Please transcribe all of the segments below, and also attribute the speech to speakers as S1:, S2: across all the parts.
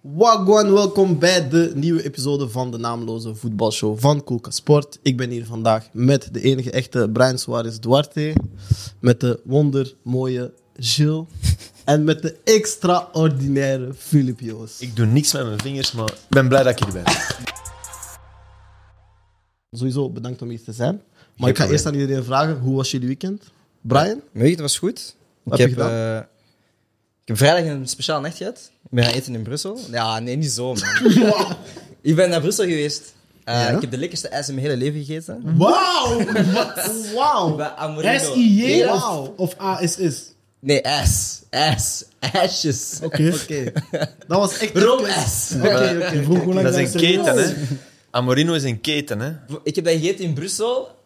S1: Wagwan, welkom bij de nieuwe episode van de naamloze voetbalshow van Koelka Sport. Ik ben hier vandaag met de enige echte Brian Suarez Duarte, met de wondermooie Gilles en met de extraordinaire Filip Joos.
S2: Ik doe niks met mijn vingers, maar ik ben blij dat ik hier ben.
S1: Sowieso bedankt om hier te zijn. Maar ik ga eerst aan iedereen vragen, hoe was jullie weekend? Brian?
S3: Nee, het was goed.
S1: Wat
S3: ik,
S1: heb je
S3: heb, eh, ik heb vrijdag een speciaal nacht gehad. Ik ben gaan eten in Brussel. Ja, nee, niet zo, man. ik ben naar Brussel geweest. Eh,
S1: Ja?
S3: Ik heb de lekkerste ijs in mijn hele leven gegeten.
S4: Wauw!
S1: Wauw!
S3: Bij Amorino.
S4: SIJ
S3: Ja.
S4: of, of ASS?
S3: Nee, ijs. Ijs. Ijsjes.
S4: Oké.
S1: Oké, dat was echt...
S3: Roomijs.
S1: Oké, oké.
S4: Ik vroeg hoe lang
S2: Dat is een
S4: serieus
S2: keten,
S4: is.
S2: hè? Amorino is een keten, hè?
S3: Ik heb dat gegeten in Brussel.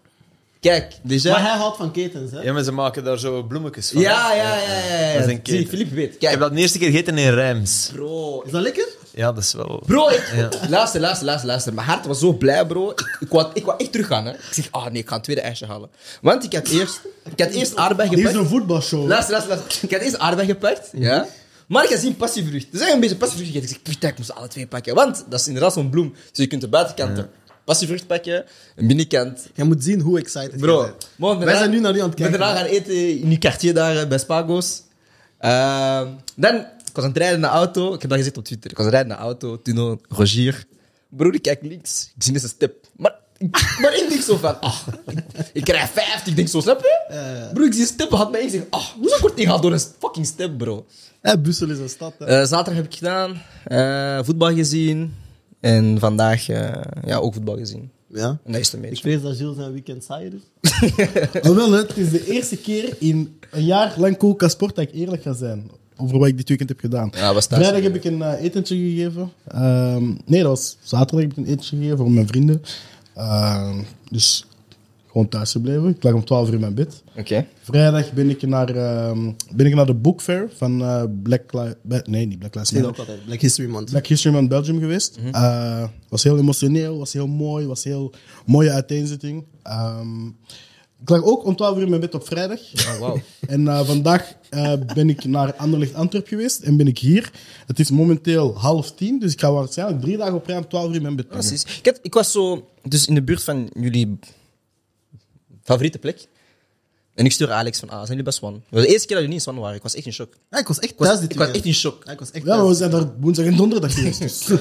S3: Kijk, dus
S1: Maar
S3: ja.
S1: hij houdt van ketens, hè?
S2: Ja, maar ze maken daar zo bloemetjes van.
S3: Ja, ja,
S2: hè?
S3: ja, ja. ja.
S2: Dat is een
S3: Zie,
S2: keten.
S3: Philippe weet.
S2: Ik heb
S3: Kijk,
S2: dat de eerste keer gegeten in Rijms.
S3: bro.
S1: Is dat lekker?
S2: Ja, dat is wel...
S3: Bro, ik... luister, luister, luister, luister. Mijn hart was zo blij, bro. Ik, ik, wou, ik wou echt teruggaan, hè. Ik zeg, ah nee, ik ga een tweede ijsje halen. Want ik had eerst, ik had eerst aardbei
S4: Dit is
S3: gepakt.
S4: een voetbalshow.
S3: Luister, luister, luister. Ik had eerst aardbei gepakt, ja. Maar ik had zien passievrucht. Dus ik heb een beetje passievrucht gegeten. Ik zeg, putain, ik moest alle twee pakken. Want dat is inderdaad zo'n bloem. Dus je kunt de buitenkant passievrucht pakken, een binnenkant.
S1: Je moet zien hoe excited je
S3: Bro,
S1: bent.
S3: morgen
S1: Wij zijn nu naar die aan het kijken.
S3: daarna gaan eten in die quartier daar eh, bij Spago's. Ehm, dan, ik was aan het rijden naar de auto. Ik heb dat gezegd op Twitter. Ik was aan het rijden naar de auto. Tuno, Rogier. Broer, ik kijk links. Ik zie net een step. Maar, maar ik denk zo van, ah, ik, ik krijg 50. Ik denk zo, snap je? Broer, ik zie een step. Had mij gezegd, ah, hoe zou ik worden ingehaald door een fucking step, bro?
S1: Hè, Brussel is een stad, hè?
S3: Eh, zaterdag heb ik gedaan. eh, voetbal gezien. En vandaag eh, ja, ook voetbal gezien.
S1: Ja.
S3: En dat is het een
S1: Ik
S3: beetje.
S1: vrees dat Gilles zijn weekend saaier is.
S4: Ah, wel, hè, het is de eerste keer in een jaar lang Coca Sport dat ik eerlijk ga zijn. Over wat ik dit weekend heb gedaan.
S3: Ja, was thuis.
S4: Vrijdag heb ik een eh, etentje gegeven. Ehm, nee, dat was zaterdag heb ik een etentje gegeven voor mijn vrienden. Ehm, dus gewoon thuis gebleven. Ik lag om 12 uur in mijn bed.
S3: Oké.
S4: Vrijdag ben ik naar, ehm, ben ik naar de book fair van eh, Black Lives... Nee, niet Black Lives
S1: Ik
S4: Matter.
S1: denk ook altijd. Black History Month.
S4: Black History Month Belgium geweest.
S3: Mhm.
S4: Eh, was heel emotioneel, was heel mooi, was heel mooie uiteenzetting. Ehm, ik lag ook om 12 uur in mijn bed op vrijdag.
S3: Oh, wauw.
S4: En eh, vandaag eh, ben ik naar Anderlecht Antwerp geweest en ben ik hier. Het is momenteel half tien, dus ik ga waarschijnlijk drie dagen op rij om 12 uur in mijn bed. liggen.
S3: Precies. Ik, had- ik was zo dus in de buurt van jullie favoriete plek. En ik stuur Alex van, ah, zijn jullie bij Swan? Het was de eerste keer dat jullie in Swan waren. Ik was echt in shock. Ik
S1: Ja, ik was echt
S3: was,
S1: thuis dit
S3: ik was echt
S1: weekend.
S3: in shock.
S1: Ja, ik was echt
S4: Ja, maar we
S1: thuis.
S4: zijn daar woensdag en donderdag geweest. Dus.
S3: Eh,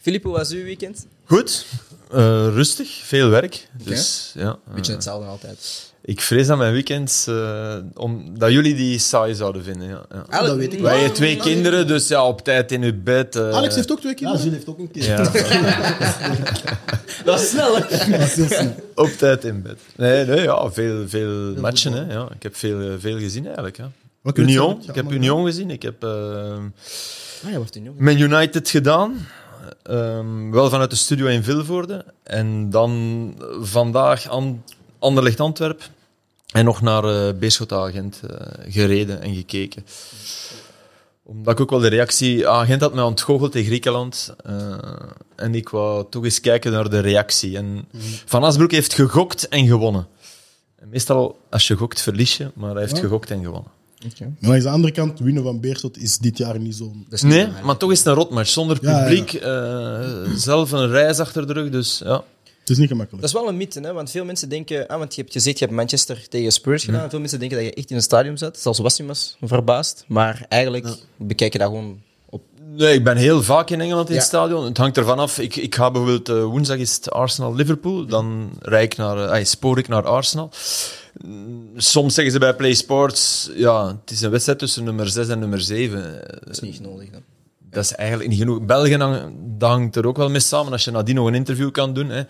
S3: Filip, hoe was uw weekend?
S2: Goed. Eh, rustig. Veel werk. Dus, ja. eh,
S3: Beetje hetzelfde altijd.
S2: ik vrees dat mijn weekends... eh, om, dat jullie die saai zouden vinden, ja. ja.
S3: Alex,
S1: weet ik
S2: Wij hebben twee kinderen, dus ja, op tijd in uw bed. eh,
S4: Alex heeft ook twee
S1: Ja,
S4: kinderen.
S1: Gilles heeft ook een keer.
S2: Ja,
S3: Dat was snel, hè?
S4: Dat is heel snel.
S2: op tijd in bed. Nee, nee, ja, veel, veel matchen, hè. Ja, ik heb veel, eh, veel gezien, eigenlijk, ja.
S4: Welke
S2: Union.
S4: wedstrijd
S2: Ik
S4: je
S2: heb
S4: allemaal gedaan?
S2: Union gezien. Ik heb eh,
S3: Ah, ja, wat toen jongen.
S2: Man United gedaan. Ehm, wel vanuit de studio in Vilvoorde. En dan vandaag An Anderlecht Antwerp. En nog naar eh Beerschot-agent gereden en gekeken. Omdat ik ook wel de reactie... Agent had mij ontgoocheld in Griekenland. eh, en ik wou toch eens kijken naar de reactie. En Van Asbroek heeft gegokt en gewonnen. En meestal als je gokt verlies je, maar hij heeft
S4: Ja.
S2: gegokt en gewonnen.
S4: Maar langs de andere kant, winnen van Beerschot is dit jaar niet zo'n...
S3: Dat is niet
S2: Nee,
S3: normaal.
S2: maar toch is het een rotmatch. Zonder
S4: Ja, ja.
S2: publiek, eh, zelf een reis achter de rug. Dus ja,
S4: Het is niet gemakkelijk.
S3: Dat is wel een mythe, hè? want veel mensen denken... Ah, want je hebt gezegd, je hebt Manchester tegen Spurs gedaan. Veel mensen denken dat je echt in een stadion zat. Zelfs Wassim was verbaasd. Maar eigenlijk bekijk je dat gewoon op...
S2: nee, ik ben heel vaak in Engeland in
S3: Ja.
S2: het stadion. Het hangt ervan af. Ik, ik ga bijvoorbeeld eh, woensdag is het Arsenal-Liverpool. Dan rijd ik naar, eh, ay, spoor ik naar Arsenal. Mm, Soms zeggen ze bij Play Sports, ja, het is een wedstrijd tussen nummer 6 en nummer 7.
S3: Dat is niet echt nodig, dan.
S2: Dat is eigenlijk niet genoeg. België hang- dat hangt er ook wel mee samen als je nadien nog een interview kan doen. Hè.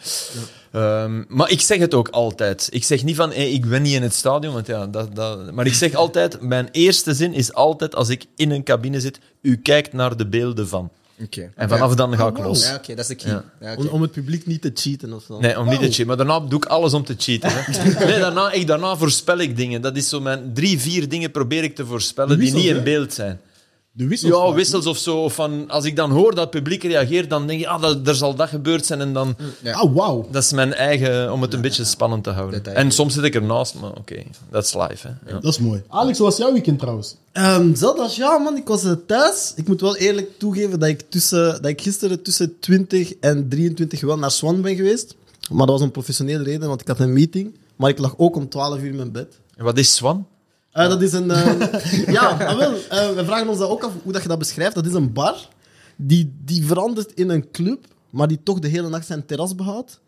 S2: Ehm, maar ik zeg het ook altijd. Ik zeg niet van hey, ik ben niet in het stadion. Want ja, dat, dat, maar ik zeg altijd: mijn eerste zin is altijd als ik in een cabine zit. U kijkt naar de beelden van.
S3: Oké.
S2: En vanaf dan ga ik los.
S3: Ja, oké, dat is de key.
S2: Ja.
S3: Ja, oké.
S1: Om, om het publiek niet te cheaten of zo.
S2: Nee, om niet te cheaten. Maar daarna doe ik alles om te cheaten. Hè. Nee, daarna, ik, daarna voorspel ik dingen. Dat is zo mijn drie, vier dingen probeer ik te voorspellen die
S4: Wissels,
S2: niet in
S4: hè?
S2: beeld zijn.
S4: De wissels.
S2: Ja, wissels of zo. Of van, als ik dan hoor dat het publiek reageert, dan denk ik, ah, dat, er zal dat gebeurd zijn. En dan,
S4: Ah, wauw.
S2: dat is mijn eigen, om het een beetje spannend te houden.
S3: Detail.
S2: En soms zit ik ernaast, maar oké, dat is live. Hè. Ja.
S4: Dat is mooi. Alex, hoe was jouw weekend trouwens?
S1: Ehm, zelfs als ja, man, ik was eh, thuis. Ik moet wel eerlijk toegeven dat ik, tussen, dat ik gisteren tussen 20 en 23 wel naar Swan ben geweest. Maar dat was een professionele reden, want ik had een meeting. Maar ik lag ook om 12 uur in mijn bed.
S2: En wat is Swan?
S1: Eh, dat is een. eh, ja, maar wel. eh, we vragen ons dat ook af hoe dat je dat beschrijft. Dat is een bar die, die verandert in een club, maar die toch de hele nacht zijn terras behoudt.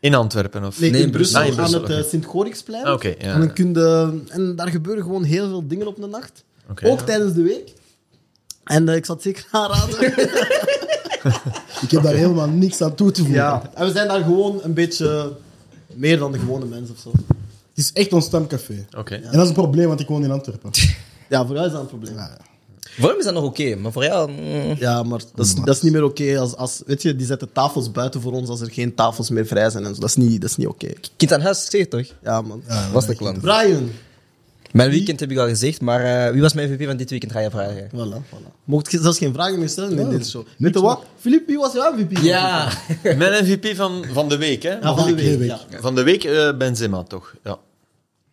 S2: In Antwerpen? Of?
S1: Nee,
S3: Nee,
S1: in
S3: in
S1: Brussel,
S2: Brussel. Ah, in
S1: aan het
S2: Brussel,
S1: eh, Sint-Goriksplein.
S2: Ah, oké, ja,
S1: en, dan
S2: ja.
S1: kun je, en daar gebeuren gewoon heel veel dingen op de nacht.
S2: Oké,
S1: ook
S2: ja.
S1: tijdens de week. En eh, ik zat zeker aanraden.
S4: Ik heb daar helemaal niks aan toe te voegen.
S1: ja. En we zijn daar gewoon een beetje meer dan de gewone mensen of zo.
S4: Het is echt ons stamcafé.
S2: Oké.
S1: eh,
S4: En dat is een probleem, want ik woon in Antwerpen.
S1: Ja, voor jou is dat een probleem. Ja,
S3: Voor hem is dat nog oké, maar voor jou... mm.
S1: maar dat is, dat is niet meer oké. Als, als, weet je, die zetten tafels buiten voor ons als er geen tafels meer vrij zijn en zo. Dat is niet, dat is niet oké.
S3: Kind aan huis, ik zeg het toch?
S1: Ja, man.
S3: Was de klant.
S1: Brian.
S3: Mijn weekend heb ik al gezegd, maar eh, wie was mijn MVP van dit weekend, ga je vragen.
S1: Voilà, voilà. Mocht je zelfs geen vragen meer stellen in deze show. Weet je wat? Filip, wie was jouw MVP?
S3: Ja.
S2: Mijn MVP van, van de week, hè?
S1: Ja, Ah, van de week.
S4: Oké,
S1: Ja.
S2: Van de week eh, Benzema, toch? Ja.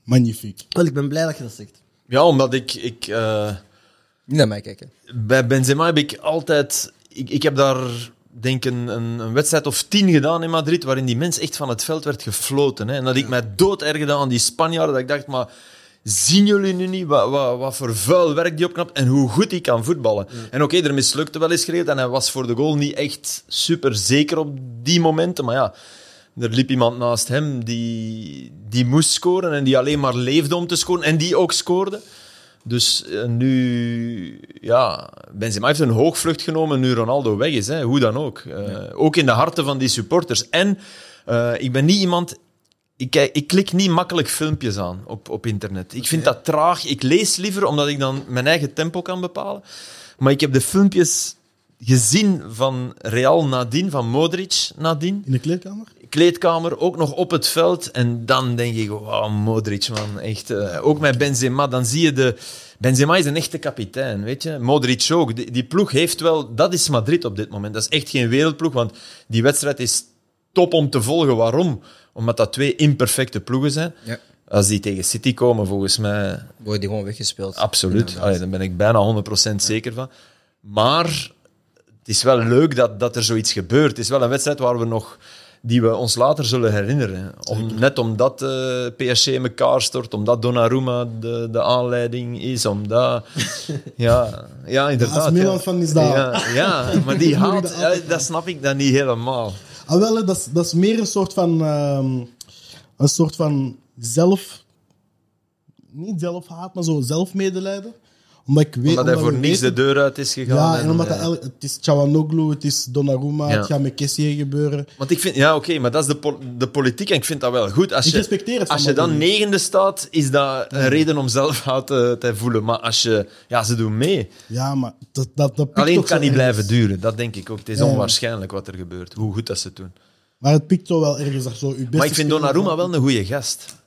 S4: Magnifiek.
S1: Wel, ik ben blij dat je dat zegt.
S2: Ja, omdat ik... ik eh,
S3: Niet naar mij kijken.
S2: bij Benzema heb ik altijd... Ik, ik heb daar, denk ik, een, een, een wedstrijd of tien gedaan in Madrid, waarin die mens echt van het veld werd gefloten. Hè? En dat ik mij dood ergerde aan die Spanjaarden. Dat ik dacht, maar zien jullie nu niet wat, wat, wat voor vuil werk die opknapt en hoe goed hij kan voetballen? En oké, er mislukte wel eens geregeld en hij was voor de goal niet echt super zeker op die momenten. Maar ja, er liep iemand naast hem die, die moest scoren en die alleen maar leefde om te scoren en die ook scoorde. Dus eh, nu, ja, Benzema heeft een hoogvlucht genomen nu Ronaldo weg is, hè, hoe dan ook. Eh, Ook in de harten van die supporters. En eh, ik ben niet iemand, ik, kijk- ik klik niet makkelijk filmpjes aan op, op internet. Ik vind dat traag. Ik lees liever omdat ik dan mijn eigen tempo kan bepalen. Maar ik heb de filmpjes gezien van Real nadien, van Modric nadien
S4: In de kleedkamer?
S2: kleedkamer, ook nog op het veld. En dan denk ik, wauw, Modric, man. Echt, eh, ook met Benzema, dan zie je de... Benzema is een echte kapitein, weet je. Modric ook. Die, die ploeg heeft wel... Dat is Madrid op dit moment. Dat is echt geen wereldploeg, want die wedstrijd is top om te volgen. Waarom? Omdat dat twee imperfecte ploegen zijn.
S3: Ja.
S2: Als die tegen City komen, volgens mij
S3: Wordt die gewoon weggespeeld.
S2: Absoluut. Allee, daar ben ik bijna 100% zeker van. Maar het is wel leuk dat, dat er zoiets gebeurt. Het is wel een wedstrijd waar we nog, die we ons later zullen herinneren. Om, net omdat eh PSG in elkaar stort, omdat Donnarumma de, de aanleiding is, omdat... Ja, ja inderdaad.
S4: Als Milan fan is dat-
S2: Ja, ja, maar die
S4: Moet ik
S2: haat,
S4: dat
S2: ja, dat snap ik dan niet helemaal.
S4: Ah, wel, hè, dat is, dat is meer een soort van... ehm, een soort van zelf... Niet zelfhaat, maar zo zelfmedelijden. Omdat ik weet...
S2: Omdat hij voor
S4: we
S2: niets de
S4: weten-
S2: deur uit is gegaan. eh,
S4: Ja, en omdat
S2: ja.
S4: dat el- het is Chawanoglu, het is Donnarumma,
S2: Ja.
S4: het gaat met Kessier gebeuren.
S2: Want ik vind, ja, oké, maar dat is de, pol- de politiek en ik vind dat wel goed. Als
S4: Ik
S2: je,
S4: respecteer het
S2: als
S4: van
S2: je dan
S4: Madrid.
S2: negende staat, is dat een reden om zelfhaat te, te voelen. Maar als je, ja, ze doen mee.
S4: Ja, maar dat, dat, dat pikt
S2: Alleen
S4: toch
S2: het kan
S4: zo
S2: niet
S4: ergens.
S2: blijven duren, dat denk ik ook. Het is
S4: Ja.
S2: onwaarschijnlijk wat er gebeurt, hoe goed dat ze het doen.
S4: Maar het pikt zo wel ergens. dat Zo, uw beste
S2: Maar ik vind
S4: speler-
S2: Donnarumma wel een goede gast.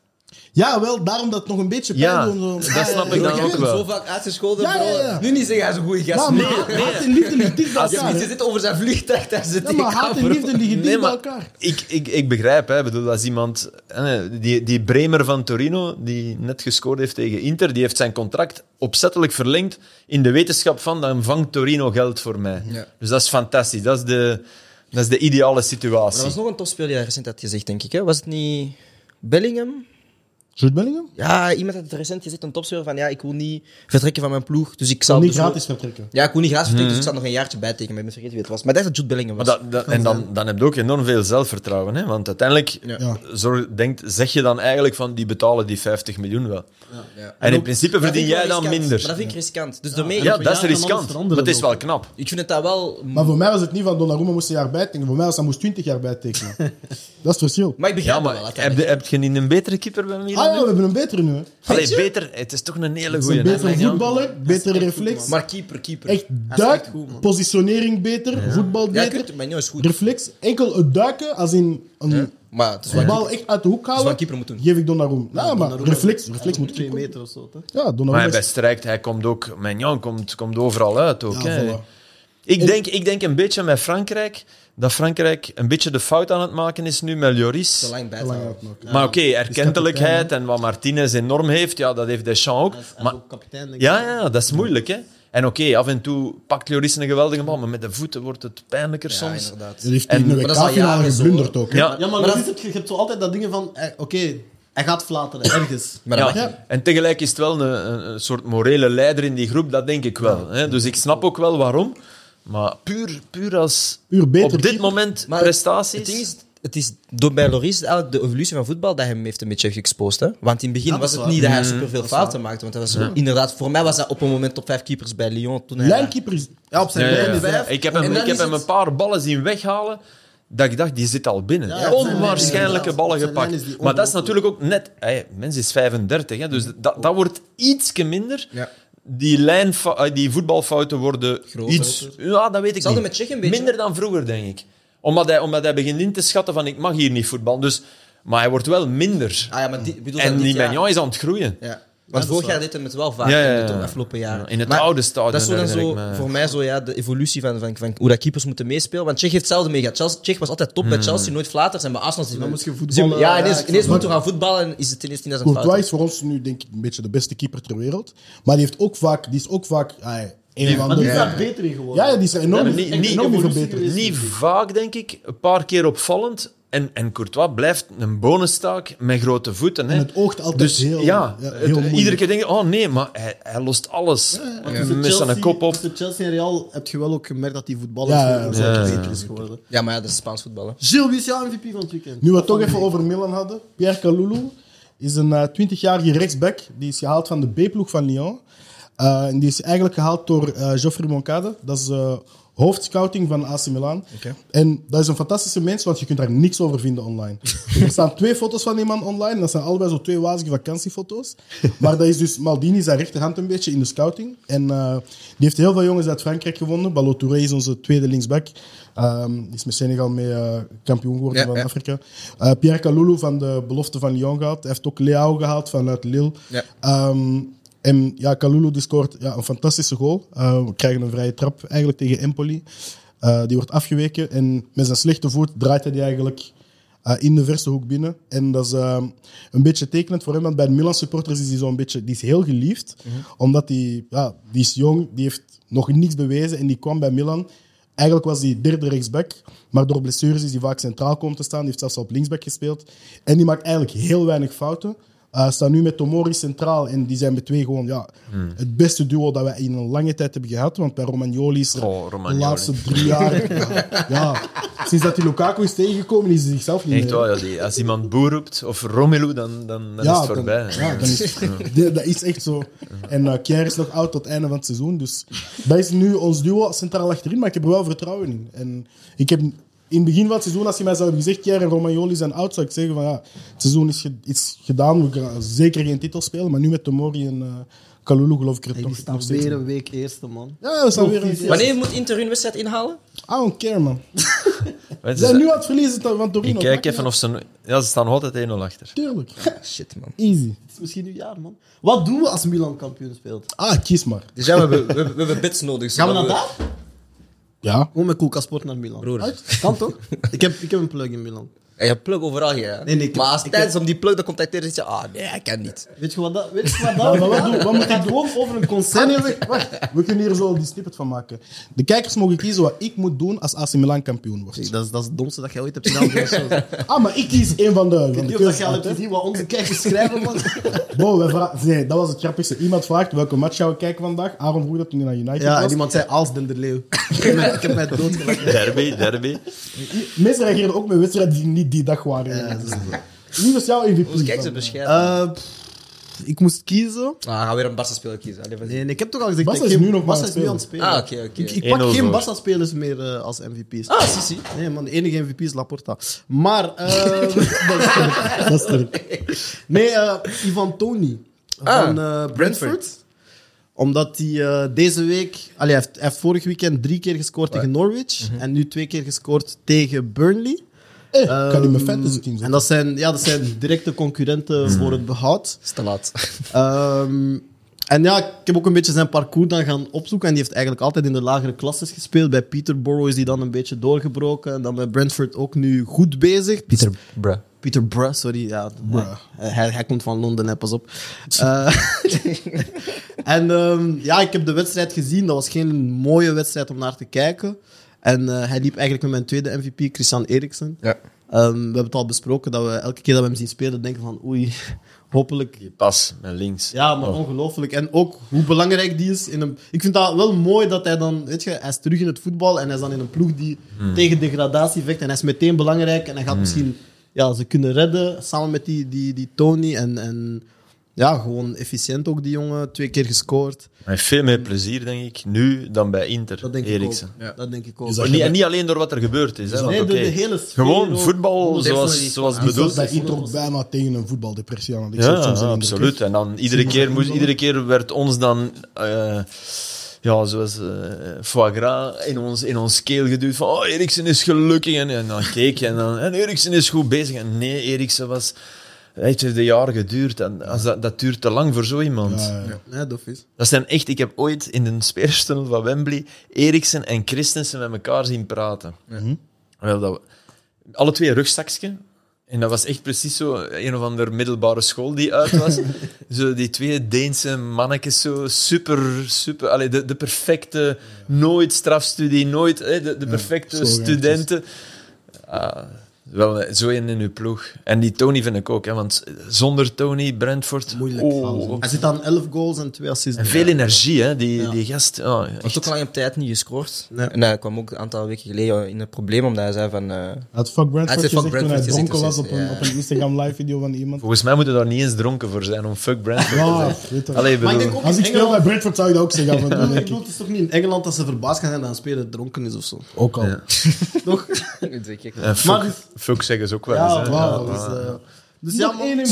S4: Ja, wel, daarom dat het nog een beetje pijn
S2: Ja,
S4: doet. zo.
S2: dat
S4: Ja,
S2: snap
S4: ja,
S2: ik
S4: ja.
S2: dan ook wel.
S3: zo vaak uitgescholden,
S4: Ja,
S3: bro.
S4: ja, ja.
S3: Nu niet zeggen, hij is een goede gast.
S4: Ja,
S3: Nee.
S4: maar haat en liefde ligt dicht bij
S3: Als je
S4: elkaar.
S3: niet
S4: hè.
S3: zit over zijn vliegtuig, dan zit
S4: Ja, maar haat en liefde liggen dicht
S2: Nee,
S4: bij
S2: maar
S4: elkaar.
S2: ik, ik, ik begrijp, hè. Ik bedoel, als iemand, eh, die, die Bremer van Torino, die net gescoord heeft tegen Inter, die heeft zijn contract opzettelijk verlengd in de wetenschap van, dan vangt Torino geld voor mij.
S3: Ja.
S2: Dus dat is fantastisch. Dat is de, dat is de ideale situatie.
S3: Er was nog een topspeler die dat recent had gezegd, denk ik. Hè? Was het niet Bellingham?
S4: Jude Bellingham?
S3: Ja, iemand had het recent gezegd, een topspeler, van ja, ik wil niet vertrekken van mijn ploeg, dus ik zal...
S4: niet
S3: dus wel-
S4: gratis vertrekken.
S3: Ja, ik wil niet gratis vertrekken, dus ik zal nog een jaartje bijtekenen. Maar ik ben vergeten wie het was. Maar ik dacht dat Jude Bellingham
S2: Mhm. Maar
S3: was.
S2: dat, dat- en dan, dan heb je ook enorm veel zelfvertrouwen. Hè? Want uiteindelijk
S4: Ja.
S2: zorg, denkt, zeg je dan eigenlijk van die betalen die 50 miljoen wel.
S3: Ja.
S2: En in principe
S3: Dat
S2: verdien
S3: vind ik
S2: jij
S3: wel
S2: dan
S3: riskant.
S2: minder.
S3: Maar dat vind ik riskant. Dus daarmee...
S2: Ja,
S1: Ja,
S2: dat is
S1: dan alles
S2: riskant.
S1: veranderen
S2: Maar het is
S1: ook.
S2: wel knap.
S3: Ik vind het dat wel...
S4: Maar voor mij was het niet van Donnarumma moest een jaar bijtekenen. Voor mij was hij moest 20 jaar bijtekenen. dat is het verschil.
S3: Maar ik
S2: Ja,
S3: begrijp het
S2: maar
S3: wel. dat hij
S2: heb je, heb je niet een betere keeper bij
S4: Ah ja,
S2: Milan?
S4: we hebben een betere nu. hè.
S2: Allee, beter, het is toch een hele
S4: Het is
S2: goede.
S4: een betere voetballer, betere reflex.
S3: Maar keeper, keeper.
S4: echt duik, positionering beter, voetbal
S3: Ja,
S4: beter.
S3: kunt, maar is goed.
S4: reflex, enkel het duiken als in een
S3: Maar het is
S4: De
S3: wat
S4: bal echt uit de hoek halen,
S3: wat keeper moet doen.
S4: geef ik Donnarumma. Ja, maar
S1: Donnarumma-
S4: reflex, reflex moet
S1: Twee
S4: ik
S1: meter of zo, toch?
S4: Ja,
S2: Maar
S4: Donnarumma
S2: bij
S4: is...
S2: Strijk, hij komt ook... Mignon komt, komt overal uit ook.
S4: Ja,
S2: hè.
S4: voilà.
S2: Ik denk, ik denk een beetje met Frankrijk, dat Frankrijk een beetje de fout aan het maken is nu met
S3: te
S2: Lloris.
S3: lang bij
S4: Te
S3: te
S4: lang
S3: houden.
S4: uitmaken.
S2: Maar oké, erkentelijkheid en wat Martinez enorm heeft, ja, dat heeft Deschamps
S1: Hij is
S2: ook. Maar,
S1: ook kapitein, denk ik.
S2: ja, ja, dat is moeilijk, hè. En oké, af en toe pakt Lloris een geweldige bal, maar met de voeten wordt het pijnlijker
S3: Ja,
S2: soms.
S3: inderdaad.
S4: Dat heeft hij
S2: En-
S4: in de
S3: Maar dat is al
S4: WK-finale
S3: jaren zo,
S4: geblunderd
S3: hoor.
S4: ook. hè.
S2: Ja,
S1: Ja, maar,
S3: Maar
S1: dat
S3: dat-
S1: is het, je hebt zo altijd dat ding van, eh, oké, hij gaat flateren ergens.
S3: Maar
S2: Ja.
S3: dat mag niet.
S2: En tegelijk is het wel een, een, een soort morele leider in die groep, dat denk ik wel. Hè? Dus ik snap ook wel waarom. Maar puur, puur als
S4: Puur beter
S2: op dit
S4: keeper.
S2: moment
S3: Maar
S2: prestaties...
S3: Het ding is, het is door bij Loris eigenlijk de evolutie van voetbal dat hem heeft een beetje geëxposed. Hè? Want in het begin
S1: Ja, dat
S3: was
S1: is
S3: het
S1: waar.
S3: niet dat
S2: Mhm.
S3: hij superveel fouten maakte. Want hij was inderdaad, voor mij was hij op een moment top 5 keepers bij Lyon. Toen hij
S4: Lijnkeeper is...
S1: Ja, op zijn
S2: Ja,
S1: lijn
S2: ja, ja.
S1: is hij-
S2: Ik heb hem,
S3: En dan
S2: ik heb
S3: is
S2: hem
S3: het-
S2: een paar ballen zien weghalen. Dat ik dacht, die zit al binnen.
S1: Ja, ja, op zijn lijn
S2: Onwaarschijnlijke
S1: inderdaad.
S2: ballen
S1: Op zijn lijn is
S2: gepakt.
S1: die
S2: Maar dat is
S1: ongelooflijk.
S2: natuurlijk ook net. Hey, mens is 35, hè, dus dat, dat wordt ietsje minder.
S3: Ja.
S2: Die, lijn, die voetbalfouten worden
S3: Groter. dus.
S2: iets. Ja, dat weet ik
S3: Hetzelfde
S2: niet.
S3: met Tsjech een beetje.
S2: Minder dan vroeger, denk ik. Omdat hij, omdat hij begint in te schatten: van ik mag hier niet voetballen. Dus, maar hij wordt wel minder.
S3: Ah ja, maar die, bedoel
S2: en
S3: dat
S2: die
S3: dit jaar-
S2: Magnan is aan het groeien.
S3: Ja. Want
S1: dat is
S3: vorig
S1: waar.
S3: jaar deed hem het wel vaak
S2: Ja, ja,
S3: in de
S2: ja.
S3: to- afgelopen jaren.
S2: In het oude stadion
S3: Dat is zo dan
S2: herinner
S3: zo,
S2: ik me.
S3: voor mij zo, ja, de evolutie van, van, van hoe dat keepers moeten meespelen. Want Tsjech heeft hetzelfde mee gehad. Chelsea- Tsjech was altijd top bij
S2: Hmm.
S3: Chelsea, nooit flaters. En bij Arsenal...
S1: Dan moet je voetballen.
S3: Zien we- Ja,
S1: Ja,
S3: ineens,
S1: ik
S3: ineens
S1: snap
S3: moeten we gaan voetballen en is het ineens niet als een
S4: Courtois
S3: fout.
S4: is voor ons nu denk ik een beetje de beste keeper ter wereld. Maar die, heeft ook vaak, die is ook vaak... ah, een of
S1: Maar die
S4: andere...
S1: is daar
S4: Ja,
S1: beter in geworden.
S4: ja, die is er enorm,
S2: Ja, maar niet- niet-
S4: enorm in
S1: evolutie
S4: verbeterd.
S1: geweest.
S2: Niet vaak, denk ik. Een paar keer opvallend. En, en Courtois blijft een bonustaak met grote voeten. Hè.
S4: En het oogt altijd
S2: dus,
S4: heel,
S2: ja,
S4: ja, heel
S2: het-
S4: moeilijk.
S2: iedere keer denk je, oh nee, maar hij, hij lost alles.
S1: Want
S2: Hij
S1: tussen
S2: mist aan
S1: Chelsea-
S2: een kop op.
S1: Tussen Chelsea en Real heb je wel ook gemerkt dat die voetballers
S4: Ja, ja,
S1: een
S4: ja.
S1: soort
S2: Ja, ja,
S1: beter is geworden.
S3: Ja, maar ja, dat is Spaans voetballen.
S1: Gilles, wie is jouw MVP van het weekend?
S4: Nu we het toch even over Milan hadden. Pierre Kalulu is een eh, 20-jarige rechtsback. Die is gehaald van de B-ploeg van Lyon. Eh, en die is eigenlijk gehaald door eh Geoffrey Moncada. Dat is eh hoofdscouting van AC Milan.
S3: Oké.
S4: En dat is een fantastische mens, want je kunt daar niks over vinden online. er staan twee foto's van die man online. Dat zijn allebei zo twee wazige vakantiefoto's. Maar dat is dus Maldini zijn rechterhand een beetje in de scouting. En eh, die heeft heel veel jongens uit Frankrijk gewonnen. Balotouré is onze tweede linksback. Ehm, die is met Senegal mee eh, kampioen geworden
S3: Ja,
S4: van
S3: ja.
S4: Afrika. Eh, Pierre Kalulu van de belofte van Lyon gehaald. Hij heeft ook Leao gehaald vanuit Lille.
S3: Ja.
S4: Ehm, en ja, Kalulu die scoort ja, een fantastische goal. Eh, we krijgen een vrije trap eigenlijk tegen Empoli. Eh, die wordt afgeweken en met zijn slechte voet draait hij die eigenlijk eh, in de verste hoek binnen. En dat is ehm, een beetje tekenend voor hem, want bij de Milan supporters is hij zo'n beetje die is heel geliefd. Omdat hij ja, die is jong, die heeft nog niets bewezen en die kwam bij Milan. Eigenlijk was hij derde rechtsback, maar door blessures is hij vaak centraal komen te staan. Die heeft zelfs op linksback gespeeld. En die maakt eigenlijk heel weinig fouten. Eh staan nu met Tomori centraal en die zijn met twee gewoon ja,
S2: Hmm.
S4: het beste duo dat wij in een lange tijd hebben gehad. Want bij Romagnoli is er
S2: Oh, Romagnoli.
S4: de laatste drie jaar. ja, ja. sinds dat hij Lukaku is tegengekomen, is hij zichzelf niet
S2: Echt
S4: meer.
S2: wel, ja, die- als iemand Boer roept of Romelu, dan, dan, dan is het voorbij.
S4: Dan, ja, dan is, Ja, dat is echt zo. En eh Kjaer is nog oud tot het einde van het seizoen. Dus dat is nu ons duo centraal achterin. Maar ik heb er wel vertrouwen in. En ik heb in het begin van het seizoen, als je mij zou hebben gezegd, Kjaer en Romagnoli zijn oud, zou ik zeggen van ja, het seizoen is, ge- is gedaan. We gaan zeker geen titel spelen. Maar nu met Tomori en eh Kalulu geloof ik er
S1: Hey,
S4: toch
S1: die staan
S4: nog steeds
S1: weer
S4: in.
S1: een week eerste, man.
S4: Ja, we staan weer een... I
S3: Wanneer moet Inter hun wedstrijd inhalen?
S4: don't care, man.
S2: Weet
S4: Ze
S2: je,
S4: zijn nu aan het verliezen van Torino.
S2: ik kijk even of ze... Ja, ze staan nog altijd 1-0 achter.
S4: Tuurlijk.
S3: Shit, man.
S4: Easy.
S1: Het is misschien uw jaar, man. Wat doen we als Milan kampioen speelt?
S4: Ah, kies maar.
S3: Dus ja, we hebben, we, hebben- we hebben bits nodig.
S1: Gaan we naar
S3: zodat
S1: daar?
S4: Ja.
S1: Gewoon met Koelka Sport naar Milan.
S3: Broer.
S1: Uit? Kan toch? ik, heb, ik heb een plug in Milan.
S3: Ja, je plug overal hier. hè?
S1: Nee, nee, ik-
S3: maar als
S1: ik-
S3: het tijd is om die plug te contacteren, zit je, ah nee, ik kan niet.
S1: Weet je wat dat... Weet je wat
S4: Ja,
S1: dat...
S4: maar wat doen- wat moet ik
S1: gaat gewoon over een
S4: Ah,
S1: concert.
S4: nee, wacht, wacht. We kunnen hier zo die snippet van maken. De kijkers mogen kiezen wat ik moet doen als AC Milan kampioen wordt.
S1: Dat is, dat is het domste dat jij ooit hebt gedaan. voor een show.
S4: Ah, maar ik kies een van de, van
S1: Ik
S4: de
S1: weet niet of
S4: keuzes.
S1: je al hebt gezien wat onze kijkers schrijven, man.
S4: Bro, wij vra- nee, dat was het grappigste. Iemand vraagt welke match gaan we kijken vandaag. Aaron vroeg dat toen hij naar United
S1: Ja, en
S4: was.
S1: iemand zei als Denderleeuw. ik heb mij- ik heb mij doodgelachen.
S2: Derby, derby.
S4: Mensen reageerden ook met wedstrijden die niet die dag waren. Wie was jouw MVP?
S3: Dus kijk ze
S4: van-
S3: bescheiden.
S1: Eh, pff, ik moest kiezen.
S3: ah, gaan we weer een Barca speler kiezen. Allee, wat-
S1: Nee, en ik heb toch al gezegd...
S4: Barca
S1: dat ik
S4: is
S1: geen-
S4: nu nog maar
S1: Barca is nu aan
S4: aan
S1: het
S4: het
S1: spelen.
S3: Ah, oké, oké.
S1: Ik, ik
S2: 1-0
S1: pak geen
S2: voor.
S1: Barca-spelers meer eh, als MVP's.
S3: Ah, zie, zie.
S1: Nee, man, de enige MVP is Laporta. Maar, eh, dat is sterk. Dat is sterk. Nee, eh, Ivan Tony
S3: Ah,
S1: van eh, Brentford. Omdat hij eh, deze week, allee, hij, heeft,
S3: Mhm.
S1: hij heeft vorig weekend drie keer gescoord tegen Norwich en nu twee keer gescoord tegen Burnley.
S4: Eh, kan in mijn
S1: Ehm,
S4: fantasy team zijn.
S1: En dat zijn, ja, dat zijn directe concurrenten
S3: Mhm.
S1: voor het behoud.
S3: is te laat.
S1: Ehm, en ja, ik heb ook een beetje zijn parcours dan gaan opzoeken. En die heeft eigenlijk altijd in de lagere klasses gespeeld. Bij Peterborough is hij dan een beetje doorgebroken. En dan bij Brentford ook nu goed bezig.
S3: Pieter, bruh.
S1: Peter Bruh, sorry. Ja, eh,
S4: Bruh.
S1: Hij, hij komt van Londen, hè, pas op. Eh, en ehm, ja, ik heb de wedstrijd gezien. Dat was geen mooie wedstrijd om naar te kijken. En eh, hij liep eigenlijk met mijn tweede MVP, Christian Eriksen.
S3: Ja.
S1: Ehm, we hebben het al besproken dat we elke keer dat we hem zien spelen, denken van oei, hopelijk.
S2: Die pas met links. Oh,
S1: Ja, maar ongelooflijk. En ook hoe belangrijk die is. In een... Ik vind dat wel mooi dat hij dan, weet je, hij is terug in het voetbal en hij is dan in een ploeg die tegen degradatie vecht. En hij is meteen belangrijk en hij gaat misschien ja, ze kunnen redden samen met die, die, die Tony. En, en ja, gewoon efficiënt ook die jongen. Twee keer gescoord.
S2: Hij heeft veel meer plezier, denk ik, nu dan bij Inter.
S1: Dat denk
S2: Eriksen.
S1: ik ook. Dat denk ik ook.
S4: Is dat
S2: Maar niet, en niet alleen door wat er gebeurd is. Hè, want,
S1: nee, door
S2: oké,
S1: de hele sfeer
S2: Gewoon
S1: ook.
S2: voetbal
S1: Honderd
S2: zoals,
S1: procent.
S2: zoals
S4: Die zat
S2: bedoeld.
S4: bij Inter bijna tegen een voetbaldepressie aan. want ik
S2: Ja,
S4: zat soms in
S2: ja,
S4: de
S2: absoluut. En dan iedere keer, moest, iedere keer werd ons dan... eh, ja, zoals eh foie gras in ons, in ons keel geduwd van oh, Eriksen is gelukkig. En, en dan keek je en dan... En Eriksen is goed bezig. En nee, Eriksen was... Het heeft een jaar geduurd. En als dat, dat duurt te lang voor zo iemand.
S4: kerk. Ja, ja.
S1: Ja, dof is.
S2: Dat zijn echt, ik heb ooit in de spelerstunnel van Wembley Eriksen en Christensen met elkaar zien praten.
S4: Mhm.
S2: Wel, dat, we- alle twee een rugzakje. En dat was echt precies zo een of andere middelbare school die uit was. zo die twee Deense mannetjes, zo super, super. Allee, de, de perfecte, nooit strafstudie, nooit hè, de, de perfecte
S4: zo werkt het.
S2: studenten. Ah, wel, eh, zo een in uw ploeg. En die Tony vind ik ook, hè, want zonder Tony, Brentford.
S1: Moeilijk.
S2: oh,
S1: Hij zit aan 11 goals en 2 assists.
S2: en veel energie, hè, die, die gast. Oh,
S3: Hij heeft
S2: echt.
S3: ook lang op tijd niet gescoord.
S1: Nee.
S3: En hij kwam ook een aantal weken geleden in een probleem, omdat hij zei van... eh,
S4: Had fuck
S3: Hij
S4: Brentford
S3: zei
S4: gezegd
S3: fuck
S4: toen hij
S3: Brentford,
S4: dronken
S3: gezegd,
S4: was op een,
S3: ja.
S4: op een Instagram live video van iemand.
S2: Volgens mij moeten daar niet eens dronken voor zijn om fuck Brentford te
S4: Ja,
S2: zijn.
S4: weet je.
S2: Allee,
S1: Maar ik
S2: bedoel,
S1: denk ook
S4: Als
S1: in
S4: ik speel bij
S1: Engeland-
S4: Brentford zou ik dat ook zeggen. maar dan
S1: Ja, ik
S4: denk
S1: bedoel,
S4: ik,
S1: het is toch niet in Engeland dat ze verbaasd gaan zijn dat een speler dronken is of zo.
S4: Ook al.
S1: Toch?
S3: Twee keer.
S2: eh, fuck,
S1: Maar dus-
S2: fuck zeggen ze ook wel eens.
S1: Ja,
S2: hè.
S1: wauw.
S2: Ja,
S1: Dus,
S2: maar-
S1: eh, dus ja,
S4: Nog
S1: man.
S4: één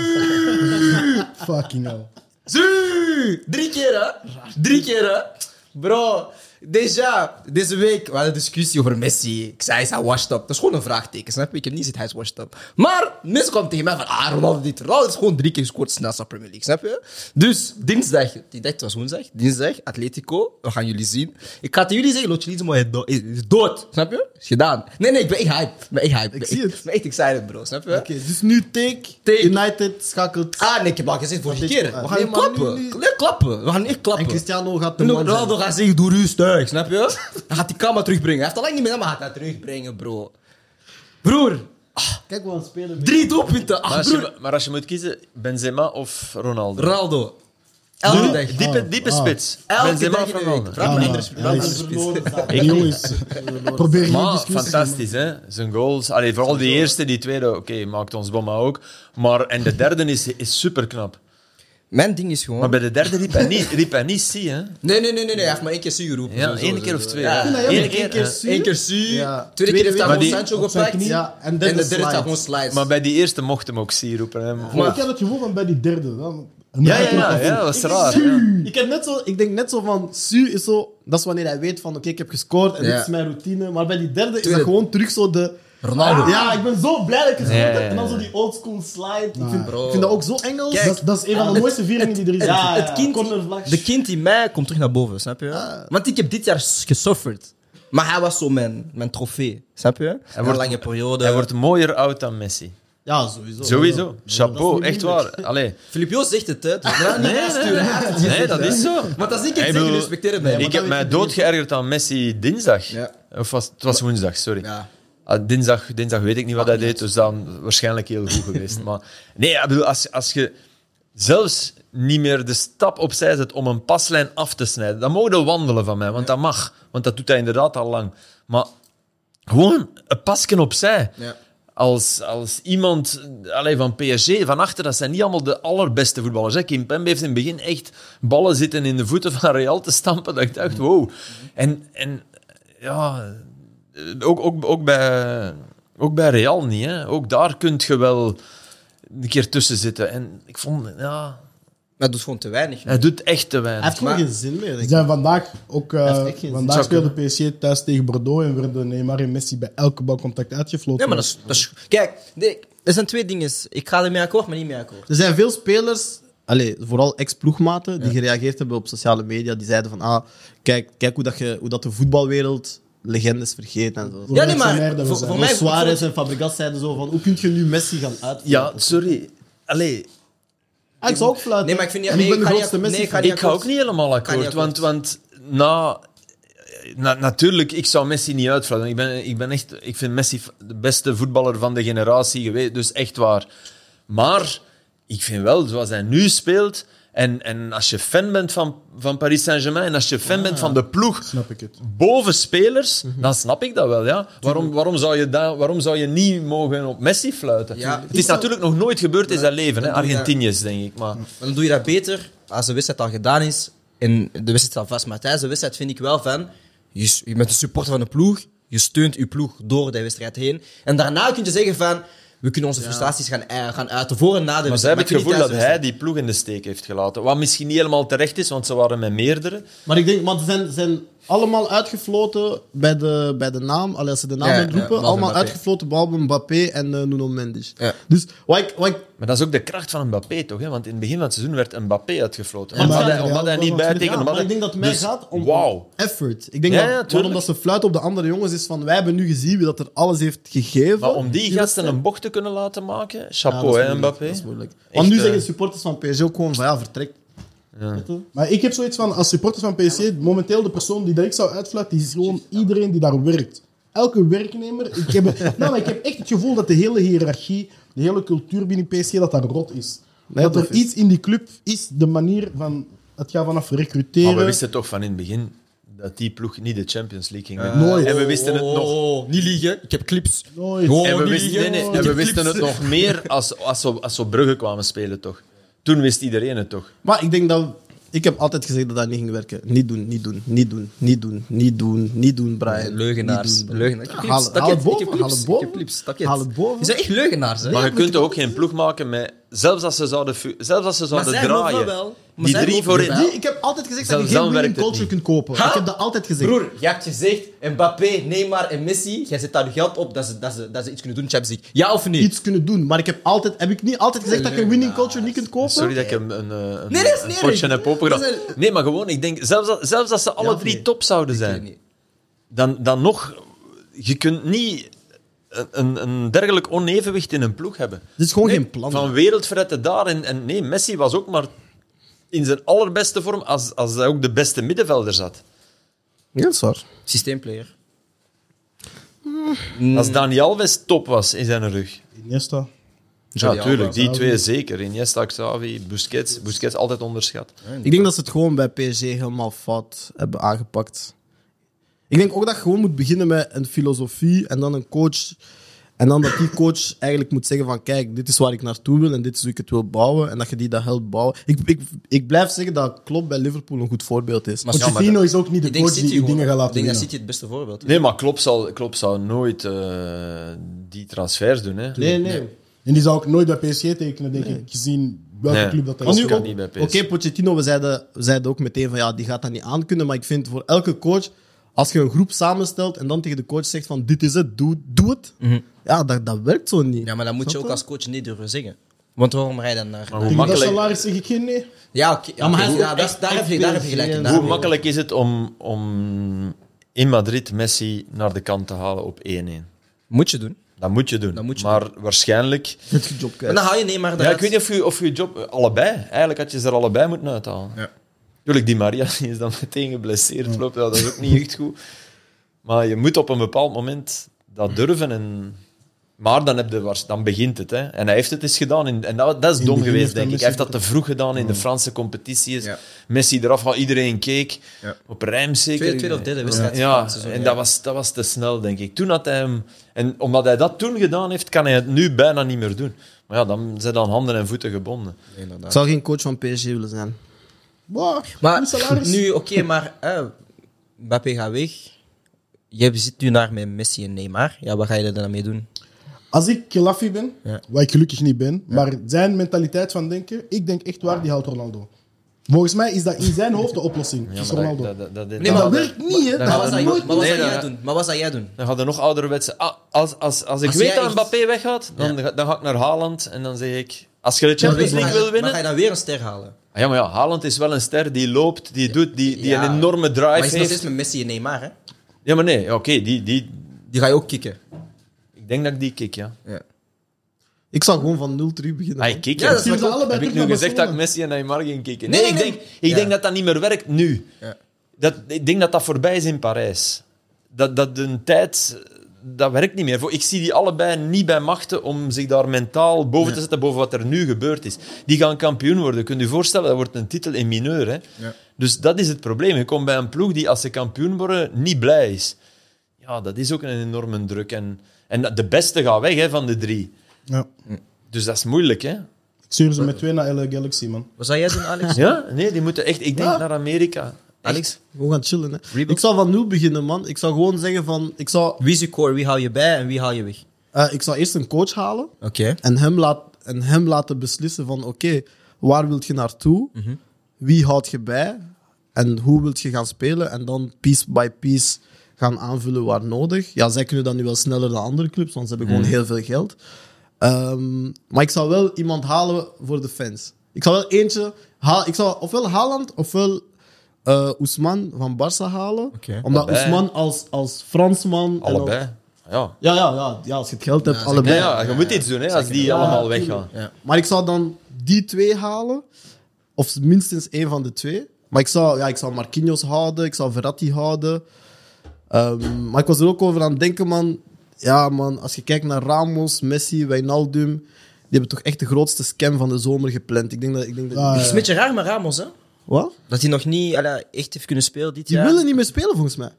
S4: MVP. Fucking hell.
S3: Zo! Drie keer, hè? Drie keer, hè? Bro, déjà, deze week, we hadden een discussie over Messi. Ik zei, is hij washed up? Dat is gewoon een vraagteken, snap je? Ik heb niet gezegd, hij is washed up. Maar mensen kwam tegen mij van, ah, Ronaldo dit, Ronaldo is gewoon drie keer gescoord snelst op Premier League, snap je? Dus, dinsdag, die dacht, het was woensdag, dinsdag, Atletico, we gaan jullie zien. Ik ga tegen jullie zeggen, Lochelizmo is, do- is- is dood, snap je? Is gedaan. Nee, nee, ik ben echt hyped. Ik ben echt hyped. Ik ben
S1: zie
S3: echt-
S1: het.
S3: Ik ben echt excited, bro, snap je?
S1: Oké, dus nu take,
S3: Take.
S1: United schakelt.
S3: Ah, nee, ik heb al gezegd vorige
S1: dit-
S3: keer.
S1: ah,
S3: We gaan
S1: nee,
S3: niet
S1: maar nu-
S3: klappen.
S1: nu-
S3: Nee, klappen. We gaan echt klappen.
S1: En Cristiano gaat de
S3: En
S1: man
S3: Ronaldo
S1: zijn.
S3: gaat zeggen, doe rustig, snap je? Hij gaat die camera terugbrengen. Hij heeft al lang niet meer, maar hij gaat dat terugbrengen, bro. Broer, ah,
S1: Kijk wat een speler. met-
S3: drie doelpunten.
S2: maar,
S3: Ah,
S2: als je,
S3: broer.
S2: mu- maar als je moet kiezen, Benzema of Ronaldo?
S3: Ronaldo. Elke dag.
S2: Diepe, diepe
S4: Ah.
S2: spits.
S3: Elke
S2: Benzema
S3: dag
S2: of
S3: in de week.
S2: Ronaldo?
S3: Vraag me
S4: Ja,
S3: anders.
S4: maar
S3: vraag me
S1: Dat
S4: hij is-
S1: is
S3: anders.
S1: verloren zaak.
S4: Die jongens, probeer geen
S2: Maar
S4: discussie
S2: fantastisch, hè? Zijn goals. Allee, vooral die eerste, die tweede, oké, maakt ons bomma ook. Maar, en de derde is, is super knap.
S3: Oh. Mijn ding is
S2: Maar
S3: gewoon...
S2: bij de derde riep hij niet, riep hij niet zie, hè?
S3: Nee, nee, nee, nee, nee. Hij heeft maar één keer Sue geroepen.
S2: Ja,
S3: Sowieso,
S2: één keer of
S3: sowieso.
S2: twee.
S3: Ja.
S2: hè.
S1: Ja, ja,
S2: Eén
S1: maar één
S2: keer.
S1: keer
S2: hè.
S1: Sue.
S3: Eén keer Sue.
S1: Ja.
S3: Tweede keer heeft hij
S2: Maar
S3: gewoon
S2: die-
S3: Sancho
S1: op zijn
S3: gepakt.
S1: knie. Ja, en dan
S3: de
S1: de
S3: derde heeft hij
S1: slide.
S3: gewoon slides.
S2: Maar bij die eerste mocht hem ook zie roepen. Hè? Maar-
S4: Maar ik had het gevoel van bij die derde. dan-
S2: Ja, ja, ja, ja, dat was raar. ja.
S1: Ik, heb net zo, ik denk net zo van, Su is zo, dat is wanneer hij weet van, oké, ik heb gescoord en
S3: Ja.
S1: dit is mijn routine. Maar bij die derde is dat
S3: Tweede.
S1: gewoon terug zo de...
S3: Ronaldo.
S1: Ja, ik ben zo blij dat ik gescoord
S2: Ja, ja, ja.
S1: heb. En dan zo die oldschool slide. Ik, vind,
S3: Bro.
S1: ik vind dat ook zo Engels.
S4: Dat, dat is een van de mooiste vieringen die Ah. er is.
S1: Ja,
S3: het kind,
S1: cornervlag.
S3: de kind in mij komt terug naar boven, snap je? Want ik heb dit jaar gesufferd. Maar hij was zo mijn, mijn trofee, snap je? Een
S2: wordt-
S3: lange periode.
S2: Hij wordt mooier oud dan Messi.
S1: Ja, sowieso.
S2: Eh, Sowieso.
S1: Oh, Dat
S2: Chapeau,
S1: is
S2: echt
S1: niet moeilijk.
S2: waar. Allee.
S3: Filipio zegt het, hè? Dus we gaan niet
S2: nee,
S3: sturen. Hij heeft het gezegd,
S2: nee, dat
S3: hè.
S2: is zo.
S3: Want als ik het
S2: Ik
S3: zeg,
S2: bedoel,
S3: respecteer het mij.
S2: ik
S1: dat
S2: heb
S1: weet
S2: mij
S1: je niet.
S2: doodgeërgerd aan Messi dinsdag.
S3: Ja.
S2: Of was, het was woensdag, sorry.
S3: Ja.
S2: Ah, dinsdag, dinsdag weet ik niet wat hij deed, dus dan waarschijnlijk heel goed geweest. maar nee, ik bedoel, als, als je zelfs niet meer de stap opzij zet om een paslijn af te snijden, dan mogen we wandelen van mij, want dat mag. Want dat doet hij inderdaad al lang. Maar gewoon een pasken opzij.
S3: Ja.
S2: Als, als iemand allee, van PSG, van achter, dat zijn niet allemaal de allerbeste voetballers. Hè. Kim Pembe heeft in het begin echt ballen zitten in de voeten van Real te stampen. Dat ik dacht, wow. En, en ja, eh, ook, ook, ook, bij, ook bij Real niet. Hè. Ook daar kun je wel een keer tussen zitten. En ik vond, ja,
S3: dat doet gewoon te weinig.
S2: Hij doet echt te
S1: Hij
S2: weinig.
S1: heeft gewoon
S3: Maar-
S1: geen zin meer.
S4: Ze
S1: denk ik.
S4: zijn vandaag ook... eh,
S1: Hij heeft echt geen zin.
S4: vandaag
S2: Zou
S4: speelde PSG thuis tegen Bordeaux en werden Neymar en Messi bij elke balcontact uitgefloten.
S3: Nee, maar dat is... Dat is kijk, nee, er zijn twee dingen. Ik ga ermee akkoord, maar niet mee akkoord.
S1: Er zijn veel spelers, allez, vooral ex-ploegmaten, die gereageerd hebben op sociale media. Die zeiden van, ah, kijk, kijk hoe, dat je, hoe dat de voetbalwereld legendes vergeet en zo.
S4: Hoe
S3: Ja, nee,
S4: reactionair
S3: maar
S4: dat we
S3: voor,
S4: zijn.
S3: voor
S1: Mij,
S3: mij...
S1: Suarez en Fabregas zeiden zo van, hoe kun je nu Messi gaan uitvoeren?
S2: Ja, sorry. Allee,
S1: Ah, ik zou ook fluiten.
S3: Nee, maar ik vind niet-
S1: En ik
S3: nee,
S1: ben de
S3: ik ga
S1: grootste
S3: niet- nee,
S1: Messi.
S3: ik ga
S1: fan.
S3: niet-
S2: ik ga ook
S3: akkoord.
S2: niet helemaal
S3: Kan niet
S2: akkoord. Want,
S3: akkoord.
S2: want na, na- natuurlijk, ik zou Messi niet uitvragen. Ik, ben, ik, ben echt, ik vind Messi de beste voetballer van de generatie geweest. Dus echt waar. Maar ik vind wel, zoals hij nu speelt... En, en als je fan bent van, van Paris Saint-Germain en als je fan
S3: Ah.
S2: bent van de ploeg,
S4: Snap ik het.
S2: boven spelers,
S3: Mhm.
S2: dan snap ik dat wel. Ja? Waarom, waarom, zou je daar waarom zou je niet mogen op Messi fluiten?
S3: Ja.
S2: het is natuurlijk nog nooit gebeurd in zijn leven, hè?
S3: dat doe je-
S2: Argentiniërs, denk ik. Maar
S3: Maar Dan doe je dat beter als de wedstrijd al gedaan is en de wedstrijd al vast. Maar tijdens de wedstrijd vind ik wel van, je, je bent een supporter van de ploeg, je steunt je ploeg door de wedstrijd heen. En daarna kun je zeggen van, we kunnen onze frustraties gaan, eh, gaan uiten voor en na de
S2: Maar ze
S3: wedstrijd.
S2: hebben het
S3: kun je
S2: gevoel dat
S3: niet tijdens
S2: hij die ploeg in de steek heeft gelaten. Wat misschien niet helemaal terecht is, want ze waren met meerdere.
S1: Maar ik denk, want ze zijn, zijn allemaal uitgefloten bij de, bij de naam. Allee, als ze de naam
S3: Ja,
S1: gaan
S3: ja,
S1: roepen,
S3: behalve
S1: allemaal
S3: Mbappé.
S1: uitgefloten behalve Mbappé en eh, Nuno Mendes.
S3: Ja.
S1: Dus wat ik, wat ik
S2: Maar dat is ook de kracht van Mbappé, toch? Hè? Want in het begin van het seizoen werd Mbappé uitgefloten.
S1: Ja,
S2: omdat
S1: maar-
S2: hij, omdat hij niet bij
S1: Ja,
S2: tekende.
S1: maar ik denk dat het mij
S2: Dus,
S1: gaat om
S2: Wauw.
S1: effort. Ik denk
S2: Ja,
S1: dat
S2: ja,
S1: waarom
S2: tuurlijk.
S1: dat ze fluiten op de andere jongens is van wij hebben nu gezien wie dat er alles heeft gegeven.
S2: Maar om die
S1: dat
S2: gasten een bocht te kunnen laten maken,
S1: Ja, dat
S2: chapeau,
S1: is
S2: hè,
S1: moeilijk,
S2: Mbappé.
S1: Dat is moeilijk.
S2: Echt,
S1: Want nu
S2: eh,
S1: zeggen supporters van PSG ook gewoon van ja, vertrek. Weet je?
S4: Maar ik heb zoiets van, als supporter van PSC, momenteel de persoon die direct zou uitfluiten, die is gewoon iedereen die daar werkt. Elke werknemer. Ik heb, nou, maar ik heb echt het gevoel dat de hele hiërarchie, de hele cultuur binnen PSC, dat dat rot is.
S1: Nee,
S4: dat
S1: dat
S4: er
S1: is-
S4: iets in die club is, de manier van... Het gaat vanaf
S2: Maar we
S4: recruteren.
S2: wisten toch van in het begin dat die ploeg niet de Champions League ging winnen.
S4: Eh, nooit.
S2: En we wisten het
S3: Oh,
S2: nog.
S3: oh, niet liegen, ik heb clips.
S4: Nooit.
S3: Oh,
S2: En we,
S3: niet
S2: wisten, nee,
S3: liegen.
S2: nee, en
S3: Ik
S2: we
S3: heb
S2: wisten
S3: clips.
S2: het nog meer als, als, we, als we Brugge kwamen spelen, toch? Toen wist iedereen het toch?
S1: Maar ik denk dat. Ik heb altijd gezegd dat dat niet ging werken. Niet doen, niet doen, niet doen, niet doen, niet doen, niet doen, Brian.
S3: Leugenaars.
S1: Niet doen, Brian.
S3: Leugenaars. Ik
S1: Haal-
S3: heb clips,
S1: haal het
S3: takket, ik heb
S1: boven, haal
S3: clips,
S1: het boven.
S3: Ik heb clips, takket.
S1: Haal het boven.
S3: Je zijn echt leugenaars, hè?
S2: Maar je kunt er ook geen ploeg maken met... Zelfs als ze zouden, fu- zelfs als ze zouden
S3: zij
S2: draaien.
S3: mogen wel. Maar
S2: Die
S3: zij
S2: drie
S3: mogen
S2: voorin.
S3: wel.
S1: Die- ik heb altijd gezegd dat
S2: Zelfs
S1: je geen
S2: dan werkt
S1: winning
S2: het
S1: culture
S2: niet.
S1: kunt kopen.
S3: Ha?
S1: Ik heb dat altijd gezegd.
S3: Broer, je hebt gezegd, Mbappé, Neymar en Messi, jij zet daar je geld op dat ze, dat ze, dat ze iets kunnen doen in Champions League. Ja of niet?
S1: Iets kunnen doen. Maar ik heb, altijd, heb ik niet altijd gezegd dat je winning culture niet kunt kopen?
S2: Sorry dat ik hem een, een, een,
S3: Nee, dat is niet
S2: een potje
S3: erg.
S2: heb opengedaan.
S3: Dat is
S2: Nee, maar gewoon, ik denk, zelfs, als- zelfs als ze alle
S1: of
S2: drie
S1: nee?
S2: top zouden zijn, dan, dan nog, je kunt niet een- een, een dergelijk onevenwicht in een ploeg hebben.
S1: Dit is gewoon geen plan.
S2: Van wereldverretten daar. En, en nee, Messi was ook maar in zijn allerbeste vorm als, als hij ook de beste middenvelder zat.
S1: Ja, dat is waar.
S3: Systeemplayer.
S2: Als
S3: Mm.
S2: Dani Alves top was in zijn rug.
S4: Iniesta.
S2: Ja,
S3: Jordi
S2: natuurlijk.
S3: Alba,
S2: Die
S4: Xavi.
S2: twee zeker. Iniesta, Xavi, Busquets. Busquets altijd onderschat.
S1: Ik denk dat ze het gewoon bij PSG helemaal fout hebben aangepakt. Ik denk ook dat je gewoon moet beginnen met een filosofie en dan een coach. En dan dat die coach eigenlijk moet zeggen van kijk, dit is waar ik naartoe wil en dit is hoe ik het wil bouwen. En dat je die dat helpt bouwen. Ik, ik, ik blijf zeggen dat Klopp bij Liverpool een goed voorbeeld is.
S3: Maar-
S4: Pochettino
S2: dat-
S4: is ook niet de
S3: Ik denk
S4: coach die
S3: City
S4: die
S3: gewoon.
S4: dingen gaat
S3: Ik
S4: laten
S3: denk dat
S4: winnen.
S3: City het beste voorbeeld is.
S2: Nee, maar Klopp zou, Klopp zou nooit eh, die transfers doen. Hè.
S1: nee, nee.
S4: En die zou ook nooit bij PSG tekenen, denk ik, gezien welke
S2: Nee.
S4: club dat hij
S1: Want
S2: Want
S4: is.
S1: nu
S2: kan
S1: ook-
S2: niet bij PSG.
S1: Oké, Pochettino, we zeiden, we zeiden ook meteen van ja, die gaat dat niet aankunnen. Maar ik vind voor elke coach, als je een groep samenstelt en dan tegen de coach zegt van dit is het, doe, doe het. Ja, dat, dat werkt zo niet.
S3: Mhm. Ja, maar dat moet je
S1: Snap
S3: ook als coach niet durven zeggen. Want waarom rij je dan naar...
S2: hoe
S4: Tegen dat
S2: makkelijk-
S4: salaris zeg ik geen nee.
S3: Ja, oké.
S1: Ja, maar hij
S3: oké,
S1: is
S3: ja,
S1: ook
S3: dat-
S1: echt-
S3: daar,
S1: echt
S3: heb je, daar heb je gelijk in.
S1: PSV,
S3: daar
S1: hè.
S2: Hoe
S3: heb je-
S2: makkelijk is het om, om in Madrid Messi naar de kant te halen op 1-1?
S3: Moet je doen.
S2: Dat moet je doen.
S3: Dat moet je
S2: maar waarschijnlijk...
S1: je? Het is je job kwijt.
S3: En dan hou je Neymar
S2: Ja, ik
S3: eruit.
S2: weet niet of je, of je job... eh, Allebei. Eigenlijk had je ze er allebei moeten uithalen.
S3: Ja.
S2: Tuurlijk, die Maria die is dan meteen geblesseerd. Loopt, ja, dat is ook niet echt goed. Maar je moet op een bepaald moment dat durven. En... Maar dan, heb je, waars- dan begint het. Hè. En hij heeft het eens gedaan. In, en dat, dat is
S4: het
S2: dom
S4: begin
S2: geweest,
S4: heeft hij
S2: denk ik.
S4: Messi
S2: Hij heeft dat te vroeg gedaan in de Franse competitie.
S3: Ja.
S2: Messi eraf, had iedereen keek.
S3: Ja.
S2: Op Rijms zeker.
S3: Tweede- tweede of derde wedstrijd van
S2: Ja,
S3: het seizoen,
S2: en
S3: ja.
S2: dat was, dat was te snel, denk ik. Toen had hij hem... En omdat hij dat toen gedaan heeft, kan hij het nu bijna niet meer doen. Maar ja, dan zijn dan handen en voeten gebonden.
S1: Ik zou geen coach van PSG willen zijn.
S4: Maar,
S3: Maar
S4: uw salaris.
S3: nu, oké, maar eh, Mbappé gaat weg. Je zit nu naar met Messi en Neymar. Ja, wat ga je er dan mee doen?
S4: Als ik Laffy ben,
S3: Ja.
S4: wat ik gelukkig niet ben, maar zijn mentaliteit van denken, ik denk echt waar, die haalt Ronaldo. Volgens mij is dat in zijn hoofd de oplossing. is Ronaldo.
S2: dat, dat, dat,
S3: Nee,
S4: maar
S3: maar
S4: dat werkt niet,
S2: maar-
S4: hè? Dat
S3: Maar
S2: maar-
S4: was
S3: wat zou
S4: nooit
S3: je- maar wat zou
S2: Nee,
S3: jij
S2: dat-
S3: doen? Maar wat zou jij doen?
S2: Dan gaat er nog ouderwetse... ah, Als, als, als ik
S3: Als
S2: weet
S3: jij
S2: dat
S3: echt-
S2: Mbappé weggaat, dan, ga- dan ga ik naar Haaland en dan zeg ik... Als je de Champions
S3: Maar-
S2: League wil
S3: Maar
S2: winnen...
S3: ga je dan weer een ster halen?
S2: Ah, Ja, maar ja, Haaland is wel een ster die loopt, die doet, die, die
S3: Ja.
S2: een enorme
S3: Maar
S2: drive
S3: je zit nog steeds
S2: heeft.
S3: met Messi en Neymar, hè?
S2: Ja, maar nee, ja, oké, die, die,
S3: Die ga je ook kicken.
S2: ik denk dat ik die kick, ja.
S3: Ja.
S1: Ik zou gewoon van nul terug beginnen.
S2: Ah, ik kick,
S3: Ja,
S2: ja.
S3: dat is
S4: Stuur ze
S3: waar-
S4: allebei
S2: Heb ik
S4: terug
S2: nu
S4: naar
S2: gezegd dat ik
S4: Barcelona.
S2: Messi en Neymar ging kicken?
S3: Nee,
S2: Nee,
S3: nee,
S2: ik, denk,
S3: nee.
S2: ik
S3: Ja.
S2: denk dat dat niet meer werkt nu.
S3: Ja.
S2: Dat, ik denk dat dat voorbij is in Parijs. Dat, dat een tijd... Dat werkt niet meer. Voor- Ik zie die allebei niet bij machten om zich daar mentaal boven te zetten, boven wat er nu gebeurd is. Die gaan kampioen worden. Kunt u je voorstellen, dat wordt een titel in mineur. Hè? Dus dat is het probleem. Je komt bij een ploeg die, als ze kampioen worden, niet blij is. Ja, dat is ook een enorme druk. En, en dat- de beste gaat weg hè, van de drie.
S4: Ja.
S2: Dus dat is moeilijk, hè?
S4: Ik stuur ze met twee naar LA Galaxy, man.
S3: Wat zou jij doen, Alex?
S2: Ja? Nee, die moeten echt, ik denk,
S4: Ja.
S2: naar Amerika.
S3: Alex?
S1: Gewoon gaan chillen, hè.
S3: Reebok?
S1: Ik zou van nul beginnen, man. Ik zou gewoon zeggen van... Ik zou,
S3: Wie is je core? Wie haal je bij en wie haal je weg?
S1: eh, ik zou eerst een coach halen.
S3: Oké.
S1: En hem, laat, en hem laten beslissen van... Oké, waar wilt je naartoe? Wie houdt je bij? En hoe wilt je gaan spelen? En dan piece by piece gaan aanvullen waar nodig. Ja, zij kunnen dat nu wel sneller dan andere clubs, want ze hebben gewoon heel veel geld. Ehm, maar ik zou wel iemand halen voor de fans. Ik zou wel eentje... haal- ik zou ofwel Haaland, ofwel eh Ousmane van Barça halen.
S3: Oké.
S1: Omdat
S2: Allebei.
S1: Ousmane als, als Fransman... en als-
S2: Allebei. Ja.
S1: ja, ja, ja, ja, als je het geld hebt,
S3: zeker.
S1: allebei.
S2: Nee, ja, je moet iets doen hè, als die allemaal weggaan.
S3: Ja.
S1: Maar ik zou dan die twee halen. Of minstens één van de twee. Maar ik zou, ja, ik zou Marquinhos houden. Ik zou Verratti houden. Ehm, maar ik was er ook over aan het denken, man. Ja, man, als je kijkt naar Ramos, Messi, Wijnaldum. Die hebben toch echt de grootste scam van de zomer gepland. Ik denk dat... Ik denk dat
S4: Ah,
S3: Het is een beetje raar met Ramos, hè?
S1: Wat?
S3: Dat hij nog niet alla, echt heeft kunnen spelen dit
S1: Die
S3: jaar.
S1: willen niet meer spelen, volgens mij.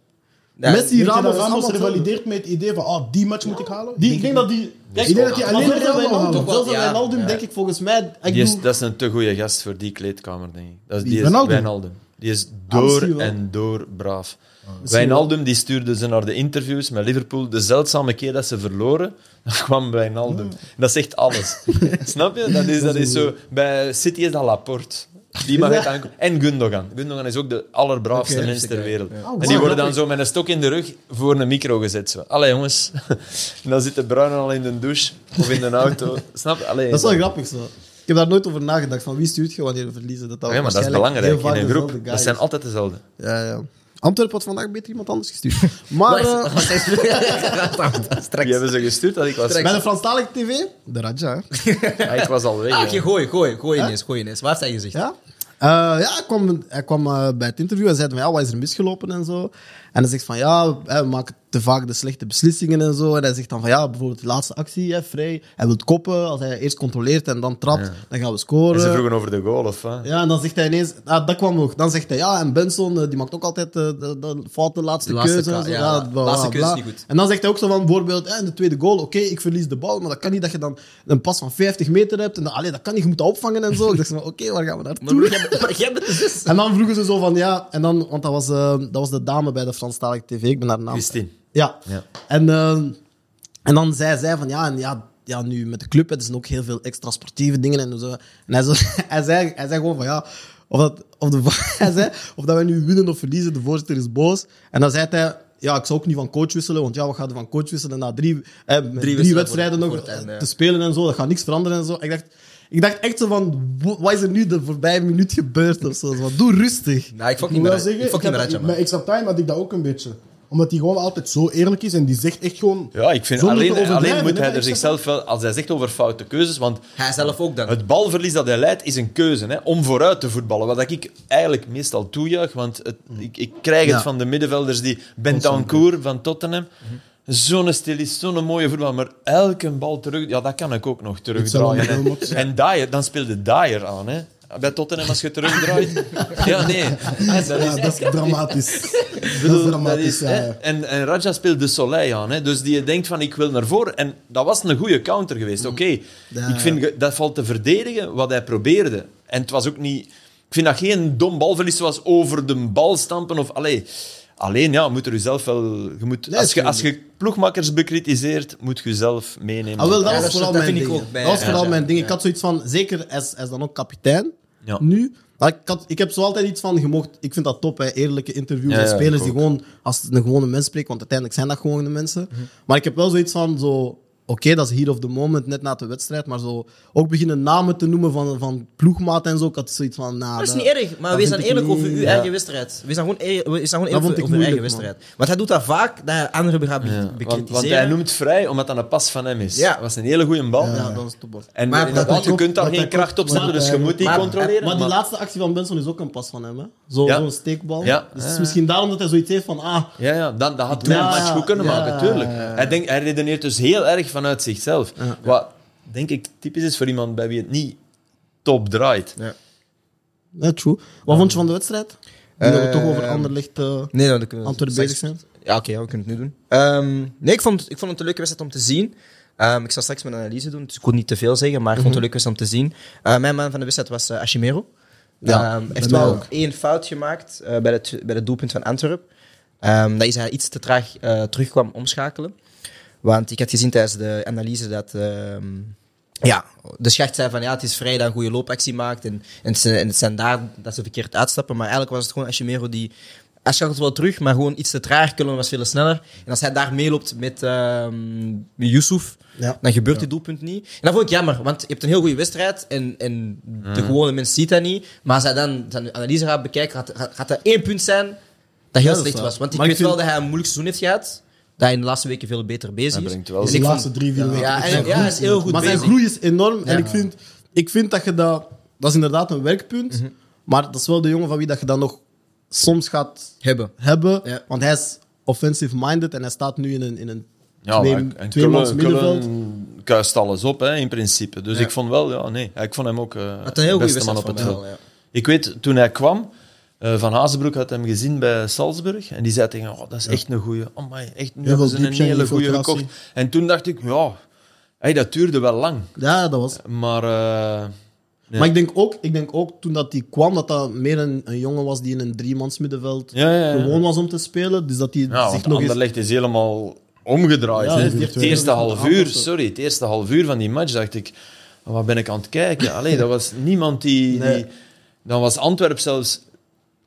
S3: Ja,
S1: Messi,
S4: Weet je dat
S1: Ramos,
S4: Ramos
S1: allemaal hetzelfde.
S4: revalideert met het idee van, oh, die match moet ik halen?
S1: Die, ik denk dat die...
S4: ik denk dat die alleen
S1: Alleen
S4: Ronaldo halen.
S1: Wijnaldum,
S3: Toch wel,
S1: zelfs
S3: ja.
S1: Wijnaldum,
S3: Ja.
S1: denk ik, volgens mij... Ik
S2: Die is,
S1: bedoel-
S2: dat is een te goede gast voor die kleedkamer, denk ik. Dat is,
S4: Wie?
S2: die is
S4: Wijnaldum?
S2: Wijnaldum. Die is
S1: Ah, misschien
S2: door
S1: wel. Ah,
S2: en door braaf.
S1: Misschien
S2: Wijnaldum die stuurde ze naar de interviews met Liverpool. De zeldzame keer dat ze verloren, dan kwam
S1: Ah.
S2: Wijnaldum. Dat zegt alles. Snap je? Dat is, dat is zo, bij City is dat Laporte. Die mag het aankomen. En Gundogan. Gundogan is ook de allerbraafste
S3: Oké,
S2: mens ter
S3: zeker.
S2: wereld.
S3: Ja.
S1: Oh,
S2: en die
S1: wow,
S2: worden dan
S1: dat
S2: zo met een stok in de rug voor een micro gezet. Zo. Allee jongens. en dan zit de bruin al in de douche of in een auto. Snap je? Allee,
S1: Dat is wel grappig zo. Ik heb daar nooit over nagedacht. Van wie stuurt je wanneer we verliezen? Dat dat
S2: Ja, maar dat is
S1: waarschijnlijk
S2: belangrijk
S1: heel vaak
S2: in een
S1: dezelfde
S2: groep.
S1: guy
S2: Dat zijn
S1: is.
S2: altijd dezelfde.
S1: Ja, ja. Antwerpen had vandaag beter iemand anders gestuurd. Maar eh,
S2: Die
S3: Straks.
S2: hebben ze gestuurd dat ik was...
S1: bij de Franstalige TV, de Raja. hè.
S2: Ah, ik was al weg.
S3: Ah,
S2: hè.
S3: Oké, gooi, gooi, gooi ineens, gooi ineens. Waar heeft hij gezegd?
S1: Ja, Eh, ja hij kwam, hij kwam eh, bij het interview en zei van ja, wat is er misgelopen en zo. En hij zegt van ja, hè, we maken te vaak de slechte beslissingen en zo. En hij zegt dan van ja, bijvoorbeeld de laatste actie, hè, vrij. Hij wil koppen, als hij eerst controleert en dan trapt, dan gaan we
S2: En
S1: scoren.
S2: ze vroegen over de goal, of wat?
S1: Ja, en dan zegt hij ineens, ah, dat kwam nog. Dan zegt hij, ja, en Benson, eh, die maakt ook altijd eh, de, de foute laatste,
S3: De laatste
S1: keuze.
S3: ka-
S1: en zo.
S3: ja,
S1: Ja,
S3: de
S1: bla, bla,
S3: laatste keuze
S1: bla.
S3: is niet goed.
S1: En dan zegt hij ook zo van, bijvoorbeeld, eh, in de tweede goal, oké, ik verlies de bal, maar dat kan niet dat je dan een pas van 50 meter hebt. En dan, allee, dat kan niet, je moet dat opvangen en zo. Ik dacht, zo van, oké, waar gaan we
S3: Maar broer,
S1: naartoe?
S3: jij bent- maar jij bent de zus.
S1: En dan vroegen ze zo van, ja, en dan, want dat was, eh, dat was de dame bij de Franstalige TV, ik ben haar naam.
S2: Christine.
S1: Ja.
S2: Ja.
S1: En, ehm, en dan zei zij van ja, en ja, ja, nu met de club, het zijn ook heel veel extra sportieve dingen en zo. En hij, zo, hij, zei, hij zei gewoon van ja, of, dat, of, de, hij zei, of dat wij nu winnen of verliezen, de voorzitter is boos. En dan zei hij, ja, ik zou ook niet van coach wisselen, want ja, we gaan van coach wisselen na drie, eh, met drie,
S3: wedstrijden
S1: wedstrijden
S3: voor-
S1: nog
S3: voor het einde, ja.
S1: te spelen en zo. Dat gaat niks veranderen en zo. Ik dacht, ik dacht echt zo van, wo- wat is er nu de voorbije minuut gebeurd of zo? Zo van, doe rustig.
S3: Nou, ik fuck niet
S4: Ik moet
S3: meer
S4: wel
S3: uit.
S4: zeggen,
S3: Ik fuck niet
S4: ik heb,
S3: meer uit, ja,
S4: bij
S3: man.
S4: Extra Time had ik dat ook een beetje. Omdat hij gewoon altijd zo eerlijk is en die zegt echt gewoon...
S2: Ja, ik vind
S4: zonder te
S2: alleen, alleen
S4: overdrijven,
S2: moet
S4: hè,
S2: hij
S4: bij
S2: er
S4: Extra
S2: zichzelf wel... Als hij zegt over foute keuzes, want
S3: Hij zelf ook dan.
S2: het balverlies dat hij leidt is een keuze hè, om vooruit te voetballen. Wat ik eigenlijk meestal toejuich, want het, ik, ik krijg het
S1: Ja.
S2: van de middenvelders die Bentancur van Tottenham... Zo'n stilist, zo'n mooie voetbal, maar elke bal terug, ja, dat kan ik ook nog terugdraaien.
S4: Hetzelfde met
S2: hè. En Dyer, dan speelde Dyer aan, hè? Bij Tottenham als je terugdraait. Ja, nee, dat is
S4: Ja, dat is dramatisch. dat is
S2: bedoel, dat
S4: dramatisch,
S2: is,
S4: ja,
S2: hè.
S4: ja.
S2: en, en Raja speelt de Soleil aan. Hè? Dus die denkt van, ik wil naar voren. En dat was een goede counter geweest. Oké, ik vind ge- dat valt te verdedigen wat hij probeerde. En het was ook niet... Ik vind dat geen dom balverlies zoals over de bal stampen of... Allee, Alleen, ja, moet er jezelf wel... Je moet,
S1: Nee,
S2: als, je,
S1: tuurlijk.
S2: als je ploegmakers bekritiseert, moet je jezelf meenemen.
S1: Ah, wel, dat
S3: Ja,
S1: was
S3: dat-
S1: vooral
S3: dat
S1: mijn
S3: vind ik
S1: ding.
S3: ook bij-
S1: Dat was
S3: ja,
S1: vooral
S3: ja.
S1: mijn ding. Ik had zoiets van, zeker als, als dan ook kapitein,
S2: Ja.
S1: nu... Maar ik, had, ik heb zo altijd iets van, je moogt- ik vind dat top, hè, eerlijke interviews
S2: Ja,
S1: met
S2: ja,
S1: spelers
S2: ik
S1: die
S2: ook.
S1: gewoon als een gewone mens spreken, want uiteindelijk zijn dat gewoon de mensen.
S3: Mhm.
S1: Maar ik heb wel zoiets van, zo, oké, dat is hier of the moment, net na de wedstrijd, maar zo ook beginnen namen te noemen van, van ploegmaat en zo. Ik had zoiets van, nou...
S3: Dat is niet erg, maar
S1: dat
S3: wees
S1: vind
S3: dan
S1: ik
S3: eerlijk
S1: niet-
S3: over uw
S1: ja.
S3: eigen wedstrijd. Wees dan gewoon eerlijk, wees dan gewoon
S1: Dat vond
S3: eerlijk
S1: ik
S3: over uw eigen
S1: moeilijk, man.
S3: wedstrijd. Want hij doet dat vaak, dat hij anderen gaat be-
S2: Ja,
S3: bekritiseren.
S2: want, want hij noemt vrij, omdat dat een pas van hem is.
S3: Ja.
S2: Dat was een hele goede bal.
S1: Ja, dat is topbal.
S2: En
S3: Maar
S2: inderdaad,
S3: dat
S2: je
S4: klopt,
S2: kunt daar
S4: dat
S2: geen
S4: klopt.
S2: kracht op zetten,
S4: Maar-
S2: dus je moet die
S3: maar-
S2: controleren.
S1: Maar die
S2: maar-
S1: laatste actie van Benson is ook een pas van hem, hè? Zo- Zo'n
S2: Ja.
S1: steekbal.
S2: Ja.
S1: Dus het is misschien daarom dat hij zoiets heeft van, ah,
S2: Ja, ja dan, dat had toen
S1: Ja,
S2: een match goed kunnen
S1: ja.
S2: maken, tuurlijk. Hij, denkt, hij redeneert dus heel erg vanuit zichzelf. Wat denk ik typisch is voor iemand bij wie het niet top draait.
S1: Ja, true. Wat vond je van de wedstrijd? Nu dat we toch over Anderlecht eh
S3: Nee, nou, dat kunnen we
S1: Antwerpen
S3: straks-
S1: bezig zijn.
S3: Ja, oké, ja, we kunnen het nu doen. Ehm, nee, ik vond, ik vond het een leuke wedstrijd om te zien. Ehm, ik zal straks mijn analyse doen, dus ik kon niet te veel zeggen, maar ik vond het een leuke wedstrijd om te zien. Eh, mijn man van de wedstrijd was eh Ashimero.
S1: Ja,
S3: Ehm,
S1: bij
S3: heeft
S1: mij
S3: wel
S1: ook.
S3: één fout gemaakt eh, bij, het, bij het doelpunt van Antwerpen. Ehm dat is hij iets te traag eh, terugkwam omschakelen. Want ik had gezien tijdens de analyse dat... ehm, ja, de schacht zei van ja, het is vrij dat een goede loopactie maakt. En, en, het, zijn, en het zijn daar dat ze verkeerd uitstappen. Maar eigenlijk was het gewoon Ashimero die. Hij schakelt wel terug, maar gewoon iets te traag. Kullen was veel sneller. En als hij daar meeloopt met ehm Yusuf,
S1: Ja.
S3: dan gebeurt dit doelpunt niet. En dat vond ik jammer, want je hebt een heel goede wedstrijd. En, en de gewone mens ziet dat niet. Maar als hij dan zijn analyse gaat bekijken, gaat, gaat, gaat dat één punt zijn dat
S1: dat
S3: heel
S1: is
S3: slecht
S1: waar.
S3: was. Want ik
S1: Maar ik
S3: weet wel
S1: vind-
S3: dat hij eh, een moeilijk seizoen heeft gehad. Dat hij in de laatste weken veel beter bezig
S2: Hij
S3: is.
S2: brengt wel
S3: Dus
S4: de
S3: ik vond-
S4: laatste drie, vier weken.
S3: Ja,
S4: Ik
S3: en-
S4: vind
S3: ja,
S4: dat
S3: hij is heel goed
S1: maar zijn
S3: bezig.
S1: groei is enorm. En ik vind, ik vind dat je dat... Dat is inderdaad een werkpunt. Maar dat is wel de jongen van wie dat je dan nog soms gaat
S3: Hebben.
S1: hebben.
S3: Ja.
S1: Want hij is offensive-minded en hij staat nu in een, in een
S2: Ja,
S1: twee-
S2: maar en Kullen-
S1: tweemans
S2: Kullen
S1: middenveld.
S2: kuist alles op, hè, in principe. Dus ik vond wel, ja, nee, ik vond hem ook eh
S3: Had een heel goede
S2: beste man
S3: wedstrijd
S2: op het
S3: van mij
S2: veld.
S3: wel, ja.
S2: Ik weet, toen hij kwam, eh, Van Hazenbroek had hem gezien bij Salzburg. En die zei tegen hem, oh, dat is echt een goeie. Oh my, echt nu
S4: Heel
S2: hebben
S4: veel
S2: ze een
S4: diepgang,
S2: hele
S4: veel
S2: goeie
S4: creatie.
S2: gekocht. En toen dacht ik, ja, hey, dat duurde wel lang.
S1: Ja, dat was...
S2: Maar eh, Ja.
S1: Maar ik denk, ook, ik denk ook, toen dat die kwam, dat dat meer een, een jongen was die in een driemans middenveld
S2: ja, ja, ja.
S1: gewoon was om te spelen. Dus dat hij
S2: ja
S1: zich
S2: want
S1: nog eens...
S2: Anderlecht is helemaal omgedraaid.
S1: Ja,
S2: hè.
S1: die heeft
S2: Het
S1: twee
S2: eerste
S1: minuten
S2: half
S1: aanpassen.
S2: uur, sorry, het eerste half uur van die match dacht ik, wat ben ik aan het kijken? Allee, dat was niemand die,
S1: Nee.
S2: die... Dan was Antwerp zelfs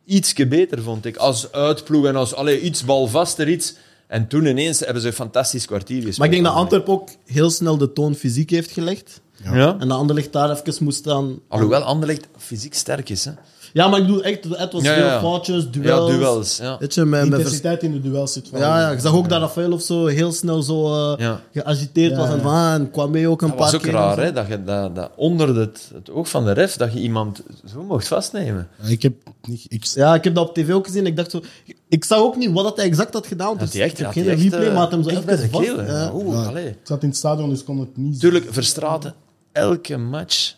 S2: ietsje beter, vond ik. Als uitploeg en als allee, iets balvaster, iets... En toen ineens hebben ze een fantastisch kwartier gespeeld.
S1: Maar ik denk dat Antwerp ook heel snel de toon fysiek heeft gelegd.
S2: Ja?
S1: En de Anderlecht daar even moest aan...
S2: Alhoewel Anderlecht fysiek sterk is, hè.
S1: Ja, maar ik bedoel echt, het was
S2: Ja,
S1: veel
S2: ja.
S1: foutjes, duels.
S2: Ja, duels, ja.
S1: Weet je, met,
S4: de
S1: met vers-
S4: intensiteit in de duel zit van...
S1: ja, ja, ik zag ook dat Rafael of zo heel snel zo eh,
S2: Ja.
S1: geagiteerd
S4: Ja,
S1: was. En,
S4: ja.
S1: van, ah, en kwam mee ook een
S2: Dat
S1: paar
S2: was ook
S1: keer.
S2: raar, hè, dat je dat, dat onder het, het oog van de ref, dat je iemand zo mocht vastnemen.
S4: Ik heb niet... Ik,
S1: Ja, ik heb dat op tv ook gezien. Ik dacht zo... Ik zag ook niet wat dat hij exact had gedaan. Dus
S2: Dat hij echt,
S1: ik heb
S2: dat
S1: geen
S2: hij echt,
S1: replay,
S2: eh,
S1: maar had hem zo
S2: echt bij
S1: even
S2: zijn
S1: vast.
S2: keel, hè.
S1: ja.
S2: Oeh,
S4: ja,
S2: allee.
S4: ik zat in het stadion, dus kon het niet...
S2: Tuurlijk, Verstraten, elke match.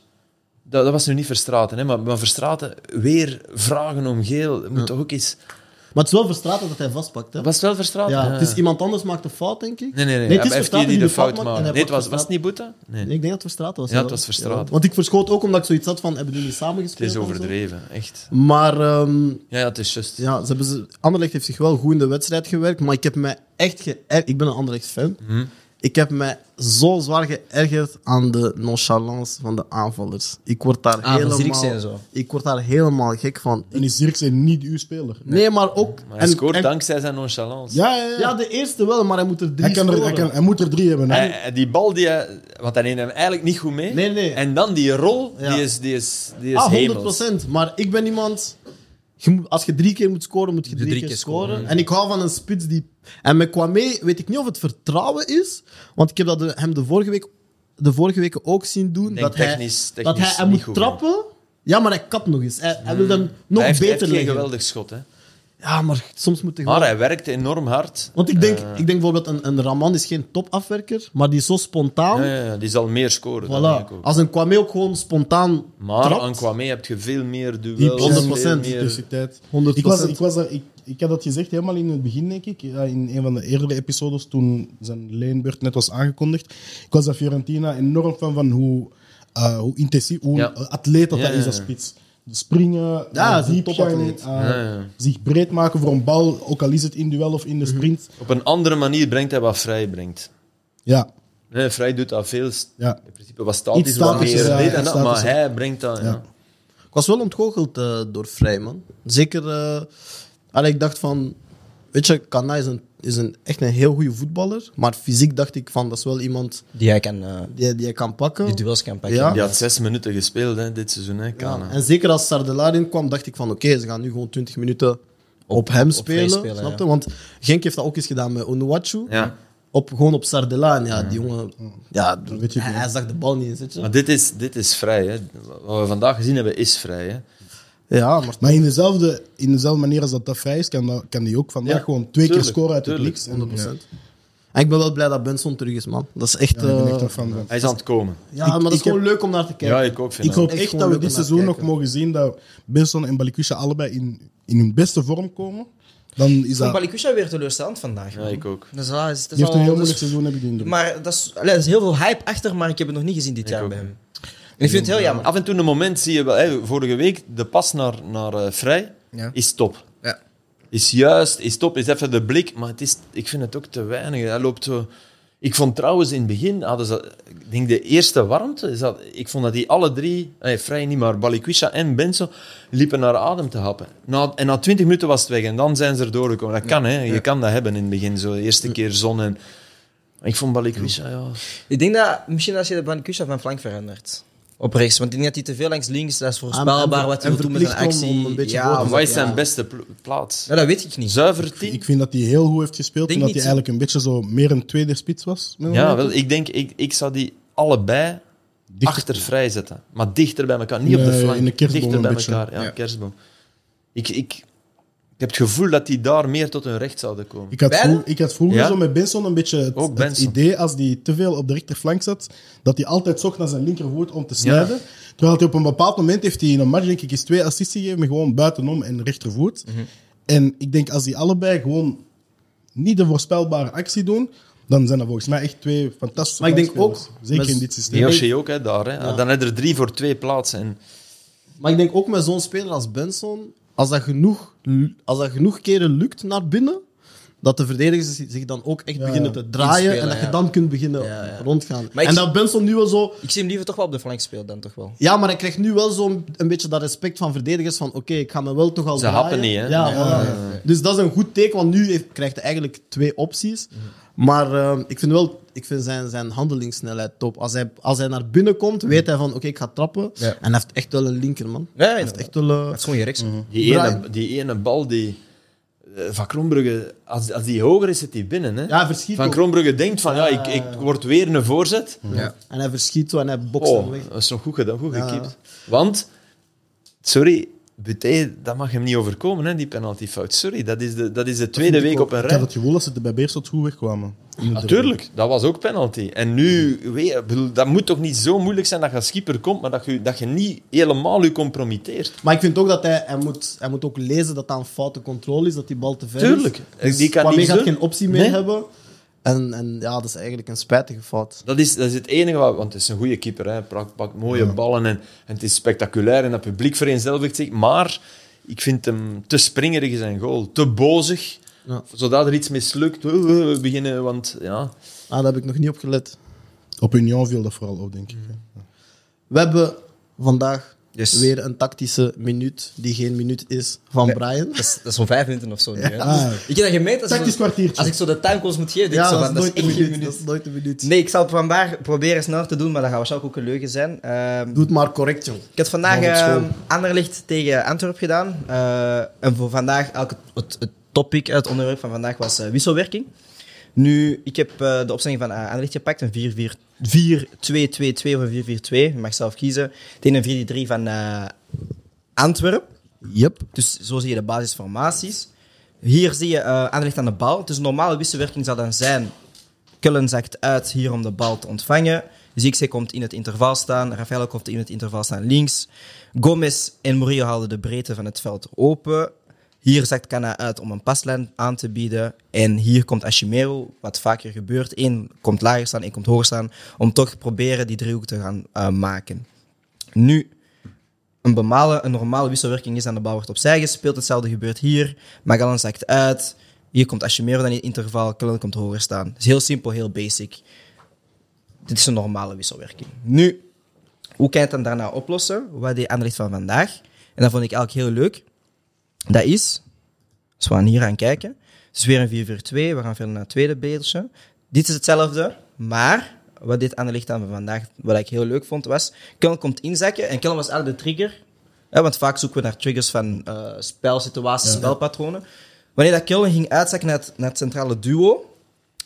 S2: Dat, dat was nu niet Verstraten, hè, maar, maar Verstraten weer vragen om geel. Moet toch ook iets.
S1: Maar het is wel verstraten dat hij vastpakt. Hè?
S2: Was het wel Verstraten?
S1: Ja, het is iemand anders maakt een fout, denk ik.
S2: Nee, nee, nee.
S1: het is
S2: heeft
S1: Verstraeten
S2: die die de fout
S1: maakt en
S2: maakt.
S1: hij
S2: Nee, het was,
S1: pakt
S2: was het
S1: Verstraeten.
S2: niet Boete? Nee.
S1: Nee, ik denk dat het Verstraeten was.
S2: Ja, het
S1: jawel.
S2: was Verstraeten.
S1: Ja, Want ik verschoot ook omdat ik zoiets had van, hebben jullie samen
S2: Het
S1: gespeeld?
S2: is
S1: en zo?
S2: overdreven, echt.
S1: Maar ehm,
S2: Ja, ja, het is juist.
S1: ja, ze hebben ze, Anderlecht heeft zich wel goed in de wedstrijd gewerkt, maar ik heb mij echt geërgerd. Ik ben een Anderlecht-fan.
S2: Mhm.
S1: Ik heb mij zo zwaar geërgerd aan de nonchalance van de aanvallers. Ik word daar
S3: Ah, van
S1: helemaal...
S3: Zirkzee en zo.
S1: Ik word daar helemaal gek van.
S4: Dan is Zirkzee niet uw speler.
S1: Nee, maar ook...
S2: Maar hij scoort
S1: en-
S2: dankzij zijn nonchalance.
S4: Ja, ja, ja.
S1: Ja, de eerste wel, maar hij moet er drie
S4: hij, kan er, hij,
S1: scoren.
S4: kan, hij moet er drie hebben. hè.
S2: Hij- hij- die bal, die hij, want hij neemt hem eigenlijk niet goed mee.
S1: Nee, nee.
S2: En dan die rol,
S1: Ja.
S2: die is, die is, die is
S1: Ah, 100
S2: hemels.
S1: Maar ik ben iemand. je moet- als je drie keer moet scoren, moet je drie, keer, scoren. En ik hou van een spits die. En met Kwame weet ik niet of het vertrouwen is. Want ik heb dat de- hem de vorige week, de vorige weken ook zien doen.
S2: denk
S1: Dat hij,
S2: technisch-
S1: dat hij,
S2: technisch
S1: hij
S2: niet
S1: moet
S2: goed Hmm.
S1: trappen. Ja, maar hij kapt nog eens. Hij, hij wil hem nog
S2: Hij heeft, hij heeft
S1: beter
S2: geen
S1: leggen.
S2: geweldig schot, hè.
S1: Ja, maar soms moet hij gewoon.
S2: Maar Eh. hij werkt enorm hard.
S1: want ik denk, ik denk bijvoorbeeld, een, een Raman is geen topafwerker, maar die is zo spontaan.
S2: Ja, ja, ja, die zal meer scoren. dan denk ik
S1: voilà.
S2: ook.
S1: Als een Kwame ook gewoon spontaan
S2: Maar
S1: trapt,
S2: aan Kwame heb je veel meer
S4: Die
S2: duels.
S1: 100%.
S2: veel meer-
S4: intensiteit.
S1: 100%.
S4: Ik, was, ik, was daar, ik, ik had dat gezegd helemaal in het begin, denk ik. ja, In een van de eerdere episodes, toen zijn leenbeurt net was aangekondigd. Ik was daar Fiorentina enorm van, van hoe, eh, hoe intensief, hoe
S2: Ja.
S4: atleet dat,
S2: Ja,
S4: dat
S2: ja,
S4: is, dat
S2: ja.
S4: spits. springen,
S1: Ja,
S4: eh,
S1: is een
S4: diep gaan,
S1: topatleet.
S4: eh,
S2: Ja, ja. Mhm.
S4: zich breed maken voor een bal, ook al is het in duel of in de sprint.
S2: Op een andere manier brengt hij wat Vrij brengt.
S4: Ja,
S2: Nee, Vrij doet dat veel. st-
S4: ja.
S2: In principe wat statisch,
S4: Iets
S2: wat
S4: statischer,
S2: meer
S4: ja,
S2: dit
S4: ja,
S2: en dat, maar
S4: statischer.
S2: hij brengt dat. Ja.
S4: Ja.
S1: Ik was wel ontgoocheld eh, door Vrij, man. Zeker, eh, allee, ik dacht van... Weet je, Kana is, een, is een, echt een heel goede voetballer. Maar fysiek dacht ik van, dat is wel iemand
S3: Die hij kan, eh,
S1: die, die je kan pakken.
S3: die duels kan pakken.
S1: Ja.
S2: Die had zes minuten gespeeld hè, dit seizoen, hè, Kana.
S1: En zeker als Sardelaar in kwam, dacht ik van oké, ze gaan nu gewoon 20 minuten op hem spelen.
S3: spelen,
S1: snap je?
S3: ja.
S1: Want Genk heeft dat ook eens gedaan met Onuachu.
S2: Ja.
S1: Op, gewoon op Sardelaar. En Ja, die jongen, ja,
S4: weet je
S1: hij, hij zag de bal niet eens. weet je.
S2: Maar dit is, dit is vrij. Hè. Wat we vandaag gezien hebben, is vrij. Hè.
S1: Ja, maar
S4: Maar in dezelfde, in dezelfde manier als dat dat vrij is, kan, dat, kan die ook vandaag
S2: Ja,
S4: gewoon twee
S2: tuurlijk,
S4: keer scoren uit
S2: tuurlijk,
S4: het niks. En,
S1: 100%.
S4: ja,
S1: En ik ben wel blij dat Benson terug is, man. Dat is echt...
S4: ja, ik ben
S1: eh,
S4: echt een fan van.
S2: Hij is aan het komen.
S1: ja,
S4: Ik-
S1: maar dat
S4: ik
S1: is gewoon
S4: heb-
S1: leuk om naar te kijken.
S2: Ja, ik ook vind
S4: Ik
S2: dat.
S4: hoop
S1: Echt
S4: echt
S1: gewoon
S4: dat we
S1: leuk
S4: dit
S1: om naar te
S4: seizoen nog
S1: kijken.
S4: mogen zien dat Benson en Balikusha allebei in, in hun beste vorm komen. Dan is
S3: Ik vond
S4: dat...
S3: Balikusha weer teleurstellend vandaag.
S2: Ja, ik ook.
S3: Dus, ah, is, dat is
S4: Die heeft een
S3: al-
S4: heel
S3: dat is-
S4: moeilijk seizoen, heb ik de indruk.
S3: Maar dat is, allee, er is heel veel hype achter, maar ik heb het nog niet gezien dit jaar bij hem. En ik vind het heel jammer.
S2: Af en toe een moment zie je wel. Hè, vorige week, de pas naar, naar eh, Vrij
S3: Ja.
S2: is top.
S3: Ja.
S2: Is juist, is top, is even de blik. Maar het is, ik vind het ook te weinig. Hij loopt zo... Ik vond trouwens in het begin, hadden ze, ik denk de eerste warmte, is dat, ik vond dat die alle drie, nee, Vrij niet, maar Balikwisha en Benson, liepen naar adem te happen. Na, en na twintig minuten was het weg en dan zijn ze er doorgekomen. Dat kan, hè. Je kan dat hebben in het begin, zo de eerste keer zon. En, ik vond Balikwisha, ja...
S3: Ik denk dat misschien als je de Balikusha van flank verandert. Op rechts, want ik denk dat hij te veel langs links, dat is
S1: En-
S3: voorspelbaar
S1: en-
S3: wat
S1: en
S3: hij wil doen met een
S1: verplicht om-
S3: actie.
S1: om een beetje
S3: ja,
S1: voor te
S2: Maar
S3: maar-
S2: wat is zijn
S3: ja.
S2: beste pl- plaats?
S3: Ja, dat weet ik niet.
S2: Zuiver 10?
S4: Ik vind dat hij heel goed heeft gespeeld
S3: Denk
S4: en dat hij
S3: niet-
S4: eigenlijk een beetje zo meer een tweede spits was. met
S2: Ja,
S4: elkaar.
S2: wel, ik denk, ik, ik zou die allebei
S4: Dichter-
S2: achter vrij zetten. Maar dichter bij elkaar, niet op de
S4: Nee,
S2: flank.
S4: in de kerstboom
S2: dichter bij
S4: een beetje.
S2: elkaar, ja,
S3: Ja.
S2: kerstboom. Ik, ik, ik heb het gevoel dat die daar meer tot hun recht zouden komen.
S4: Ik had,
S3: Bijna?
S4: vroeg- ik had vroeger
S2: Ja?
S4: zo met Benson een beetje het,
S1: Oh,
S2: Ook
S4: het
S2: Benson.
S4: idee, als hij te veel op de rechterflank zat, dat hij altijd zocht naar zijn linkervoet om te snijden. Terwijl hij op een bepaald moment heeft hij in een match, denk ik, eens twee assists gegeven, maar gewoon buitenom en rechtervoet.
S1: Mhm.
S4: En ik denk, als die allebei gewoon niet de voorspelbare actie doen, dan zijn dat volgens mij echt twee fantastische
S1: Maar ik denk
S4: flankspelers.
S1: ook
S4: Zeker
S1: met-
S4: in dit systeem.
S2: Yoshi ook, hè, daar. Hè. Dan heb je er drie voor twee plaatsen. En
S1: Maar ik denk ook met zo'n speler als Benson, als dat genoeg, als dat genoeg keren lukt naar binnen, dat de verdedigers zich dan ook echt
S4: Ja,
S1: beginnen
S4: ja.
S1: te draaien
S3: Inspelen,
S1: en dat
S3: ja.
S1: je dan kunt beginnen
S3: Ja, ja.
S1: rondgaan.
S3: Maar ik
S1: en
S3: zie-
S1: dat Benson nu wel zo...
S3: Ik zie hem liever toch wel op de flank spelen dan toch wel.
S1: Ja, maar hij krijgt nu wel zo'n een beetje dat respect van verdedigers van oké, ik ga me wel toch al
S2: Ze
S1: draaien.
S2: happen niet, hè?
S1: Ja,
S2: Nee.
S1: voilà. Dus dat is een goed teken, want nu heeft- krijgt hij eigenlijk twee opties.
S3: Mhm.
S1: Maar ehm, ik vind wel ik vind zijn, zijn handelingssnelheid top. Als hij, als hij naar binnen komt, weet hij van oké, ik ga trappen.
S3: Ja.
S1: En hij heeft echt wel een linker, man.
S3: Ja,
S1: hij heeft
S3: inderdaad.
S1: echt wel... eh,
S3: Dat is gewoon je rechts.
S2: die ene,
S1: Brian.
S2: die ene bal die... eh, Van Krombrugge, als, als die hoger is, zit die binnen. Hè.
S1: Ja, hij verschiet
S2: van
S1: ook.
S2: Krombrugge denkt van, ja, ik, ik
S4: Ah.
S2: word weer een voorzet.
S3: Ja.
S1: En hij verschiet zo en hij bokst hem
S2: Oh,
S1: weg.
S2: dat is nog goed gedaan, goed gekiept. Want, sorry, Buté, dat mag hem niet overkomen, hè, die penaltyfout. Sorry, dat is de, dat is de tweede week op een
S4: Ik had
S2: rij.
S4: het gevoel dat ze er bij Beerschot goed wegkwamen. In de derde.
S2: Natuurlijk, dat was ook penalty. En nu, weet, ik bedoel, dat moet toch niet zo moeilijk zijn dat je als schieper komt, maar dat je, dat je niet helemaal je compromitteert.
S1: Maar ik vind ook dat hij, hij, moet, hij moet ook lezen dat dat een foute controle is, dat die bal te ver
S2: Tuurlijk.
S1: is. Dus
S2: Die kan
S1: Kwame
S2: niks
S1: gaat
S2: doen.
S1: geen optie meer
S2: Nee.
S1: hebben. En, en ja, dat is eigenlijk een spijtige fout.
S2: Dat is, dat is het enige, wat, want het is een goede keeper. Hè. Pakt, pakt mooie ballen en, en het is spectaculair en dat publiek vereenzelvigt zich. Maar ik vind hem te springerig in zijn goal, te bozig.
S1: Ja.
S2: Zodat er iets mislukt, we- we we beginnen, want ja...
S1: Ah, daar heb ik nog niet op gelet.
S4: Op Union viel dat vooral op, denk ik.
S1: We hebben vandaag
S3: Yes.
S1: weer een tactische minuut, die geen minuut is, van Brian.
S3: Dat is, dat is zo'n vijf minuten of zo. nu, hè.
S4: Ah.
S3: Ik heb dat gemerkt als, ik
S4: Tactisch
S3: zo-
S4: kwartiertje.
S3: als ik zo de timecodes moet geven. denk
S1: Ja,
S3: ik zo
S1: dat is
S3: van, dat is
S1: nooit
S3: echt
S1: een
S3: geen
S1: minuut. Dat
S3: minuut.
S1: is nooit een minuut.
S3: Nee, ik zal het vandaag proberen snel te doen, maar dat gaat waarschijnlijk ook een leugen zijn. Ehm,
S1: Doe het maar correct, jong.
S3: Ik had vandaag
S1: Volgende
S3: eh,
S1: school.
S3: Anderlecht tegen Antwerp gedaan. Eh, en voor vandaag, elke, het, het topic, het onderwerp van vandaag was eh, wisselwerking. Nu, ik heb eh, de opstelling van eh, Anderlecht gepakt, een 4-4 4-2-2-2 of een 4-4-2. Je mag zelf kiezen. Tegen een 4-3 van eh Antwerp.
S1: Yep.
S3: Dus zo zie je de basisformaties. Hier zie je eh Anderlecht aan de bal. Dus een normale wisselwerking zou dan zijn... Kullen zakt uit hier om de bal te ontvangen. Zirkzee komt in het interval staan. Rafael komt in het interval staan links. Gomez en Murillo houden de breedte van het veld open. Hier zakt Kana uit om een paslijn aan te bieden. En hier komt Ashimero, wat vaker gebeurt. Eén komt lager staan, één komt hoger staan. Om toch proberen die driehoek te gaan eh, maken. Nu een bemalen een normale wisselwerking is en de bal wordt opzij gespeeld. Hetzelfde gebeurt hier. Magalan zakt uit. Hier komt Ashimero dan in het interval. Kullen komt hoger staan. Het is heel simpel, heel basic. Dit is een normale wisselwerking. Nu, hoe kan je het dan daarna oplossen? Wat die Anderlecht van vandaag? En dat vond ik eigenlijk heel leuk. Dat is, als Dus we aan hier aan kijken, het is weer een 4-4-2. We gaan verder naar het tweede beeldje. Dit is hetzelfde, maar wat dit aan ligt aan van vandaag, wat ik heel leuk vond, was Kellen komt inzakken en Kellen was eigenlijk de trigger. Hè, want vaak zoeken we naar triggers van eh spelsituaties, spelpatronen. Wanneer dat Kellen ging uitzakken naar het, naar het centrale duo,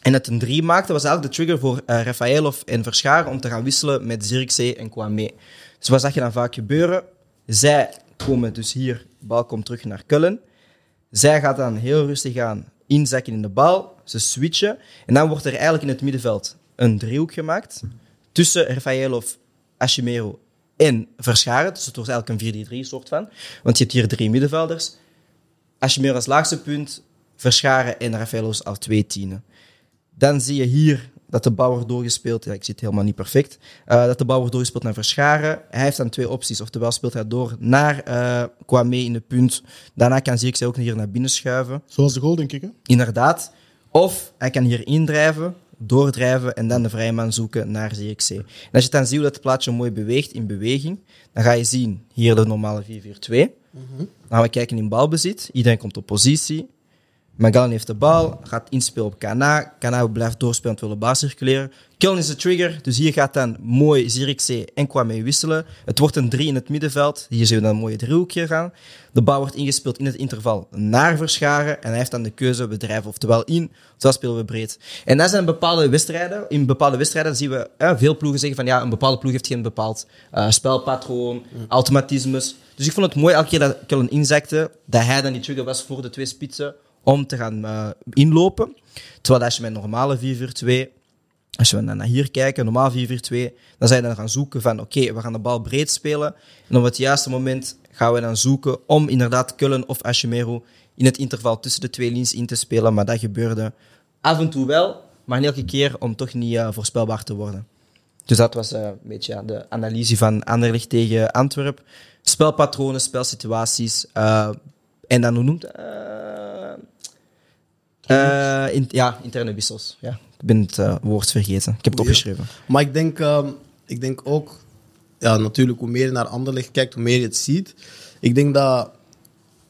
S3: en dat een 3 maakte, was eigenlijk de trigger voor eh Rafael of en Verscharen om te gaan wisselen met Zirkzee en Kwame. Dus wat zag je dan vaak gebeuren? Zij komen dus hier, de bal komt terug naar Kullen. Zij gaat dan heel rustig aan inzakken in de bal. Ze switchen. En dan wordt er eigenlijk in het middenveld een driehoek gemaakt. Tussen Rafael of Ashimero en Verscharen. Dus het wordt eigenlijk een 4-3 soort van. Want je hebt hier drie middenvelders. Ashimero als laagste punt. Verscharen en Rafael als- als twee tienen. Dan zie je hier dat de bal wordt doorgespeeld. Ja, ik zit helemaal niet perfect. Eh, dat de bal wordt doorgespeeld naar Verscharen. Hij heeft dan twee opties. Oftewel speelt hij door naar eh Kwame in de punt. Daarna kan Zirkzee ook hier naar binnen schuiven.
S4: Zoals de goal, denk ik. Hè?
S3: Inderdaad. Of hij kan hier indrijven, doordrijven en dan de vrije man zoeken naar Zirkzee. En als je het dan ziet hoe dat plaatje mooi beweegt in beweging, dan ga je zien hier de normale 4-4-2. Dan gaan we kijken in balbezit. Iedereen komt op positie. Magallan heeft de bal, gaat inspelen op Kana. Kana blijft doorspelen, wil de bal circuleren. Killen is de trigger, dus hier gaat dan mooi Zirkzee en Kwame wisselen. Het wordt een 3 in het middenveld. Hier zien we dan een mooie driehoekje gaan. De bal wordt ingespeeld in het interval naar Verscharen. En hij heeft dan de keuze bedrijven, oftewel in, oftewel spelen we breed. En dat zijn bepaalde wedstrijden. In bepaalde wedstrijden zien we eh, veel ploegen zeggen van ja, een bepaalde ploeg heeft geen bepaald eh, spelpatroon, automatismes. Dus ik vond het mooi elke keer dat Cullen inzakte, dat hij dan die trigger was voor de twee spitsen om te gaan eh, inlopen. Terwijl als je met normale 4-4-2, als we dan naar hier kijken, normaal 4-4-2, dan zijn we dan gaan zoeken van oké, we gaan de bal breed spelen. En op het juiste moment gaan we dan zoeken om inderdaad Kullen of Ashimero in het interval tussen de twee linies in te spelen. Maar dat gebeurde af en toe wel, maar niet elke keer om toch niet eh, voorspelbaar te worden. Dus dat was eh, een beetje ja, de analyse van Anderlecht tegen Antwerp. Spelpatronen, spelsituaties. eh, en dan, hoe noemt het? Eh, in- ja, interne wissels. Ja. Ik ben het eh, woord vergeten. Ik heb
S1: Ja.
S3: het opgeschreven.
S1: Maar ik denk, ehm, ik denk ook, ja, natuurlijk, hoe meer je naar Anderlecht kijkt, hoe meer je het ziet. Ik denk dat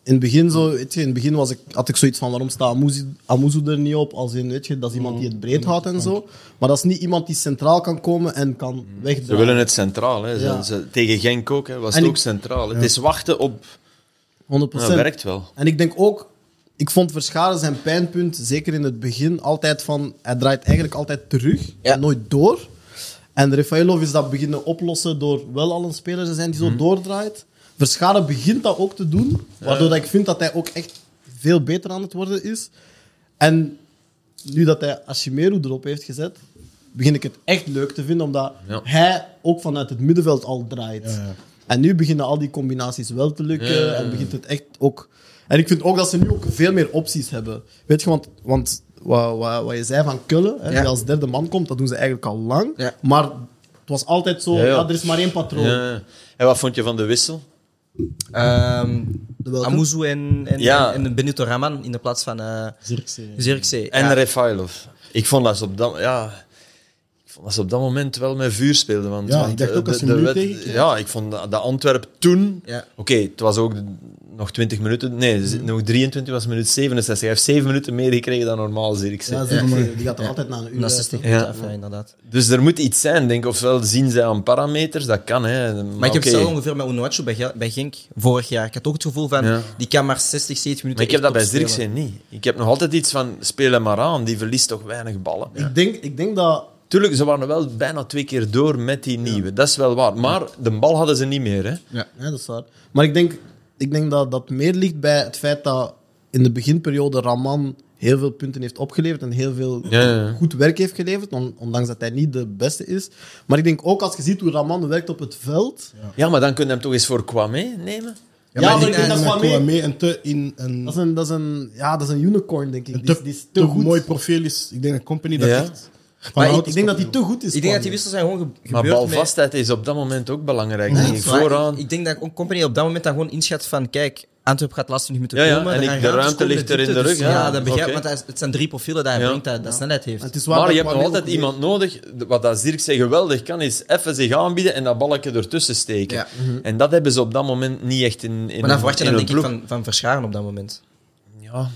S1: in het begin, zo, weet je, in het begin was ik, had ik zoiets van waarom staat Amuzu, Amuzu er niet op? Als in, weet je, dat is iemand die het breed houdt en zo. Maar dat is niet iemand die centraal kan komen en kan wegdraaien.
S2: Ze willen het centraal. Hè. Ze-
S1: Ja.
S2: ze- tegen Genk ook hè, was
S1: En
S2: het
S1: ik-
S2: ook centraal. Het is wachten op...
S1: 100%.
S2: Ja, dat werkt wel.
S1: En ik denk ook, ik vond Verscharen zijn pijnpunt, zeker in het begin, altijd van hij draait eigenlijk altijd terug en nooit door. En Rafaelov is dat beginnen oplossen door wel al een speler te zijn die zo
S2: Mhm.
S1: doordraait. Verscharen begint dat ook te doen, waardoor dat ik vind dat hij ook echt veel beter aan het worden is. En nu dat hij Ashimeru erop heeft gezet, begin ik het echt leuk te vinden, omdat
S2: Ja.
S1: hij ook vanuit het middenveld al draait.
S4: ja.
S1: En nu beginnen al die combinaties wel te lukken en begint het echt ook... En ik vind ook dat ze nu ook veel meer opties hebben. Weet je, want, want wat, wat, wat je zei van Kullen, hè,
S3: Ja.
S1: die als derde man komt, dat doen ze eigenlijk al lang.
S3: Ja.
S1: Maar het was altijd zo,
S2: Ja,
S1: ja,
S2: ja.
S1: er is maar één patroon.
S2: Ja. En wat vond je van de wissel?
S3: Ehm
S1: De welke?
S3: Amuzu en, en,
S2: Ja.
S3: en, en Benito Raman in de plaats van eh
S4: Zirkzee.
S3: Zirkzee.
S2: En eh,
S3: Ja.
S2: Refailov. Ik vond dat ze op dat... Ja, ik vond dat ze op dat moment wel met vuur speelden. Want,
S4: Ja,
S2: want,
S4: ik dacht
S2: eh,
S4: ook als
S2: de-
S4: ze
S2: de
S4: nu
S2: wed-
S4: tegenkrijgen.
S2: Ja, ik vond dat, dat Antwerp toen...
S3: Ja.
S2: Oké, het was ook de- nog 20 minuten... Nee, z- nog 23 was minuut 67. Hij heeft 7 minuten meer gekregen dan normaal, zeg ik.
S1: Ja, ze- die gaat er altijd naar een uur
S3: Dat is
S1: uit,
S3: 60
S1: hè.
S3: minuten
S2: Ja.
S3: af, ja, inderdaad.
S2: Dus er moet iets zijn, denk ik. Ofwel zien zij aan parameters, dat kan. Hè. Maar,
S3: Maar ik heb
S2: oké.
S3: zelf ongeveer met Onuachu bij, Gel- bij Genk vorig jaar. Ik had ook het gevoel van,
S2: Ja.
S3: die kan maar 60, 70 minuten
S2: Maar ik heb dat bij
S3: echt topspelen.
S2: Zirkzee niet. Ik heb nog altijd iets van, speel hem maar aan, die verliest toch weinig ballen.
S1: Ik, denk, ik denk dat...
S2: Tuurlijk, ze waren wel bijna twee keer door met die nieuwe. Dat is wel waar. Maar de bal hadden ze niet meer. Hè.
S1: Ja, dat is waar. Maar ik denk, ik denk dat dat meer ligt bij het feit dat in de beginperiode Raman heel veel punten heeft opgeleverd en heel veel
S2: Ja, ja, ja.
S1: goed werk heeft geleverd, on- ondanks dat hij niet de beste is. Maar ik denk ook als je ziet hoe Raman werkt op het veld,
S2: Ja, maar dan kun je hem toch eens voor Kwame nemen?
S1: Ja,
S4: maar
S1: maar ik denk
S4: dat
S1: dat
S4: Kwame
S1: Kwame...
S4: mee en te in een,
S1: Dat is, een, dat, is een, ja, dat is een unicorn, denk ik.
S4: een
S1: Die, is-
S4: te,
S1: die is
S4: te
S1: te goed.
S4: mooi profiel is. Ik denk een company dat
S2: Ja.
S4: echt
S1: Maar ik,
S4: Hout
S1: ik
S4: is
S1: denk dat
S4: top,
S1: die te goed is.
S3: Ik denk dat
S1: Kwame.
S3: die wissels zijn gewoon ge-
S2: Maar
S3: gebeurd. met-
S2: balvastheid is op dat moment ook belangrijk. denk ik.
S3: Maar
S2: Vooraan.
S3: Ik, ik denk dat ook Company op dat moment dan gewoon inschat van, kijk, Antwerp gaat last 20 minuten
S2: Ja, ja,
S3: komen.
S2: en
S3: er
S2: ik-
S3: gaan
S2: de
S3: ruimtes
S2: ruimte
S3: komen,
S2: ligt er in de
S3: diepte,
S2: rug,
S3: dus-
S2: ja.
S3: Ja, dat begrijp
S2: Oké.
S3: want dat is- het zijn drie profielen dat hij
S2: Ja.
S3: brengt, dat, dat snelheid heeft.
S1: Het is waar
S2: Maar
S1: dat
S2: je hebt nog
S1: Kwame
S2: altijd
S1: ook-
S2: iemand nodig, wat dat Zirk zei geweldig kan, is even zich aanbieden en dat balkje ertussen steken.
S3: Ja. mhm.
S2: En dat hebben ze op dat moment niet echt in, in
S3: maar dan verwacht je
S2: in
S3: dan
S2: hun
S3: denk ik
S2: ploeg.
S3: van, van Verscharen op dat moment.
S2: Ja,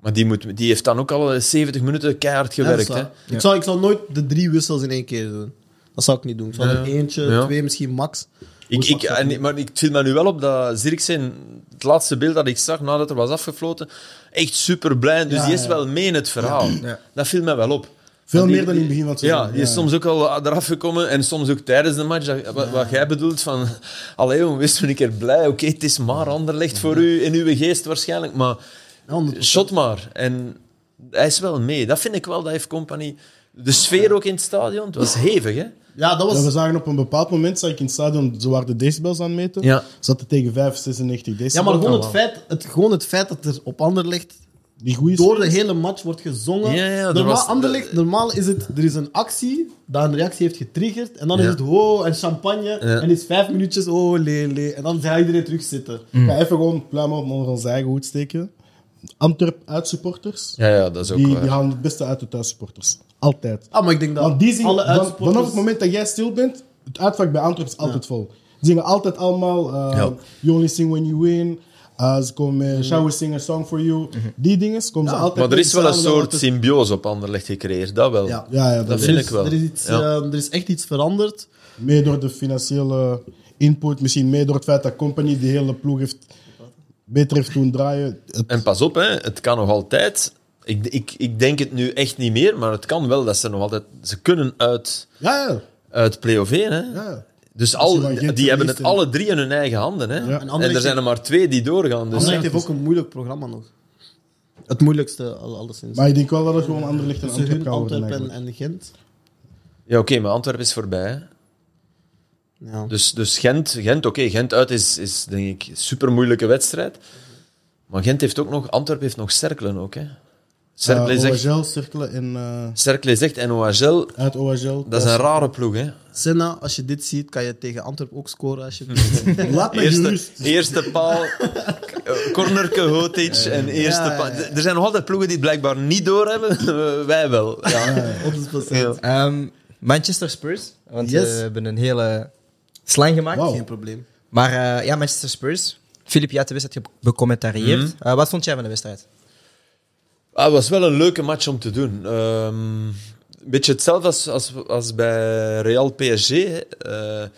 S2: maar die, moet, die heeft dan ook al 70 minuten keihard
S1: Ja, dat is
S2: gewerkt. hè.
S1: waar. ik, zou, ik zou nooit de drie wissels in één keer doen. Dat zou ik niet doen. Ik zou
S2: Ja.
S1: er eentje,
S2: Ja.
S1: twee misschien max.
S2: Ik, ik, en, maar ik viel me nu wel op dat Zirk zijn, het laatste beeld dat ik zag nadat er was afgefloten, echt super blij. Dus
S4: Ja,
S2: die is
S4: ja.
S2: wel mee in het verhaal.
S3: Ja.
S2: Dat viel me wel op.
S4: Veel
S2: Want die-
S4: meer dan in het begin van het seizoen.
S2: Ja, die is soms ook al eh, eraf gekomen en soms ook tijdens de match. Dat- wat, wat jij bedoelt van, allee jong, wees toen een keer blij. Oké, het is maar Anderlecht voor u, in uw geest waarschijnlijk, maar shot maar. En hij is wel mee. Dat vind ik wel, dat heeft Company. De sfeer ook in het stadion, het was hevig hè.
S1: Ja, dat
S4: Ja,
S1: was...
S4: we zagen op een bepaald moment, zag ik in het stadion, ze waren de decibels aan het meten.
S2: Ja.
S4: Zat het tegen 5, 96 decibels.
S1: Ja,
S4: Oh,
S1: maar gewoon het, feit, het, gewoon het feit dat er op Anderlecht
S4: Die goeie
S1: door de hele match wordt gezongen.
S2: Ja, ja, er
S1: normaal,
S2: was-
S1: Anderlecht, normaal is het, er is een actie dat een reactie heeft getriggerd. En dan
S2: Ja.
S1: is het wow en champagne. En is vijf minuutjes oh lele. En dan gaat iedereen terug zitten.
S2: Mm.
S4: Ik ga even gewoon pluimen onder onze eigen hoed steken. Antwerp uitsupporters,
S2: Ja, ja, dat is ook
S4: die,
S2: waar.
S4: die halen het beste uit de thuissupporters. Altijd.
S1: Ah, maar ik denk dat
S4: Want die zingen,
S1: alle
S4: van-
S1: uitsporters...
S4: vanaf het moment dat jij stil bent, het uitvak bij Antwerp is altijd vol. Ze zingen altijd allemaal eh,
S2: Ja.
S4: You Only Sing When You Win. Eh, ze komen met Shall We Sing A Song For You. Die dingen komen ze altijd
S2: Maar er is wel een
S4: samen,
S2: soort
S4: altijd-
S2: symbiose op Anderlecht gecreëerd, dat wel.
S1: Ja.
S4: Ja, ja,
S2: Dat
S4: dat
S2: vind
S1: er is-
S2: ik wel.
S1: Er is, iets,
S2: Ja.
S1: ehm, er is echt iets veranderd.
S4: Mee door de financiële input, misschien mee door het feit dat Company die hele ploeg heeft beter heeft doen draaien. Het-
S2: En pas op, hè, het kan nog altijd. Ik, ik, ik denk het nu echt niet meer, maar het kan wel dat ze nog altijd. Ze kunnen uit,
S4: ja, ja,
S2: uit play-off één, Hè.
S4: ja.
S2: Dus
S4: je
S2: al,
S4: dan geen
S2: die hebben het
S4: verliest, hè.
S2: alle drie in hun eigen handen. Hè.
S4: Ja.
S2: En,
S1: En
S2: er
S1: Anderlecht-
S2: zijn er maar twee die doorgaan. Dus
S1: Anderlecht heeft ook een moeilijk programma nog. Het moeilijkste, al- alleszins.
S4: Maar ik denk wel dat het gewoon ander licht en
S1: Tussen
S4: Antwerp
S1: hun,
S4: kan worden.
S1: Antwerpen
S4: eigenlijk.
S1: en Gent.
S2: Ja, oké, maar Antwerpen is voorbij. hè.
S1: Ja.
S2: Dus, dus Gent, Gent oké, Gent uit is, is denk ik een super moeilijke wedstrijd. Maar Gent heeft ook nog, Antwerpen heeft nog Cerkelen ook. Hè. Cerkelen is
S4: Eh,
S2: echt-
S4: OHL, cirkelen en eh,
S2: Cerkelen is echt en OHL.
S4: uit OHL.
S2: Dat is een rare ploeg, hè?
S1: Senna, als je dit ziet, kan je tegen Antwerpen ook scoren. Alsjeblieft.
S4: Laat me
S2: Eerste,
S4: gerust.
S2: eerste paal, eh, cornerke Hotic en eerste
S1: Ja, ja,
S2: paal.
S1: ja.
S2: Er zijn nog altijd ploegen die het blijkbaar niet doorhebben. Eh, Wij wel. Ja.
S1: 100%.
S3: Ehm, Manchester Spurs, want
S1: Yes.
S3: eh, we hebben een hele slang gemaakt.
S4: Wauw.
S1: Geen probleem.
S3: Maar eh, ja, Manchester Spurs. Filip, jij hebt de wedstrijd ge- becommentarieerd.
S2: Mhm.
S3: Eh, wat vond jij van de wedstrijd?
S2: Ah, het was wel een leuke match om te doen. Ehm, een beetje hetzelfde als, als, als bij Real PSG. hè. Eh,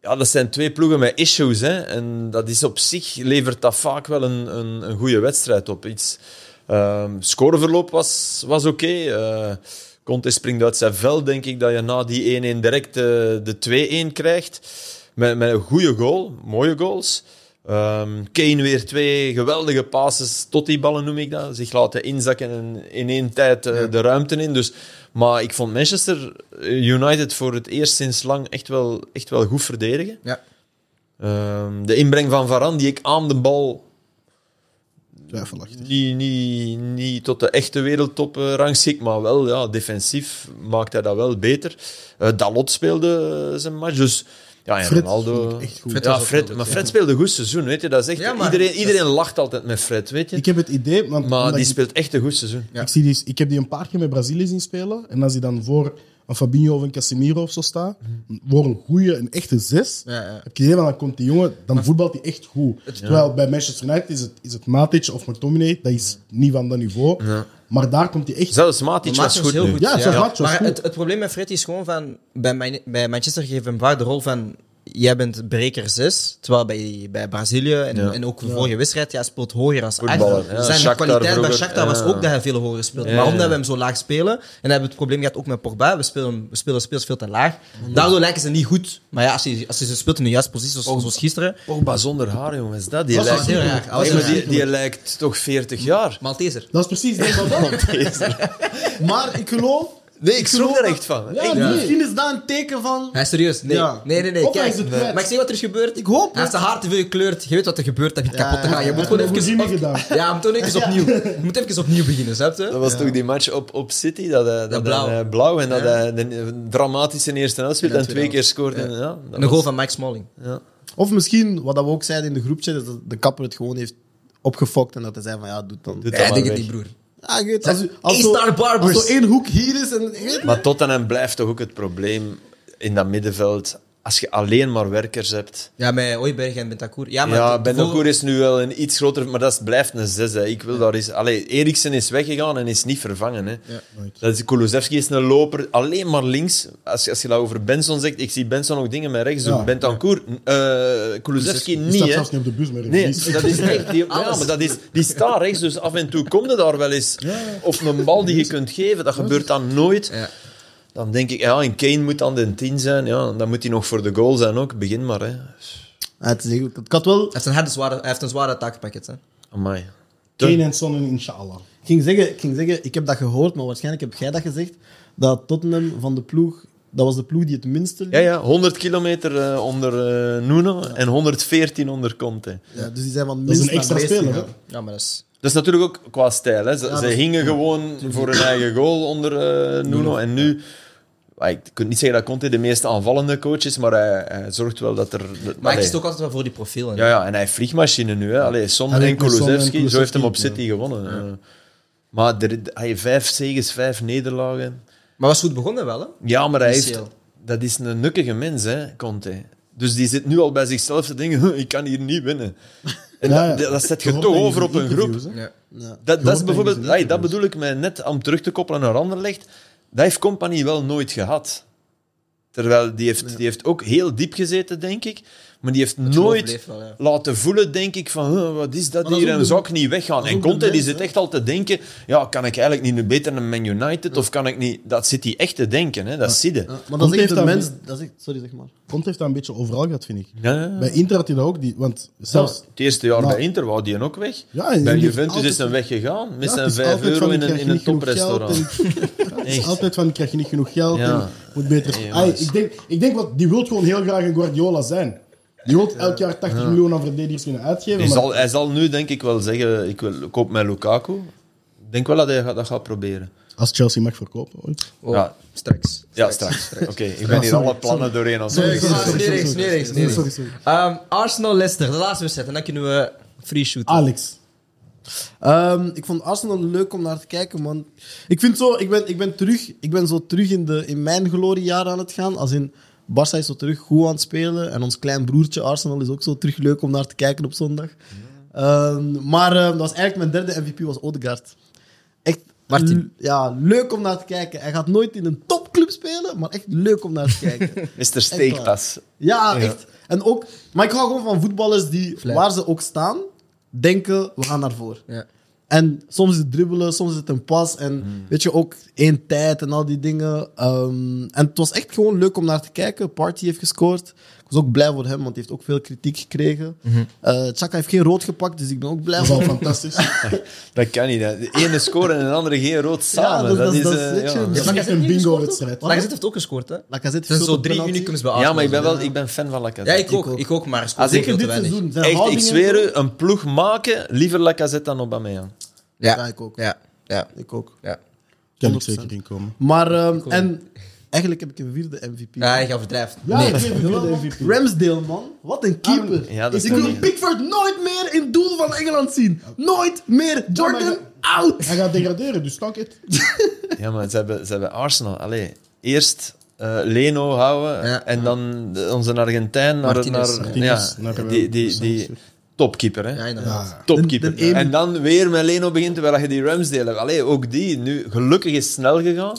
S2: ja, dat zijn twee ploegen met issues. Hè. En dat is op zich, levert dat vaak wel een, een, een goede wedstrijd op. Iets, ehm, scoreverloop was, was oké. Eh, Conte springt uit zijn vel, denk ik, dat je na die 1-1 direct eh, de 2-1 krijgt. Met, met een goede goal, mooie goals. Ehm, Kane weer twee geweldige passes tot die ballen, noem ik dat. Zich laten inzakken en in één tijd eh, de ruimte in. Dus, maar ik vond Manchester eh, United voor het eerst sinds lang echt wel, echt wel goed verdedigen.
S3: Ja.
S2: Ehm, de inbreng van Varane, die ik aan de bal
S4: Twijfelachtig.
S2: niet, niet, niet tot de echte wereldtop eh, rangschikt, maar wel ja, defensief maakt hij dat wel beter. Eh, Dalot speelde eh, zijn match, dus ja, en
S4: Fred
S2: Ronaldo...
S4: vond ik echt goed.
S3: Fred
S2: ja,
S3: was ook
S2: Fred,
S3: wel goed,
S2: maar
S3: ja.
S2: Fred speelde goed seizoen, weet je. Dat is echt,
S3: Ja, maar-
S2: iedereen, iedereen lacht altijd met Fred, weet je.
S4: Ik heb het idee, want
S2: maar
S4: omdat
S2: die
S4: ik-
S2: speelt echt een goed seizoen.
S3: Ja.
S4: Ik, zie die, ik heb die een paar keer met Brazilië zien spelen. En als hij dan voor een Fabinho of een Casemiro of zo staat,
S2: Mhm.
S4: voor een goede, een echte zes,
S3: Ja, ja.
S4: heb ik het idee van dan komt die jongen, dan voetbalt hij echt goed. Terwijl bij Manchester United is het, is het Matic of McTominay, dat is niet van dat niveau. Maar daar komt hij echt...
S2: Zelfs Matic
S3: Maar
S2: was
S3: Matic
S2: goed,
S3: heel
S2: nu.
S3: goed.
S4: Ja, zelfs Matic was
S3: maar
S4: goed.
S3: Het, het probleem met Fred is gewoon van... Bij, mijn, bij Manchester geeft hem vaak de rol van... Jij bent breker 6, terwijl bij, bij Brazilië en, en ook de vorige wedstrijd, jij speelt hoger als
S2: Voetballer,
S3: 8.
S2: ja.
S3: Zijn
S2: Shakhtar
S3: kwaliteit bij
S2: vroeger,
S3: Shakhtar was
S2: ja.
S3: ook dat hij veel hoger speelt.
S2: Ja,
S3: maar
S2: ja.
S3: omdat we hem zo laag spelen, en dan hebben we het probleem gehad ook met Pogba, we spelen, we spelen speels veel te laag. Daardoor lijken ze niet goed. Maar ja, als je, als je ze speelt in de juiste positie,
S2: Oh.
S3: zoals, zoals gisteren...
S2: Pogba zonder haar, jongens. Dat, die
S3: Dat was
S2: lijkt,
S3: heel raar. Dat was
S2: Nee, maar
S3: heel
S2: die,
S3: raar.
S2: die lijkt toch 40 jaar.
S3: Malteser.
S4: Dat is precies... Dat, dat,
S1: Maar ik geloof
S2: Nee, ik schrok
S1: geloof
S2: er
S1: dat-
S2: echt van.
S1: Ja,
S2: Echt.
S1: Misschien is dat een teken van...
S3: Hij is serieus. Nee,
S1: Ja.
S3: nee, nee. nee,
S1: Of hij
S3: kijk.
S1: is het kwijt.
S3: Maar ik zie wat er is gebeurd.
S1: Ik hoop
S3: Hij heeft
S1: het.
S3: zijn haar te veel gekleurd. Je weet wat er gebeurt. Heb je het
S1: Ja,
S3: kapot te
S1: ja,
S3: gaan. Je
S1: ja.
S3: moet gewoon
S4: Goed
S3: even...
S4: niet
S3: op-
S4: gedaan.
S3: Ja, je moet gewoon even opnieuw. Je moet even opnieuw beginnen, snap je?
S2: Dat was toch die match op, op City, dat, hij- dat
S3: blauw.
S2: blauw. blauw en dat
S3: Ja.
S2: hij een dramatische eerste helft speelt
S3: En
S2: en,
S3: een
S2: twee
S3: tweede
S2: keer scoort. En, ja, dat
S3: Een goal
S2: was-
S3: van Mike Smalling.
S2: ja.
S1: Of misschien, wat dat we ook zeiden in de groepje, is dat de kapper het gewoon heeft opgefokt en dat hij zei van, ja, doe het dan.
S2: Doe het.
S3: Ja, ik denk het
S2: weg.
S3: niet, broer.
S1: Ja, ik weet, als, u- als, zo,
S3: A-star
S1: als
S3: barbers.
S1: zo één hoek hier is en... je weet-
S2: Maar Tottenham blijft toch ook het probleem in dat middenveld. Als je alleen maar werkers hebt.
S3: Ja, met Ooiberg en Bentancur.
S4: Ah,
S3: Ja, maar
S2: Ja,
S3: de-
S2: Bendokour is nu wel een iets groter, maar dat is- blijft een zes. Hè. Ik wil daar eens... Allee, Eriksen is weggegaan en is niet vervangen. Hè.
S4: nooit.
S2: Dat is, Kulusevski is een loper, alleen maar links. Als, je- als je dat over Benson zegt, ik zie Benson ook dingen met rechts doen.
S4: Ja.
S2: Bentancur, eh, Kulusevski
S4: Die staat
S2: niet. Hè.
S4: zelfs niet op de bus, maar
S2: Nee,
S4: die is-
S2: dat is echt... Die, ja, maar dat is, die staat rechts, dus af en toe komt er daar wel eens... Of een bal die je kunt geven, dat gebeurt dan nooit.
S3: Ja.
S2: Dan denk ik, ja, en Kane moet dan de 10 zijn. Ja, dan moet hij nog voor de goal zijn ook. Begin maar, hè.
S1: Ja, het is eigenlijk- ik had wel...
S3: Hij heeft een, harde zware, hij heeft een zware takenpakket. Hè.
S2: Amai.
S4: Kane en Son en inshallah.
S1: Ik ging, zeggen, ik ging zeggen, ik heb dat gehoord, maar waarschijnlijk heb jij dat gezegd, dat Tottenham van de ploeg, dat was de ploeg die het minste liep.
S2: Ja, ja, 100 kilometer eh, onder eh, Nuno en 114 onder Conte.
S1: Ja, dus die zijn van het
S4: Dat is
S1: minst
S4: een extra
S1: naar het meest
S4: speler, hè?
S1: gegaan.
S3: Ja, maar dat is...
S2: Dat is natuurlijk ook qua stijl. Hè. Ze,
S1: Ja,
S2: ze
S1: dat-
S2: hingen gewoon voor hun eigen goal onder eh, Nuno. En nu... ah, Ik kan niet zeggen dat Conte de meest aanvallende coach is, maar hij, hij zorgt wel dat er... dat-
S3: Maar ik
S2: allee.
S3: kies ook altijd wel voor die profielen.
S2: Ja, ja, en hij heeft vliegmachine nu. Hè. Allee, Son
S4: Hij
S2: en
S4: heeft met Son en
S2: Kulusevski, zo heeft
S4: Kulusevski,
S2: hem op
S4: ja.
S2: City gewonnen. eh. Maar er, hij heeft vijf zegens, vijf nederlagen.
S3: Maar was goed begonnen wel, hè?
S2: Ja, maar hij heeft,
S3: Initieel.
S2: dat is een nukkige mens, hè, Conte. Dus die zit nu al bij zichzelf te denken, ik kan hier niet winnen. En
S4: Ja, ja.
S2: dat, dat zet je
S4: hoort
S2: toch
S4: dat in
S2: over op
S4: die
S2: een groep.
S4: interviews, hè.
S3: Ja.
S1: Ja.
S2: Dat, dat,
S4: hoort
S2: is
S4: dat
S2: bijvoorbeeld,
S4: in die
S2: ai, dat
S4: interviews.
S2: bedoel ik mij net om terug te koppelen naar Anderlecht. Dat heeft Company wel nooit gehad. Terwijl die heeft, die heeft ook heel diep gezeten, denk ik. Maar die heeft
S3: Nooit.
S2: nooit
S3: wel, ja.
S2: laten voelen, denk ik, van "Huh, wat is dat
S1: Maar dat
S2: hier?
S1: is ook
S2: En
S1: de-
S2: zou ik niet weggaan?
S1: is
S2: En
S1: ook de
S2: Conte die
S1: mens,
S2: zit
S1: hè?
S2: echt al te denken, ja, kan ik eigenlijk niet beter naar Man United? Of kan ik niet... Dat zit hij echt te denken, hè? dat zit hij.
S1: Ja, maar dat
S4: Conte
S1: is echt
S4: heeft
S1: een
S4: daar-
S1: mens... Dat is echt, sorry, zeg maar.
S4: Conte heeft dat een beetje overal gehad, vind ik.
S2: Ja, ja, ja.
S4: Bij Inter had hij dat ook, die, want zelfs...
S2: het eerste jaar
S4: Nou.
S2: bij Inter wou die ook weg.
S4: Ja, en
S2: bij
S4: die-
S2: Juventus
S4: altijd-
S2: is hij weggegaan met
S4: Ja,
S2: zijn
S4: het is
S2: 5
S4: altijd
S2: euro
S4: van,
S2: in
S4: ik
S2: een,
S4: krijg
S2: in een
S4: niet genoeg
S2: toprestaurant.
S4: geld en- Het is
S2: Echt.
S4: altijd van, krijg je niet genoeg geld
S2: Ja.
S4: en moet beter...
S2: Nee,
S4: Ai,
S2: jongens.
S4: ik, denk, ik denk, wat, die wil gewoon heel graag een Guardiola zijn. Die wil elk jaar 80 miljoen aan verdedigers kunnen uitgeven.
S2: Hij
S4: maar-
S2: zal, hij zal nu denk ik wel zeggen, ik, wil, ik koop mijn Lukaku. Ik denk wel dat hij gaat- dat gaat proberen.
S4: Als Chelsea mag verkopen ooit.
S3: Oh,
S2: Ja.
S3: Straks.
S2: Ja, straks. Oké, ik ben hier
S4: sorry,
S2: alle plannen doorheen aan het
S4: Sorry,
S3: Nee,
S2: doen.
S4: sorry, sorry,
S3: nee,
S4: sorry,
S3: nee,
S4: sorry,
S3: nee.
S4: sorry, sorry.
S3: Ehm, Arsenal-Leicester, de laatste wedstrijd. En dan kunnen we free shooten.
S4: Alex.
S1: Ehm, ik vond Arsenal leuk om naar te kijken, man. Ik vind zo, ik ben, ik ben terug, ik ben zo terug in, de, in mijn gloriejaar aan het gaan. Als in, Barça is zo terug goed aan het spelen. En ons klein broertje Arsenal is ook zo terug leuk om naar te kijken op zondag. Ehm, maar ehm, dat was eigenlijk mijn derde MVP, was Odegaard. Echt
S3: Martin.
S1: l- ja, leuk om naar te kijken. Hij gaat nooit in een topclub spelen, maar echt leuk om naar te kijken.
S2: Mr. Steekpas.
S1: Ja, echt. En ook, maar ik hou gewoon van voetballers die,
S3: Vlijt.
S1: waar ze ook staan, denken, we gaan naar voren.
S3: Ja.
S1: En soms is het dribbelen, soms is het een pas. En weet je, ook één tijd en al die dingen. Ehm, en het was echt gewoon leuk om naar te kijken. Party heeft gescoord. Ik was ook blij voor hem, want hij heeft ook veel kritiek gekregen. Eh, Chaka heeft geen rood gepakt, dus ik ben ook blij
S4: Dat is al
S1: voor hem.
S4: fantastisch.
S2: Dat kan niet. hè. De ene scoren en de andere geen rood samen.
S1: dat-
S2: dat,
S1: dat-
S2: is,
S1: dat is
S2: eh,
S1: legit.
S2: ja.
S4: Dat is echt een bingo-wedstrijd.
S3: Lacazette heeft ook gescoord, hè?
S1: Lacazette
S3: Er zijn
S1: schoot
S3: zo
S1: een
S3: drie
S1: penalty.
S3: unicums bij Arsenal.
S2: ja, maar ik ben, wel, ik ben fan van
S3: Ja,
S2: Lacazette.
S3: ik ook,
S1: Ik ook.
S3: ik ook, maar hij scoort
S2: Als ik
S3: veel
S1: Ah, Zeker
S3: te
S1: dit seizoen.
S3: weinig.
S1: Zijn
S2: Echt, ik
S1: houdingen en
S2: zweer
S1: zo.
S2: u, een ploeg maken, liever Lacazette dan Aubameyang.
S3: Ja.
S1: Ja, ik ook.
S3: Ja, ja,
S1: Ik ook.
S3: ja.
S4: Kan ik
S1: 100%.
S4: zeker inkomen.
S1: Maar, ehm, en eigenlijk heb ik een vierde MVP.
S3: Ja, hij overdrijft.
S4: Ja,
S1: Nee.
S4: ik geef hem de MVP.
S1: Ramsdale, man. Wat een keeper.
S2: Ja, dat is
S1: ik
S2: wel
S1: wil
S2: niet.
S1: Pickford nooit meer in het doel van Engeland zien. Nooit meer. Jordan,
S4: maar-
S1: out.
S4: Hij gaat degraderen, dus stak het.
S2: Ja, maar ze hebben, ze hebben Arsenal. Allee, eerst eh, Leno houden
S3: Ja.
S2: en dan de- onze Argentijn. Naar,
S3: Martinez.
S2: naar,
S4: Martinez,
S2: ja,
S4: naar-
S2: die, die, die topkeeper. Hè?
S3: Ja, inderdaad.
S4: Ja.
S2: Topkeeper.
S1: De- de ene-
S2: En dan weer met Leno begint, terwijl je die Ramsdale hebt. Allee, ook die. Nu, gelukkig is snel gegaan.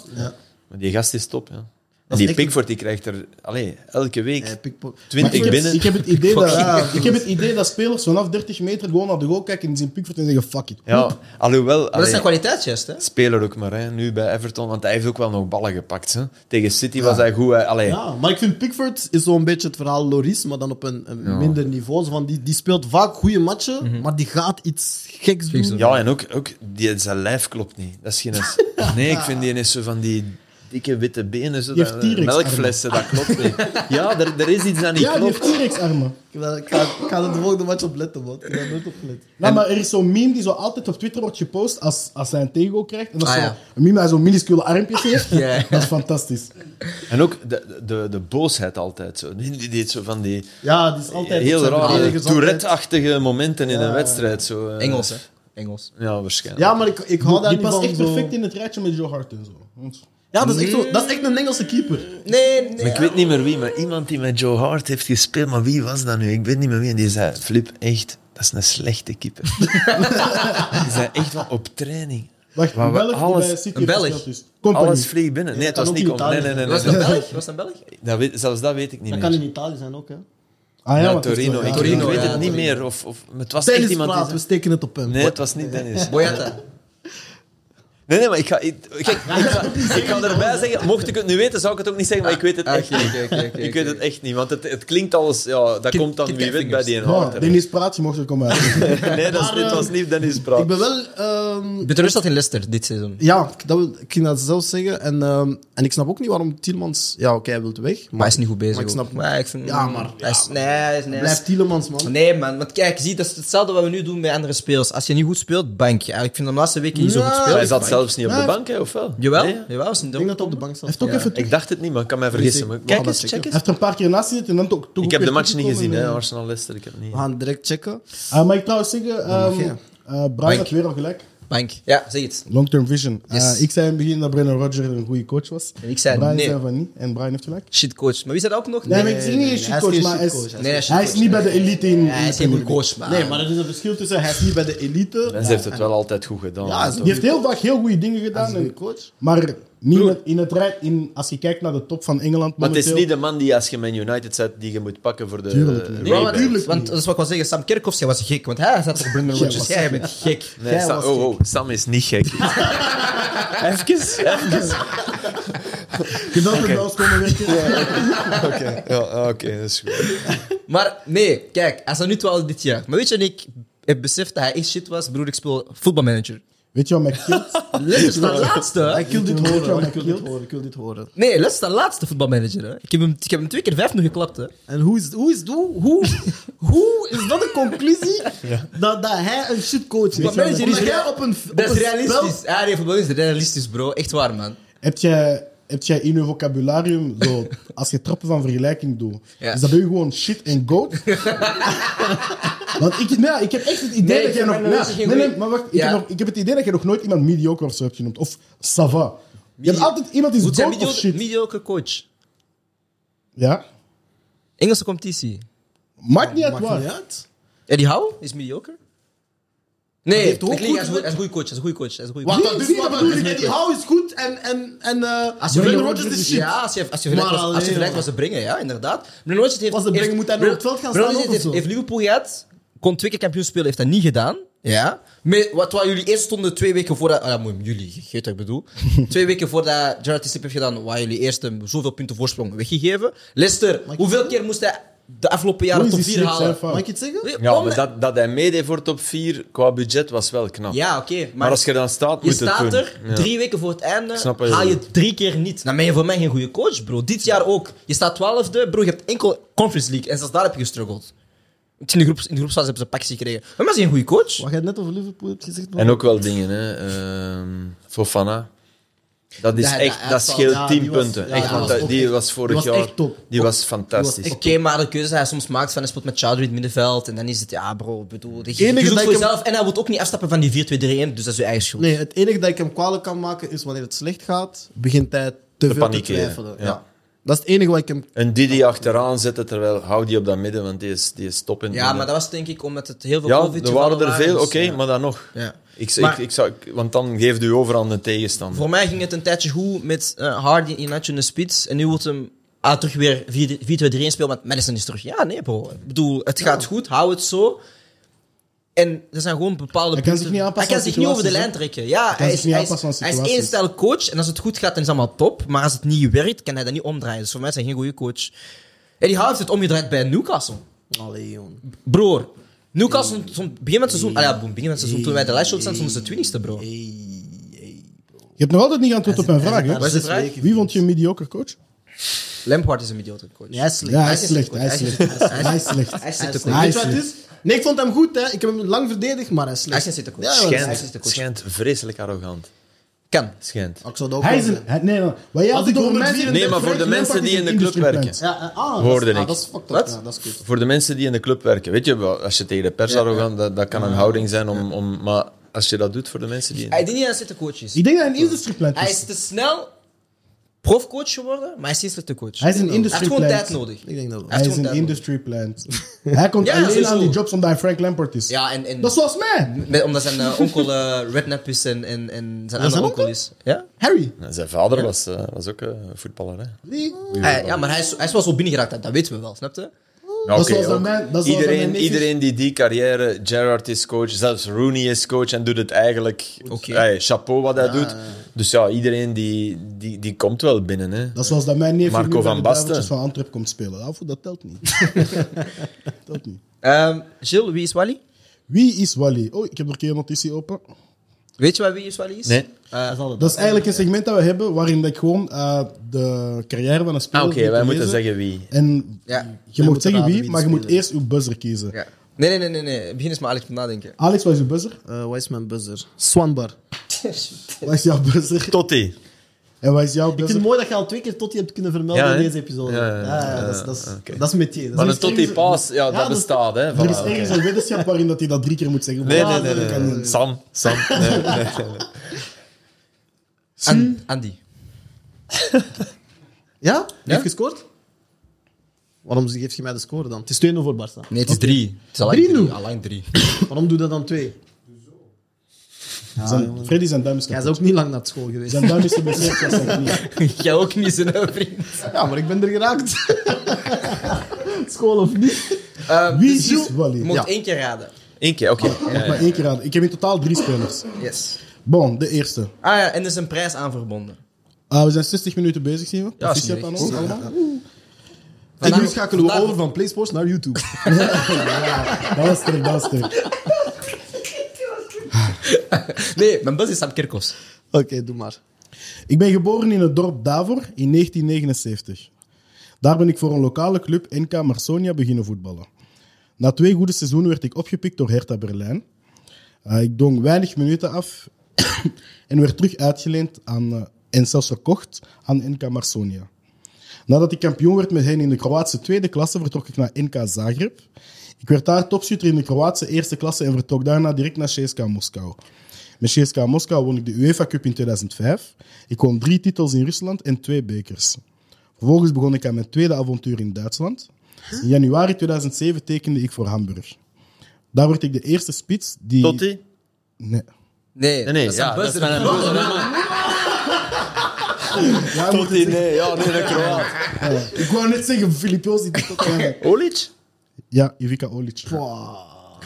S2: Maar die gast is top. Ja. En
S1: is
S2: die
S1: echt
S2: Pickford die krijgt er allee, elke week
S1: Eh, Pickpo-
S2: 20
S4: ik,
S2: binnen.
S4: Heb, ik, heb het idee dat,
S1: Ja.
S4: ik heb het idee dat spelers vanaf 30 meter gewoon naar de goal kijken en zien Pickford en zeggen fuck it.
S2: ja, alhoewel,
S3: Maar dat
S2: allee,
S3: zijn kwaliteitsjes, hè?
S2: speler ook maar. Hè, nu bij Everton, want hij heeft ook wel nog ballen gepakt. Hè. Tegen City was hij goed. Hè, allee,
S1: Ja, maar ik vind Pickford is zo'n beetje het verhaal Loris, maar dan op een, een minder niveau. Zo van die, die speelt vaak goede matchen, maar die gaat iets geks doen.
S2: Ja, en ook, ook die, zijn lijf klopt niet. Dat is geen... Nee, ik vind die is zo van die dikke witte benen. Zo,
S4: Die heeft
S2: dat-
S4: T-Rex
S2: melkflessen, dat klopt niet. Ja, er, er is iets dat niet
S4: Ja, die
S2: klopt.
S4: heeft T-Rex-armen.
S1: Ik ga- Ik ga- ik ga er de volgende match op letten, man. Ik ga er nooit op letten.
S4: Nou, maar er is zo'n meme die zo altijd op Twitter wordt gepost als, als hij een tego krijgt. En dat is
S3: Ah,
S4: zo,
S3: ja.
S4: een meme dat zo'n minuscule armpjes heeft.
S3: Ja.
S4: Dat is fantastisch.
S2: En ook de, de, de boosheid altijd. Zo. Die die deed zo van die
S1: Ja, die is altijd...
S2: heel
S1: zijn
S2: rare
S1: verdedigers altijd-
S2: Tourette-achtige momenten in
S1: Ja.
S2: een wedstrijd. Zo, eh.
S3: Engels, hè? Engels.
S2: Ja, waarschijnlijk.
S1: Ja, maar ik, ik hou daar
S4: die
S1: niet
S4: past
S1: van.
S4: echt
S1: zo.
S4: perfect in het rijtje met Joe Hart en zo. Want-
S1: Ja, dat is, echt zo, dat is echt een Engelse keeper.
S3: Nee, nee.
S2: Maar ik weet niet meer wie, maar iemand die met Joe Hart heeft gespeeld, maar wie was dat nu? Ik weet niet meer wie. En die zei, Flip, echt, dat is een slechte keeper. die zei echt van, op training.
S4: Wacht,
S2: Maar
S4: een
S2: we-
S4: Belg
S2: alles-
S4: die bij City
S3: een Belg.
S4: gespeeld is. Company.
S2: Alles vliegt binnen. Nee, het
S1: dat
S2: was
S1: kan
S2: niet...
S1: ook
S2: Kom,
S1: in
S2: nee, nee,
S1: Italië.
S2: nee.
S3: Was
S2: nee.
S3: dat Belg? Was dat Belg?
S2: Dat weet, zelfs dat weet ik niet
S1: Dat
S2: meer.
S1: kan in Italië zijn ook, hè.
S4: Ah,
S2: Ja,
S4: ja, want het is
S2: Torino.
S4: wel-
S2: Ik,
S3: Torino,
S2: ik weet
S3: ja,
S2: het niet
S3: Torino.
S2: meer. Of, of, maar het was echt
S1: Dennis
S2: iemand die...
S1: Plaat, we steken het op hem.
S2: Nee, het was niet Dennis.
S3: Boyata.
S2: Nee, nee, maar ik ga, ik, kijk, ik, ga, ik ga erbij zeggen, mocht ik het nu weten, zou ik het ook niet zeggen, maar ik weet het
S3: Ah,
S2: echt
S3: Oké,
S2: niet.
S3: oké, oké, oké.
S2: Ik weet het echt niet, want het, het klinkt als... Ja, dat
S3: Kit-
S2: komt dan
S3: Kit
S2: wie
S3: Kat
S2: weet bij
S3: vingers.
S2: die een
S4: Oh,
S2: Hart.
S4: Dennis Praat, je mocht er komen uit.
S2: Nee, dat is, dit
S3: eh,
S2: was niet Dennis Praat.
S1: Ik ben wel... ehm,
S3: De rust zat in Leicester dit seizoen.
S1: ja, ik- dat, wil- ik ging dat zelf zeggen. En, ehm, en ik snap ook niet waarom Tielemans... Ja, oké, hij wil weg.
S3: Maar hij is niet goed bezig.
S1: Maar ik snap...
S3: ook. Maar ik vind,
S1: Ja, maar-
S3: Hij is, nee, hij is, nee, hij is-
S1: Blijft Tielemans, man.
S3: nee, man. Want kijk, zie, dat is hetzelfde wat we nu doen met andere spelers. Als je niet goed speelt, bank je. Ik vind hem de laatste weken niet zo
S1: Ja.
S3: goed spelen.
S2: Hij zat
S3: Bank.
S2: zelfs niet op de
S1: Nee.
S2: bank, hè, of wel?
S3: Jawel,
S2: Nee?
S3: jawel. Was niet
S1: Ik denk dat hij op de bank staat.
S4: Hij heeft ook even...
S2: Ik dacht het niet, maar ik kan mij vergissen. Maar kijk eens, check
S4: Hij
S2: eens.
S4: heeft er een paar keer naast zitten en dan toch... toch
S2: Ik
S4: ook
S2: heb de
S4: weer
S2: match niet
S4: teruggekomen
S2: gezien,
S4: en-
S2: hè, Arsenal-Leicester. Ik heb het niet.
S1: We gaan direct checken.
S4: Ah, maar ik trouwens zeggen, ehm
S1: mag je.
S4: eh, Brian
S3: Mike.
S4: had weer al gelijk.
S3: Bank. Ja, zeg het.
S4: Long-term vision. Eh,
S3: Yes.
S4: ik zei in het begin dat Brennan Rodgers een goede coach was.
S3: En ik zei
S4: Brian
S3: nee.
S4: zei van niet en Brian heeft gelijk.
S3: Shit coach. Maar wie zei dat ook nog?
S4: Nee, maar ik zeg niet
S1: nee,
S4: een
S1: hij is
S4: shitcoach,
S1: geen
S4: maar hij is,
S1: shitcoach, hij
S3: Nee, hij is
S4: hij is
S3: shitcoach.
S4: niet bij de elite in...
S3: Ja, hij is
S4: in
S3: geen
S4: de
S3: goede
S4: Premier
S3: coach, maar...
S1: Nee, maar er is een verschil tussen hij is niet bij de elite.
S2: Lens heeft het wel altijd goed gedaan.
S1: Ja, hij is
S4: League. Die heeft heel vaak heel goede dingen
S1: Hij is
S4: gedaan.
S1: een goede
S4: en-
S1: coach.
S4: maar niet met- in het rij, in, als je kijkt naar de top van Engeland
S2: maar het is
S4: momenteel-
S2: niet de man die als je Man United zet, die je moet pakken voor de...
S4: Tuurlijk niet.
S2: eh,
S4: Nee,
S3: Ja,
S2: way
S3: maar-
S2: back.
S4: tuurlijk
S3: want
S4: niet.
S3: dat is wat ik wil zeggen. Sam Kerkhoff, jij was gek. Want hij zat op Brendan Rodgers. Jij bent gek.
S2: Nee, Sam, oh, oh, Sam is niet gek. even, even.
S4: Je dacht dat wel eens komen werken.
S2: Oké, ja, ah, oké, dat is goed.
S3: Maar nee, kijk. Hij zat nu 12 dit jaar. Maar weet je, en ik heb beseft dat hij echt shit was. Broer, ik speel voetbalmanager.
S4: Weet je wat mij kilt?
S3: Leicester, de laatste.
S1: Ik wil dit
S4: Weet je wat
S1: horen,
S4: mij
S1: Eh, ik wil
S4: kilt?
S1: dit horen, ik wil dit horen.
S3: Nee, Leicester, de laatste voetbalmanager. Hè. Ik, heb hem, ik heb hem twee keer vijf nog geklapt. Hè.
S1: En hoe is, hoe is, hoe, hoe, hoe is dat de conclusie dat, dat hij een shitcoach is?
S3: Maar manager is
S1: Omdat jij
S3: rea-
S1: op een, op
S3: Dat
S1: een
S3: is
S1: spel...
S3: realistisch. Ja, nee, voetbal is realistisch, bro. Echt waar, man.
S4: Heb jij, heb jij in je vocabularium, zo, als je trappen van vergelijking doet,
S3: Ja.
S4: is dat bij u gewoon shit en goat? Want ik, nee, ik heb echt het idee
S3: Nee, ik
S4: dat jij
S3: vind
S4: nog...
S3: mijn
S4: nee,
S3: analyse geen
S4: nee, nee,
S3: goeie.
S4: maar wacht. Ik,
S3: Ja.
S4: heb nog, ik heb het idee dat je nog nooit iemand mediocre of zo hebt genoemd. Of sava. Je hebt altijd iemand die
S3: Goed,
S4: is
S3: zijn
S4: goat
S3: medio-
S4: of shit.
S3: mediocre coach.
S4: Ja?
S3: Engelse competitie.
S4: Maakt niet uit
S1: Maakt
S4: waar.
S1: niet uit.
S3: Eddie Howe is mediocre. Nee,
S1: heeft
S3: heeft
S1: ook
S3: hij
S1: goed
S3: is
S1: met-
S3: een goe- hij is een goede coach. Hij is een goede coach. Hij is een goede
S1: Wacht,
S3: coach.
S1: dat is wat bedoel ik. Eddie Howe is goed en, en, en eh, Brendan Rodgers is shit.
S3: Ja, als je, als je vergelijkt
S1: Maar
S3: was, als je
S1: alleen,
S3: vergelijkt was
S1: man.
S3: ze brengen, ja, inderdaad. Brendan Rodgers heeft...
S1: Was ze brengen,
S3: heeft-
S1: moet hij nog op het veld gaan
S3: Brendan
S1: staan
S3: Rodgers
S1: ook of
S3: heeft,
S1: zo?
S3: heeft Liverpool gehad, kon twee keer kampioen spelen, heeft dat niet gedaan. Ja. Met wat, wat jullie eerst stonden twee weken voordat... Ah, ja, moet- jullie, je weet wat ik bedoel. twee weken voordat Gerard Tissiep heeft gedaan, waar jullie eerst hem zoveel punten voorsprong weggegeven. Leicester, hoeveel keer moest hij de afgelopen jaren
S4: Hoe
S3: top
S4: is die
S3: 4
S4: shit zijn
S3: halen?
S4: fout?
S1: Mag ik iets zeggen?
S2: Ja,
S3: Om-
S2: maar dat, dat hij meedeed voor top 4 qua budget was wel knap.
S3: Ja, oké. maar,
S2: maar als je dan staat,
S3: je
S2: moet het
S3: staat
S2: doen.
S3: er
S2: Ja.
S3: drie weken voor het einde,
S2: snap wat je
S3: haal je
S2: bedoelt.
S3: drie keer niet. Dan ben je voor mij geen goede coach, bro. Dit jaar ook. Je staat twaalfde, bro. Je hebt enkel Conference League. En zelfs daar heb je gestruggeld. In de, groep, in de groepsfase hebben ze een pakje gekregen. Maar mensen zijn een goede coach.
S1: Wat jij net over Liverpool hebt gezegd, man.
S2: En ook wel dingen, hè. ehm, Fofana. Dat is
S3: Ja,
S2: echt,
S3: ja,
S2: dat
S3: ja,
S2: scheelt
S1: ja,
S2: 10
S1: die was-
S2: punten.
S1: ja,
S2: echt,
S1: ja,
S2: want
S1: was
S2: dat-
S1: ook
S2: die
S1: echt-
S2: was vorig
S1: die was
S2: jaar.
S1: echt top.
S2: Die was fantastisch.
S1: Die was
S3: Oké, maar de keuze die hij soms maakt van hij speelt met Chadri in het middenveld. En dan is het, ja bro, ik bedoel, je, je
S1: Enige
S3: doet
S1: dat
S3: het
S1: ik
S3: voor
S1: hem-
S3: jezelf. En hij moet ook niet afstappen van die 4-2-3-1, dus dat is je eigen schuld.
S1: Nee, het enige dat ik hem kwalijk kan maken is wanneer het slecht gaat, begint hij te veel
S2: panikeren,
S1: te twijfelen. Ja.
S2: ja.
S1: Dat is het enige wat ik hem...
S2: En die die achteraan zetten, terwijl hou die op dat midden, want die is, die is top in het
S3: Ja,
S2: midden.
S3: maar dat was denk ik omdat het heel veel
S2: Ja,
S3: COVID
S2: er waren
S3: gevallen
S2: er veel, oké,
S3: dus, ja.
S2: maar dan nog.
S3: Ja.
S2: Ik,
S3: Maar-
S2: ik, ik zou, ik- want dan geeft u over aan de tegenstander.
S3: Voor mij ging het een tijdje goed met eh, Hardy in Natje in de spits. En nu wordt hem ah, terug weer 4-2-3-1 spelen, want Madison is terug. Ja, nee, bro. Ik bedoel, het gaat goed, hou het zo. En er zijn gewoon bepaalde...
S4: Hij kan zich
S3: punten-
S4: niet aanpassen
S3: Hij
S4: aan
S3: kan zich niet over de
S4: situaties,
S3: lijn trekken. Ja, hij
S4: zich
S3: is,
S4: niet
S3: hij, is,
S4: aanpassen aan
S3: hij is
S4: situaties.
S3: één stijl coach. En als het goed gaat, dan is het allemaal top. Maar als het niet werkt, kan hij dat niet omdraaien. Dus voor mij is hij geen goede coach. En die heeft het omgedraaid bij Newcastle.
S1: Allee, jongen.
S3: Broer, Newcastle stond begin van het seizoen... Ah ja, begin van het seizoen, toen wij de lijst stonden, stonden ze twintigste, bro.
S1: Hey, hey.
S4: Je hebt nog altijd niet antwoord op mijn vraag.
S1: Daar
S4: hè?
S1: zes
S3: vraag?
S1: weken
S4: Wie vond je een mediocre coach?
S3: Lampard is een idiote coach.
S1: Nee, hij is slecht.
S4: Ja, hij
S1: Hij
S4: is slecht. Hij is slecht. Hij is slecht.
S3: Hij is
S1: is
S3: de
S1: slecht.
S3: coach.
S4: Hij
S1: Weet
S4: is
S1: je wat het is? Nee, ik vond hem goed. Hè. Ik heb hem lang verdedigd, maar hij is
S3: Hij
S1: slecht.
S3: is een zittercoach.
S1: Ja, want-
S3: Hij is
S2: Schijnt,
S3: de coach.
S2: schijnt vreselijk arrogant.
S3: Kan.
S2: Schijnt.
S1: Ik zou dat ook
S4: Hij is
S1: wel
S4: een... hij- Nee, nee. Wat jij
S1: Als
S4: altijd
S1: ik
S4: over
S1: hoor
S4: mensen-
S1: mensen-
S2: Nee, maar voor de mensen die in de club werken.
S1: Ja, eh, ah,
S2: Hoorde
S1: dat is, ah,
S2: ik.
S1: dat is fucked up.
S3: Wat?
S1: Ja, dat is kut.
S2: Voor de mensen die in de club werken, weet je, wel, als je tegen de pers arrogant, dat, dat kan een houding zijn om, om... Maar als je dat doet voor de mensen die... in-
S3: Ik denk niet dat hij een zittercoach is.
S4: Ik denk dat hij een industrieplant
S3: Hij
S4: is.
S3: is te snel profcoach geworden, maar hij is geen slechte coach.
S4: Hij is een
S3: Hij heeft gewoon
S4: industrieplant.
S3: tijd nodig.
S1: Ik denk dat wel.
S4: Hij is
S3: gewoon
S4: een
S3: daarom.
S4: industry plant. hij komt
S3: Ja,
S4: alleen
S3: sowieso.
S4: aan die jobs omdat hij Frank Lampard is.
S3: Ja, en, en
S4: Dat is zoals mij.
S3: met- omdat zijn eh, onkel eh, rednap is en, en, en zijn andere
S1: zijn
S3: onkel
S1: onkel?
S3: is. Ja?
S1: Harry.
S2: Nou, Zijn vader was, eh, was ook eh, voetballer, hè?
S1: Wie?
S3: Hij- ja, maar hij is, hij is wel zo binnengeraakt, dat, dat weten we wel, snap je?
S2: Nou,
S4: Dat is
S2: oké,
S4: zoals
S2: ook
S4: dat mijn- dat is zoals dat mijn
S2: iedereen,
S4: neefjes-
S2: iedereen die die carrière, Gerrard is coach, zelfs Rooney is coach en doet het eigenlijk.
S3: Oké.
S2: Hey, chapeau wat hij doet. Dus ja, iedereen die, die, die komt wel binnen. Hè.
S4: Dat is zoals dat mijn neef
S2: Marco
S4: nu bij
S2: van
S4: de
S2: Basten.
S4: Duiveltjes van Antwerp komt spelen. Nou, voor dat telt niet. dat telt niet.
S3: Ehm Gilles, wie is Wally?
S4: Wie is Wally? Oh, ik heb nog een keer een notitie open.
S3: Weet je wat wie is Wally is?
S4: Ah,
S2: Nee.
S3: Eh,
S4: Dat is eigenlijk een segment dat we hebben waarin dat ik gewoon eh, de carrière van een
S2: Ah,
S4: speler...
S2: oké,
S4: moet
S2: wij moeten
S4: lezen.
S2: zeggen wie.
S4: En
S3: ja.
S4: je moet
S1: moeten
S4: zeggen
S1: raden
S4: wie,
S1: wie
S4: maar je
S1: de
S4: moet
S1: speler
S4: eerst uw buzzer kiezen.
S3: ja. Nee, nee, nee, nee, nee. Begin eens maar Alex te nadenken.
S4: Alex, wat is uw buzzer?
S1: Eh, Wat is mijn buzzer? Swanbar.
S4: Wat is jouw buzzer?
S2: Totti.
S4: En wat is jouw
S1: Ik vind
S4: buzzer?
S1: het mooi dat je al twee keer Totti hebt kunnen vermelden
S2: Ja,
S1: in
S2: hè?
S1: deze episode.
S2: Ja,
S1: Ja,
S2: ja, ja,
S1: dat is- dat is-
S2: oké.
S1: dat is metier. Dat
S2: Maar
S1: is
S2: een Totti pass, ja, dat
S1: dat is-
S2: bestaat. Hè,
S4: Er is
S2: Voilà, oké.
S4: ergens een wetenschap waarin dat hij dat drie keer moet zeggen.
S2: Nee,
S4: Voilà,
S2: nee, nee,
S4: dat
S2: nee,
S4: kan
S2: nee.
S4: niet.
S2: Sam. Sam. Nee, nee, nee, nee.
S3: An- Andy.
S1: Ja? Wie
S3: Ja?
S1: heeft gescoord? Waarom geef je mij de score dan? Het is 2-0 voor Barça.
S3: Nee, het is drie. Het is al lang
S1: Drie
S3: drie.
S1: nu?
S3: al lang drie.
S1: Waarom doe je dat dan 2?
S2: Ah,
S4: Zijn- Freddy zijn duim is
S1: Jij is
S4: kapot.
S1: ook niet lang naar school geweest.
S4: Zijn duim is geblesseerd, dat zijn knie.
S3: Jij ook niet zo'n vriend.
S1: Ja, maar ik ben er geraakt. school of niet?
S3: Ehm,
S4: Wie
S3: dus Gilles,
S4: is Wally?
S3: Je moet
S1: Ja.
S3: één keer raden.
S2: Eén keer, oké.
S4: Ik
S2: Ja,
S4: mag maar één keer raden. Ik heb in totaal drie spelers.
S3: Yes.
S4: Bon, de eerste.
S3: Ah ja, en er is een prijs aan verbonden.
S4: Ah, we zijn 60 minuten bezig, zien we.
S3: Ja,
S4: Proficiat
S3: zie
S4: aan
S3: je.
S4: ons allemaal.
S1: En
S3: Vandaag-
S1: nu schakelen we
S3: vandaag-
S1: over van PlaySports naar YouTube.
S4: Dat was sterk, dat was sterk.
S3: Nee, mijn bus is Sam Kerkos.
S1: Oké, doe maar.
S4: Ik ben geboren in het dorp Davor in 1979. Daar ben ik voor een lokale club NK Marsonia beginnen voetballen. Na twee goede seizoenen werd ik opgepikt door Hertha Berlijn. Eh, ik dong weinig minuten af en werd terug uitgeleend aan, eh, en zelfs verkocht aan NK Marsonia. Nadat ik kampioen werd met hen in de Kroatische tweede klasse, vertrok ik naar NK Zagreb. Ik werd daar topschutter in de Kroatische eerste klasse en vertrok daarna direct naar CSKA Moskou. Met CSKA Moskou won ik de UEFA Cup in 2005. Ik won drie titels in Rusland en twee bekers. Vervolgens begon ik aan mijn tweede avontuur in Duitsland. In januari 2007 tekende ik voor Hamburg. Daar werd ik de eerste spits die...
S2: Totti?
S4: Nee.
S3: Nee,
S2: Nee, nee.
S3: dat is
S2: Ja,
S3: een bus.
S2: dat is mijn broer.
S4: Ja, moet
S2: Totti, nee. Ja, nee, dat Kroaat.
S4: zeggen. Ik wou net zeggen, Filip Joos die doet dat wel.
S2: Olic?
S4: Ja, Ivica Olic.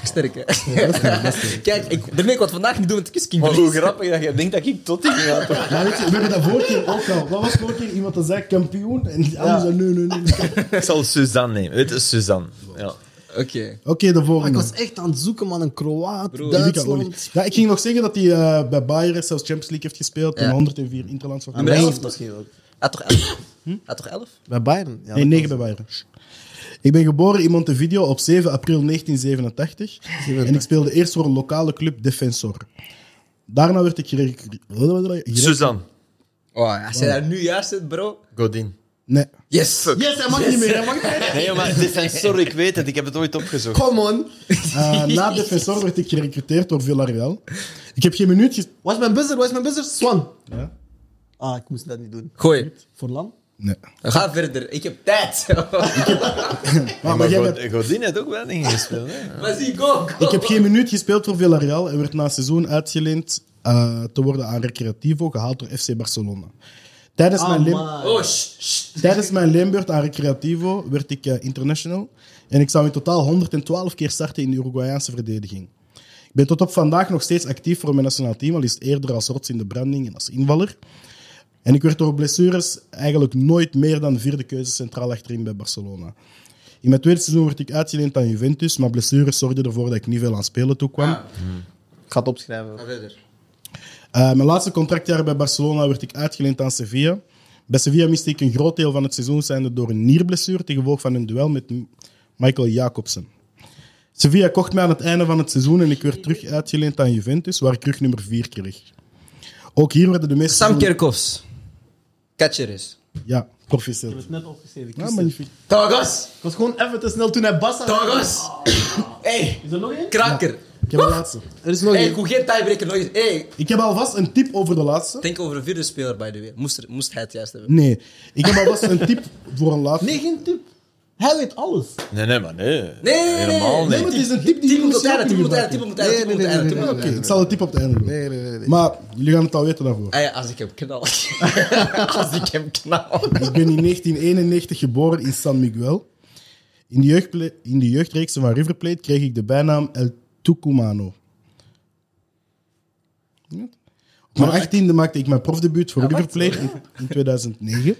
S3: Sterk, hè? Kijk, ik, daarmee ik wat vandaag niet doen, want ik is King
S2: Maar hoe grappig dat je denkt dat ik Totti ging helpen.
S4: Ja, weet je, we hebben dat vorige keer ook al. Wat was vorige keer iemand dat zei kampioen? En die andere zei nee, nee, nee. Oké,
S2: Ik zal Suzanne nemen. Dit is Suzanne. Ja.
S3: Oké.
S4: de
S1: Maar ik
S4: volgende.
S1: was echt aan het zoeken, man. Een Kroaat,
S4: Ivica Olic.
S1: Duitsland.
S4: Ja, ik ging nog zeggen dat hij eh, bij Bayern zelfs Champions League heeft gespeeld. En
S3: Ja.
S4: 104 interlands. voor-
S1: Nummer 11 misschien ook.
S3: Had toch elf?
S4: Hm?
S3: Had toch elf?
S1: Bij Bayern? Ja,
S4: Nee,
S1: dat
S4: 9 bij Bayern. Ik ben geboren in Montevideo op 7 april 1987. En ik speelde eerst voor een lokale club Defensor. Daarna werd ik gere- gere- gere-
S2: Suzanne.
S3: Oh, als jij daar nu juist zit, bro.
S2: Godin.
S4: Nee.
S3: Yes.
S1: kan. Yes, hij mag niet meer. Hij mag niet meer.
S2: Nee, maar Defensor, ik weet het. Ik heb het ooit opgezocht.
S1: Come on.
S4: Eh, na Defensor werd ik gerecruiteerd door Villarreal. Ik heb geen minuut ges-
S1: Wat is mijn buzzer? Wat is mijn buzzer? Swan.
S4: Ja.
S1: Ah, ik moest dat niet doen.
S3: Gooi.
S1: Voor Lam?
S4: Nee.
S3: Ga verder. Ik heb tijd.
S4: Maar,
S2: Maar
S4: maar jij
S2: God-
S4: bent-
S2: Godin heeft ook wel dingen gespeeld. Hè?
S3: Maar zie, go, go.
S4: Ik heb geen minuut gespeeld voor Villarreal en werd na het seizoen uitgeleend eh, te worden aan Recreativo, gehaald door FC Barcelona. Tijdens,
S1: Ah,
S4: mijn, lim-
S3: Oh, shh, shh.
S4: tijdens mijn limbeurt aan Recreativo werd ik eh, international en ik zou in totaal 112 keer starten in de Uruguayaanse verdediging. Ik ben tot op vandaag nog steeds actief voor mijn nationaal team, al is het eerder als rots in de branding en als invaller. En ik werd door blessures eigenlijk nooit meer dan vierde keuze centraal achterin bij Barcelona. In mijn tweede seizoen werd ik uitgeleend aan Juventus, maar blessures zorgden ervoor dat ik niet veel aan spelen toekwam.
S3: Ah,
S1: Ik ga het opschrijven.
S3: ga verder.
S4: Eh, mijn laatste contractjaar bij Barcelona werd ik uitgeleend aan Sevilla. Bij Sevilla miste ik een groot deel van het seizoen zijnde door een nierblessure ten gevolge van een duel met M- Michael Jacobsen. Sevilla kocht mij aan het einde van het seizoen en ik werd terug uitgeleend aan Juventus, waar ik rug nummer 4 kreeg. Ook hier werden de meeste...
S3: Sam Kerkhoffs. Catcher is.
S4: Ja, proficiat.
S1: heb het net opgeschreven.
S4: Ja,
S1: Christen.
S4: magnifiek.
S3: Togos!
S1: Ik was gewoon even te snel toen hij Bassa...
S3: Togos! Hey,
S1: Is er nog één?
S3: kraker.
S4: Ik heb de laatste.
S1: Er is nog
S3: Hey, ik
S1: één.
S3: hoef geen tiebreaker nog eens. Hey,
S4: Ik heb alvast een tip over de laatste.
S3: denk over een vierde speler, by the way. Moest, er- moest hij het juist hebben.
S4: Nee, ik heb alvast een tip voor een laatste.
S1: Nee, geen tip. Hij weet alles.
S2: Nee, nee, maar nee.
S3: nee, nee.
S2: Helemaal
S4: Nee, maar
S2: niet.
S4: het is een tip
S3: Tip
S4: die jullie
S3: moet op het
S4: misschien
S3: einde,
S4: ook
S3: tip
S4: niet
S3: moet op het einde, tip
S4: gebruiken.
S3: moet op het einde, tip moet op het einde, tip moet op het
S4: Oké,
S3: einde.
S4: ik zal de tip op het einde doen.
S1: nee, nee, nee.
S4: Maar jullie gaan het al weten daarvoor.
S3: Hey, als ik hem knal. als ik hem knal.
S4: Dus Ik ben in 1991 geboren in San Miguel. In de, jeugdple- in de jeugdreeksen van River Plate kreeg ik de bijnaam El Tucumano. Ja. Op mijn 18e maakte ik mijn profdebuut voor River Plate in, in 2009.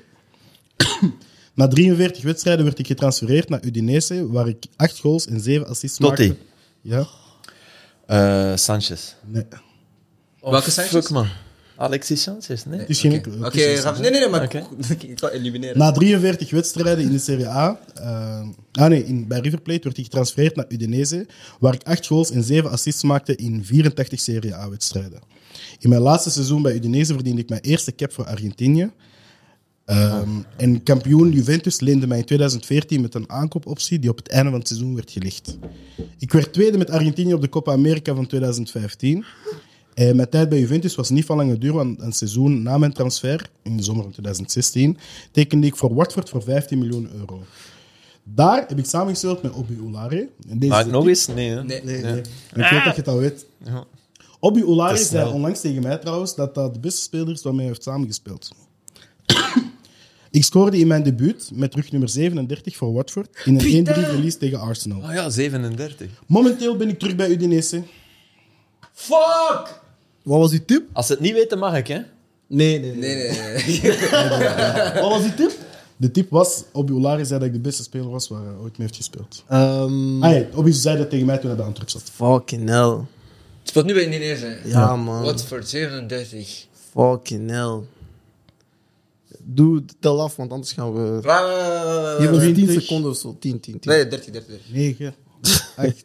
S4: Na 43 wedstrijden werd ik getransfereerd naar Udinese, waar ik 8 goals en 7 assists
S2: Totti.
S4: maakte. Ja?
S2: Eh, Sanchez.
S4: Nee.
S3: Welke Sanchez?
S2: Fuck, man. Alexis Sanchez, nee.
S4: Het is geen...
S3: Oké,
S4: het is geen-
S3: Raf- nee, nee, nee, maar
S2: Oké.
S3: ik- ik kan elimineren.
S4: Na 43 wedstrijden in de Serie A, eh, ah nee, in, bij River Plate werd hij getransfereerd naar Udinese, waar ik 8 goals en 7 assists maakte in 84 Serie A-wedstrijden. In mijn laatste seizoen bij Udinese verdiende ik mijn eerste cap voor Argentinië. Ehm, En kampioen Juventus leende mij in 2014 met een aankoopoptie die op het einde van het seizoen werd gelicht. Ik werd tweede met Argentinië op de Copa America van 2015. En mijn tijd bij Juventus was niet van lange duur, want een seizoen na mijn transfer, in de zomer van 2016, tekende ik voor Watford voor 15 miljoen euro. Daar heb ik samengesteld met Obi Ulare. En deze
S2: Maar
S4: is de
S2: nog
S4: tip.
S2: eens? Nee, hè?
S3: Nee.
S4: Nee, nee. Ik weet dat je het al weet. Obi Ulare zei onlangs tegen mij trouwens dat dat de beste speler is waarmee hij heeft samengespeeld. ik scoorde in mijn debuut met rug nummer 37 voor Watford in een 1-3 verlies tegen Arsenal.
S2: Oh ja, 37.
S4: Momenteel ben ik terug bij Udinese.
S3: Fuck!
S1: Wat was uw tip?
S2: Als ze het niet weten, mag ik, hè?
S1: Nee, nee,
S3: Nee,
S1: nee.
S3: nee, nee.
S1: Wat was uw tip?
S4: De tip was, Obi Ulare zei dat ik de beste speler was waar hij ooit mee heeft gespeeld.
S1: Ehm,
S4: Ah, ja, Obi zei dat tegen mij toen hij bij Antwerp zat.
S1: Fucking hell.
S3: Het wordt nu bij Indonesië.
S1: Ja, man.
S3: Wat voor 37.
S1: Fucking hell. Doe de tel af, want anders gaan we...
S3: Waar- waar- waar- waar- waar-
S1: Hier nog 10
S4: 20.
S1: seconden of zo. 10, 10, 10.
S3: Nee, 30, 30, 30.
S4: 9, 8,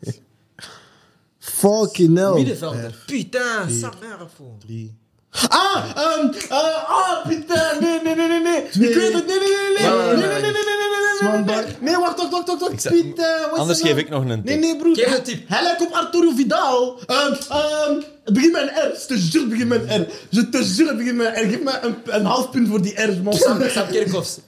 S1: Fucking hell.
S3: Middenvelder. Putain, sa mère, fool.
S4: 3.
S1: Ah, ehm, eh, ah, Pieter, nee, nee, nee, nee, nee. Ik weet het, nee, nee, nee, nee,
S3: Ja, ja, ja,
S1: nee, nee, nee, nee, nee,
S3: ja.
S1: nee, nee, nee, nee, nee, nee, nee, wacht, wacht, wacht, wacht, wacht,
S2: zeg-
S1: Piet, eh, wat is
S2: Anders
S1: zijn
S2: geef
S1: naam?
S2: ik nog een tip.
S1: Nee, nee, broer.
S3: Geef een tip.
S1: Hij lijkt op Arturo Vidal. Ehm, ehm, het begint met een R, je te jure, het begint met een R. Je te jure, het begint met een R. Geef mij een, een half punt voor die R, man.
S3: Sam Kerkhoffs.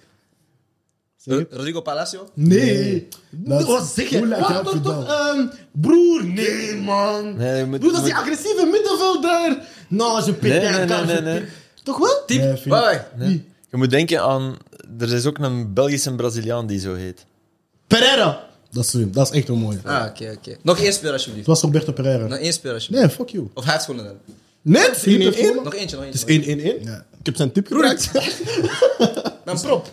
S3: Rodrigo Palacio.
S1: Nee.
S4: Dat is-
S1: Wat zeg je?
S4: Hoe lijkt hij op
S1: Wacht, wacht,
S4: Vidal?
S1: wacht, ehm, broer, nee, man.
S2: Nee, je moet-
S1: Broer, dat is die
S2: moet-
S1: agressieve middenvelder. Nou, je
S2: Nee,
S1: Pieter,
S2: nee,
S1: kan
S2: nee,
S1: je
S2: nee.
S1: Pieter. Toch wel?
S3: Tip.
S4: Nee,
S3: Bye
S4: vind ik-
S3: bye.
S2: Nee. Je moet denken aan... Er is ook een Belgische Braziliaan die zo heet.
S1: Pereira.
S4: Dat is, dat is echt een mooie.
S3: Ah, oké, oké. Nog één speler
S4: Het
S3: alsjeblieft.
S4: was Roberto Pereira.
S3: Nog één speler alsjeblieft.
S4: Nee, fuck you.
S3: Of hij heeft gewonnen dan.
S1: Net? 1-1-1?
S3: Nog eentje, nog eentje.
S1: Het is 1-1-1.
S4: Ja.
S1: Ik heb zijn tip gebruikt.
S3: Dan prop.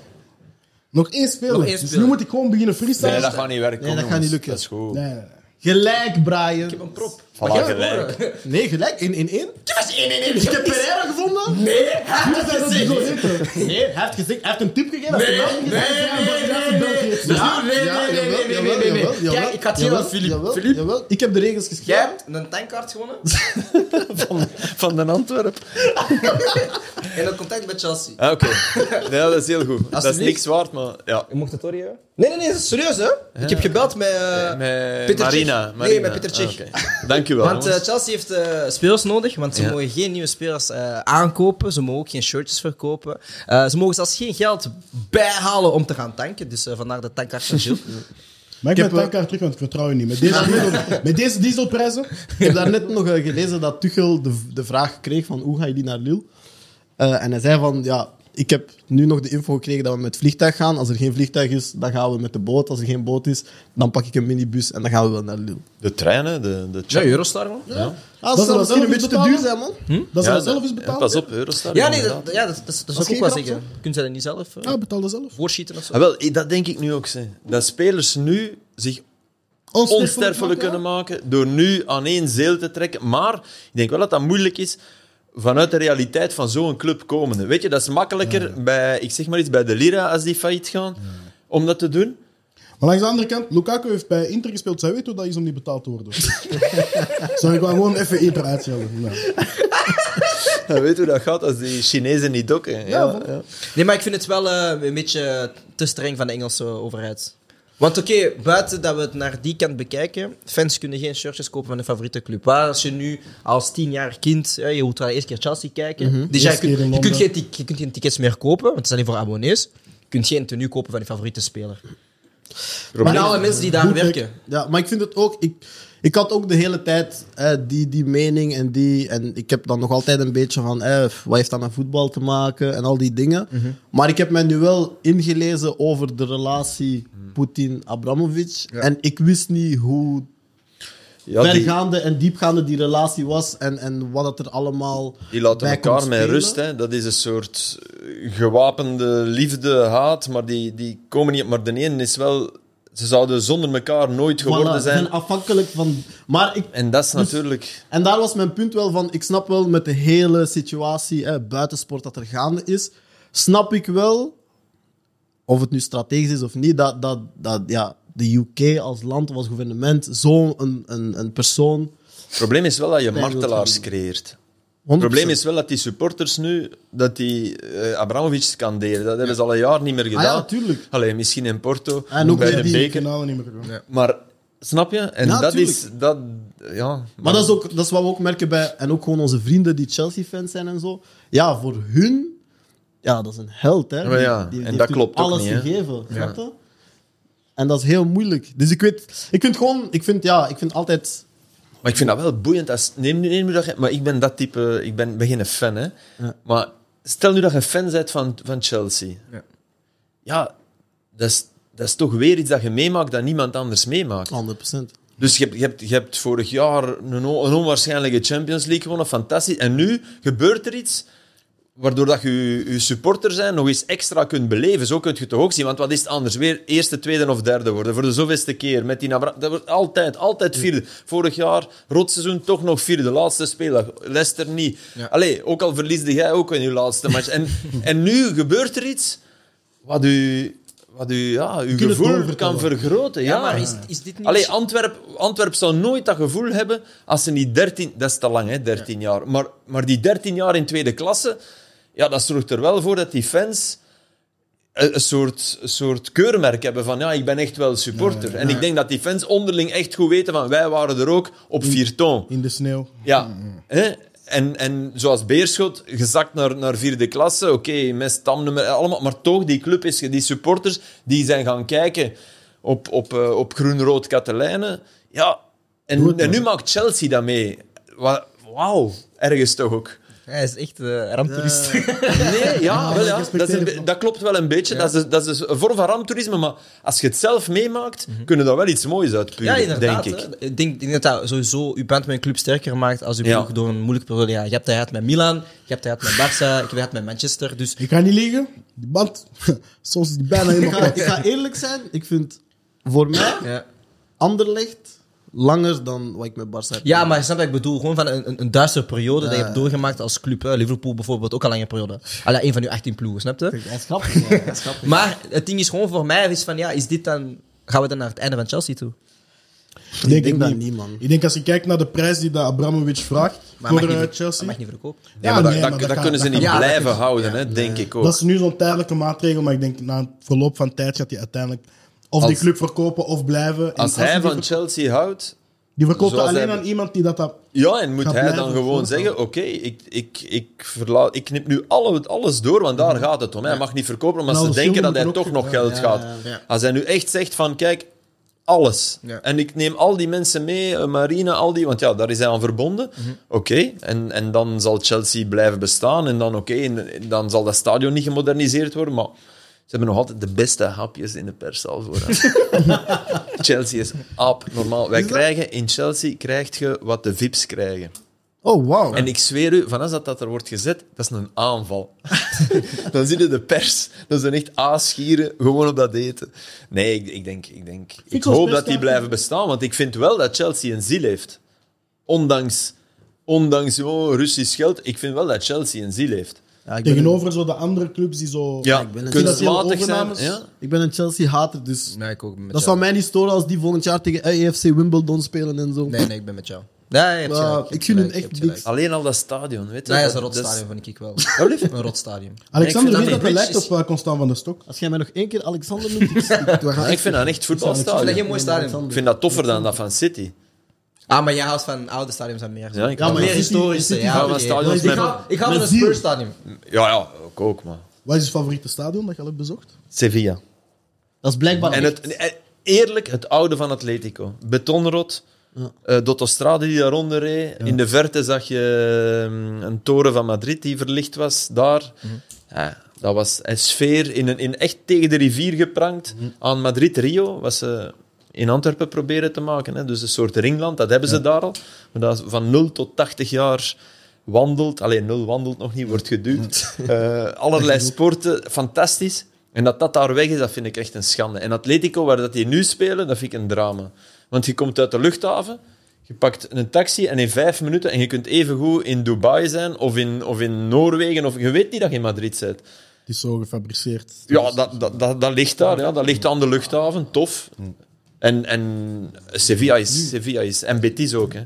S4: Nog één speler.
S3: Nog één
S4: Dus nu
S3: speler.
S4: moet ik gewoon beginnen freestylen.
S2: Nee, dat gaat niet werken.
S1: Nee,
S2: kom,
S1: dat gaat niet
S2: jongens.
S1: lukken.
S2: Dat is goed.
S4: Nee, nee, nee.
S1: Gelijk, Brian.
S3: Ik heb een prop.
S2: Voilà,
S3: Maar jij
S2: gelijk.
S3: hebt gewonnen.
S1: Nee, gelijk. 1-1-1. Ik
S3: was 1-1-1.
S1: heb Pereira gevonden.
S3: Nee, hij heeft
S1: Dat is
S3: gezegd.
S1: zo heet. Nee, hij heeft gezegd, hij heeft een tip gegeven.
S3: Nee,
S1: Hij heeft een
S3: nee,
S1: naam
S3: nee,
S1: gezegd.
S3: nee, nee, nee.
S1: Ja,
S3: Nee,
S1: ja,
S3: nee, nee,
S1: jawel,
S3: nee, nee,
S1: jawel,
S3: nee, nee.
S1: jawel, jawel.
S3: Kijk, ik had hier aan
S1: Jawel,
S3: Filip.
S1: jawel,
S3: Filip,
S1: jawel. Ik heb de regels
S3: jij
S1: geschreven.
S3: hebt een tankkaart gewonnen
S2: Van de Antwerpen.
S3: en een contact met Chelsea.
S2: Ah, oké. Ja, dat is heel goed. Dat is
S3: Alsjeblieft.
S2: niks waard, maar... Ja.
S3: Je mocht het horen, ja? Nee, nee, nee, dat is serieus, hè? Ik heb gebeld met, eh,
S2: Met
S3: Peter
S2: Marina.
S3: Cech. Nee,
S2: Marina.
S3: met Peter Cech.
S2: Ah, oké. Dank u wel,
S3: Want eh,
S2: jongens.
S3: Chelsea heeft eh, spelers nodig, want ze
S2: Ja.
S3: mogen geen nieuwe spelers eh, aankopen. Ze mogen ook geen shirtjes verkopen. Eh, ze mogen zelfs geen geld bijhalen om te gaan tanken. Dus eh, vandaar de tankkaart van Gilles.
S4: Maar ik
S1: Ik
S4: heb
S1: heb,
S4: mijn tankkaart terug, want ik vertrouw je niet. Met deze, diesel, met deze dieselprijzen?
S1: Ik heb daarnet nog eh, gelezen dat Tuchel de, de vraag kreeg van hoe ga je die naar Lille? Eh, en hij zei van, ja, ik heb nu nog de info gekregen dat we met vliegtuig gaan. Als er geen vliegtuig is, dan gaan we met de boot. Als er geen boot is, dan pak ik een minibus en dan gaan we wel naar Lille.
S2: De treinen, de... de
S3: Ja, Eurostar, man.
S2: Ja.
S1: Ah,
S4: Dat
S1: dat
S4: zou
S1: zou misschien een
S4: zelf
S1: beetje te
S4: betalen?
S1: duur zijn, man.
S4: Dat zou
S2: Ja,
S4: je zelf eens
S2: ja,
S4: betalen.
S2: Pas op, Eurostar.
S3: Ja, nee, dat,
S2: inderdaad.
S3: ja, dat, dat, dat zou ik
S1: geen
S3: ook wel
S1: grap,
S3: zeggen. Kunnen zij dat niet zelf eh,
S4: Ja, betaal dat zelf.
S3: voorschieten of zo?
S2: Ah, wel, eh, dat denk ik nu ook. Zeg. Dat spelers nu zich onsterfelijk kunnen maken door nu aan één zeel te trekken. Maar ik denk wel dat dat moeilijk is vanuit de realiteit van zo'n club komende. Weet je, dat is makkelijker bij, ik zeg maar iets, bij de Lira als die failliet gaan, om dat te doen.
S4: Maar langs de andere kant, Lukaku heeft bij Inter gespeeld. Zij weet hoe dat is om niet betaald te worden. Zou ik wel gewoon even Inter uitschelden. Nou.
S2: Ja, weet hoe dat gaat als die Chinezen niet dokken. Ja, ja,
S3: Nee, maar ik vind het wel eh, een beetje te streng van de Engelse overheid. Want oké, buiten dat we het naar die kant bekijken, fans kunnen geen shirtjes kopen van hun favoriete club. Maar als je nu als tienjarig kind, eh, je moet wel eerst keer Chelsea kijken. Dus ja, je,
S4: Eerst keer in
S3: kunt, je, kunt
S4: Londen.
S3: geen, tic- je kunt geen tickets meer kopen, want het is alleen voor abonnees. Je kunt geen tenue kopen van je favoriete speler. Maar alle Oh, mensen die daar
S4: Goed, ik-
S3: werken.
S1: Ja, maar ik vind het ook. Ik, ik had ook de hele tijd eh, die, die mening en die. En ik heb dan nog altijd een beetje van. eh, wat heeft dat met voetbal te maken en al die dingen.
S3: Mhm.
S1: Maar ik heb mij nu wel ingelezen over de relatie
S3: Mhm.
S1: Poetin-Abramovic. En ik wist niet hoe
S2: die-
S1: vergaande en diepgaande die relatie was. En, en wat dat er allemaal.
S2: Die laten
S1: bij
S2: elkaar
S1: komt
S2: met
S1: spelen.
S2: rust. Hè. Dat is een soort eh, gewapende liefde, haat. Maar die, die komen niet... Maar de ene is wel... Ze zouden zonder elkaar nooit geworden
S1: Voilà,
S2: zijn.
S1: en afhankelijk van. Maar ik,
S2: En dat is
S1: Dus-
S2: natuurlijk...
S1: En daar was mijn punt wel van. Ik snap wel met de hele situatie eh, buitensport dat er gaande is. Snap ik wel, of het nu strategisch is of niet, dat, dat, dat ja, de UK als land, of als gouvernement, zo'n een, een, een persoon.
S2: Het probleem is wel dat je
S1: Nee, dat
S2: martelaars
S1: wil
S2: creëert.
S1: 100%.
S2: Het probleem is wel dat die supporters nu... Dat die eh Abramovic scanderen. Dat hebben ze al een jaar niet meer gedaan.
S1: Ah ja, tuurlijk.
S2: Allee, misschien in Porto.
S1: En ook
S2: bij
S1: bij
S2: de
S4: Die
S2: beker.
S4: kanalen niet meer gewoon.
S2: Maar... Snap je? En
S1: Ja,
S2: dat
S1: tuurlijk.
S2: is... Dat, ja,
S1: Maar dat is, ook, dat is wat we ook merken bij. En ook gewoon onze vrienden die Chelsea-fans zijn en zo. Ja, voor hun. Ja, dat is een held, hè?
S2: Maar ja, en dat
S1: heeft
S2: klopt ook
S1: alles
S2: niet, hè.
S1: gegeven, snap je? En dat is heel moeilijk. Dus ik weet, ik vind gewoon, ik vind, ja, ik vind altijd
S2: Maar ik vind dat wel boeiend. Als, neem nu neem nu dat je- maar ik ben dat type... Ik ben, ben geen fan, hè.
S1: Ja.
S2: Maar stel nu dat je fan bent van, van Chelsea.
S3: Ja.
S2: Ja, dat is, dat is toch weer iets dat je meemaakt dat niemand anders meemaakt.
S1: 100%.
S2: Dus je hebt, je, hebt, je hebt vorig jaar een, on- een onwaarschijnlijke Champions League gewonnen. Fantastisch. En nu gebeurt er iets... Waardoor dat je, je je supporter zijn nog eens extra kunt beleven. Zo kun je het toch ook zien. Want wat is het anders? Weer eerste, tweede of derde worden. Voor de zoveelste keer. Met die Abra- dat wordt altijd, altijd vierde. Vorig jaar, rotseizoen, toch nog vierde. Laatste speeldag. Leicester niet. Allee, ook al verliesde jij ook in je laatste match. En, en nu gebeurt er iets wat u, wat u, ja, uw
S4: kunt het
S2: gevoel
S4: doorvertellen.
S2: kan vergroten. Ja,
S3: Ja, maar is, is dit niet...
S2: Allee, Antwerp, Antwerp zou nooit dat gevoel hebben als ze niet 13... Dat is te lang, hè, 13 jaar. Maar, maar die 13 jaar in tweede klasse, ja, dat zorgt er wel voor dat die fans een, een soort, een soort keurmerk hebben van ja, ik ben echt wel supporter. En ik denk dat die fans onderling echt goed weten van wij waren er ook op Vierton.
S4: In de sneeuw.
S2: Ja. Hè? En, en zoals Beerschot, gezakt naar, naar vierde klasse. Oké, met stamnummer, allemaal. Maar toch, die club is, ge- die supporters, die zijn gaan kijken op, op, eh, op groen-rood Katelijnen. Ja,
S4: Doe
S2: en,
S4: het
S2: en nu
S4: maar.
S2: maakt Chelsea dat mee. Wa- Wauw, ergens toch ook.
S3: Hij is echt eh ramptoerist.
S2: Nee, ja, wel, ja.
S4: respecteer
S2: Dat, is een
S4: ik
S2: be-
S4: wel.
S2: dat klopt wel een beetje. Dat, is, dat is een vorm van ramptoerisme, maar als je het zelf meemaakt, kunnen daar wel iets moois uit puren,
S3: Ja, inderdaad.
S2: denk ik.
S3: hè. Ik denk, ik denk dat dat sowieso je band met een club sterker maakt als je
S2: Ja.
S3: ploeg door een moeilijke periode gaat. Je hebt dat gehad met Milan, je hebt dat gehad met Barça, ik heb dat gehad met Manchester. Dus
S4: Ik ga niet liegen. Die band, soms is die bijna
S1: Ik
S4: helemaal
S1: ga,
S4: kapot.
S1: ik ga eerlijk zijn, ik vind voor mij
S3: ja.
S1: Anderlecht langer dan wat ik met Barca heb.
S3: ja, maar je snapt wat ik bedoel. Gewoon van een, een, een duistere periode dat je
S1: Ja.
S3: hebt doorgemaakt als club. Hè. Liverpool bijvoorbeeld, ook al lange periode. Alleen een van uw 18 ploegen, snap je?
S1: Dat is grappig. ja, dat is grappig.
S3: Maar het ding is gewoon voor mij, is van ja, is dit dan... Gaan we dan naar het einde van Chelsea toe?
S4: Ik denk,
S1: denk
S4: het
S1: dat
S4: niet.
S1: niet, man.
S4: Ik denk als je kijkt naar de prijs die dat Abramovic vraagt
S3: Maar
S4: voor
S3: mag niet
S4: eh,
S3: ver-
S4: Chelsea.
S3: Dat mag niet verkopen.
S2: Ja,
S4: Ja,
S2: maar dat,
S4: nee,
S2: dat,
S4: maar
S2: dat
S4: dat kan-
S2: kunnen ze
S4: dat
S2: niet
S3: kan- ja, dat
S2: blijven
S3: is-
S2: houden, hè, denk ik ook.
S4: Dat is nu zo'n tijdelijke maatregel, maar ik denk na een verloop van tijd gaat hij uiteindelijk of
S2: Als-
S4: die club verkopen of blijven. En
S2: Als hij
S4: die
S2: van
S4: ver-
S2: Chelsea houdt,
S4: Die verkoopt
S2: Zoals
S4: dat alleen
S2: hij-
S4: aan iemand die dat... dat
S2: ja, en moet
S4: Gaat
S2: hij dan
S4: blijven
S2: gewoon
S4: voorgaan.
S2: zeggen: Oké, ik, ik, ik, verla- ik knip nu alle, alles door, want daar gaat het om. Hij mag niet verkopen, maar
S4: Nou,
S2: ze
S4: de
S2: denken dat
S4: film
S2: hij
S4: moet
S2: toch
S4: ook-
S2: nog
S4: ja,
S2: geld
S1: ja,
S2: gaat.
S1: ja,
S3: ja.
S2: Als hij nu echt zegt: van Kijk, alles.
S3: Ja.
S2: En ik neem al die mensen mee, eh, Marina, al die, want ja, daar is hij aan verbonden.
S1: Mhm.
S2: Oké, en, en dan zal Chelsea blijven bestaan. En dan, oké, en- en dan zal dat stadion niet gemoderniseerd worden, maar. Ze hebben nog altijd de beste hapjes in de perszaal voor hem. Chelsea is ab normaal. Wij krijgen in Chelsea krijgt je wat de VIPs krijgen.
S1: Oh, wauw.
S2: En ik zweer u, vanaf dat dat er wordt gezet, dat is een aanval. dan zie je de pers, dan zijn echt aasgieren gewoon op dat eten. Nee, ik, ik denk, ik denk, ik
S4: was
S2: hoop
S4: best
S2: dat die
S4: wel-
S2: blijven bestaan, want ik vind wel dat Chelsea een ziel heeft. Ondanks ondanks gewoon Russisch geld, ik vind wel dat Chelsea een ziel heeft.
S1: Ja, ik ben
S4: Tegenover zo de andere clubs die zo...
S2: Ja,
S1: ik ben een
S2: kunstmatig zijn.
S1: overnames.
S2: Ja?
S1: een- ik ben een Chelsea-hater, dus
S3: Nee, ik ook met
S1: dat
S3: jou.
S1: zou mij niet storen als die volgend jaar tegen EFC Wimbledon spelen en zo.
S3: Nee, nee, ik ben met jou. Nee, je hebt
S1: Maar
S3: gelijk, je
S1: ik
S3: hebt
S1: gun hem
S3: gelijk,
S1: echt
S3: je hebt gelijk.
S1: niks.
S2: Alleen al dat stadion, weet je.
S3: Nee, dat is een
S2: dat-
S3: rotstadion, vind ik wel. Een rotstadion.
S4: Alexander
S2: Nee, ik vind
S4: weet dat
S2: dat
S4: hij
S2: niet.
S4: lijkt op eh, Constant van der Stok.
S1: Als jij mij nog één keer Alexander noemt, ik, ik, we gaan
S2: Ik vind dat een echt voetbalstadion.
S3: geen mooi stadion.
S2: Ik vind dat toffer dan dat van City.
S3: Ah, maar jij houdt van oude stadions en meer.
S2: Ja, ik
S1: Ja, maar
S3: meer
S1: City-
S3: historische.
S1: City-
S3: Ja,
S2: Ja, maar
S3: oké.
S2: stadions
S3: Ik
S2: met-
S3: hou- Ik hou van
S1: met
S3: een
S1: ziel.
S3: Spurs stadion.
S2: Ja, ja, ik ook, man.
S4: Wat is je favoriete stadion dat je al hebt bezocht?
S2: Sevilla.
S1: Dat is blijkbaar
S2: En
S1: echt.
S2: het, eh, eerlijk, het oude van Atletico. Betonrot. eh Dotto Strade die daaronder reed. In de verte zag je mm, een toren van Madrid die verlicht was daar. Ja, dat was een sfeer in, een, in echt tegen de rivier geprankt. Aan Madrid-Rio was eh, ze in Antwerpen proberen te maken. Hè. Dus een soort ringland, dat hebben ze daar al. Maar dat is van 0 tot 80 jaar wandelt. Alleen 0 wandelt nog niet, wordt geduwd. Eh, allerlei sporten, fantastisch. En dat dat daar weg is, dat vind ik echt een schande. En Atletico, waar dat die nu spelen, dat vind ik een drama. Want je komt uit de luchthaven, je pakt een taxi en in vijf minuten... En je kunt evengoed in Dubai zijn, of in, of in Noorwegen, of je weet niet dat je in Madrid bent.
S4: Het is zo gefabriceerd.
S2: Ja, dat, dat, dat, dat ligt daar. Ja. Dat ligt aan de luchthaven. Tof. En, en Sevilla, is, Sevilla is... En Betis ook, hè.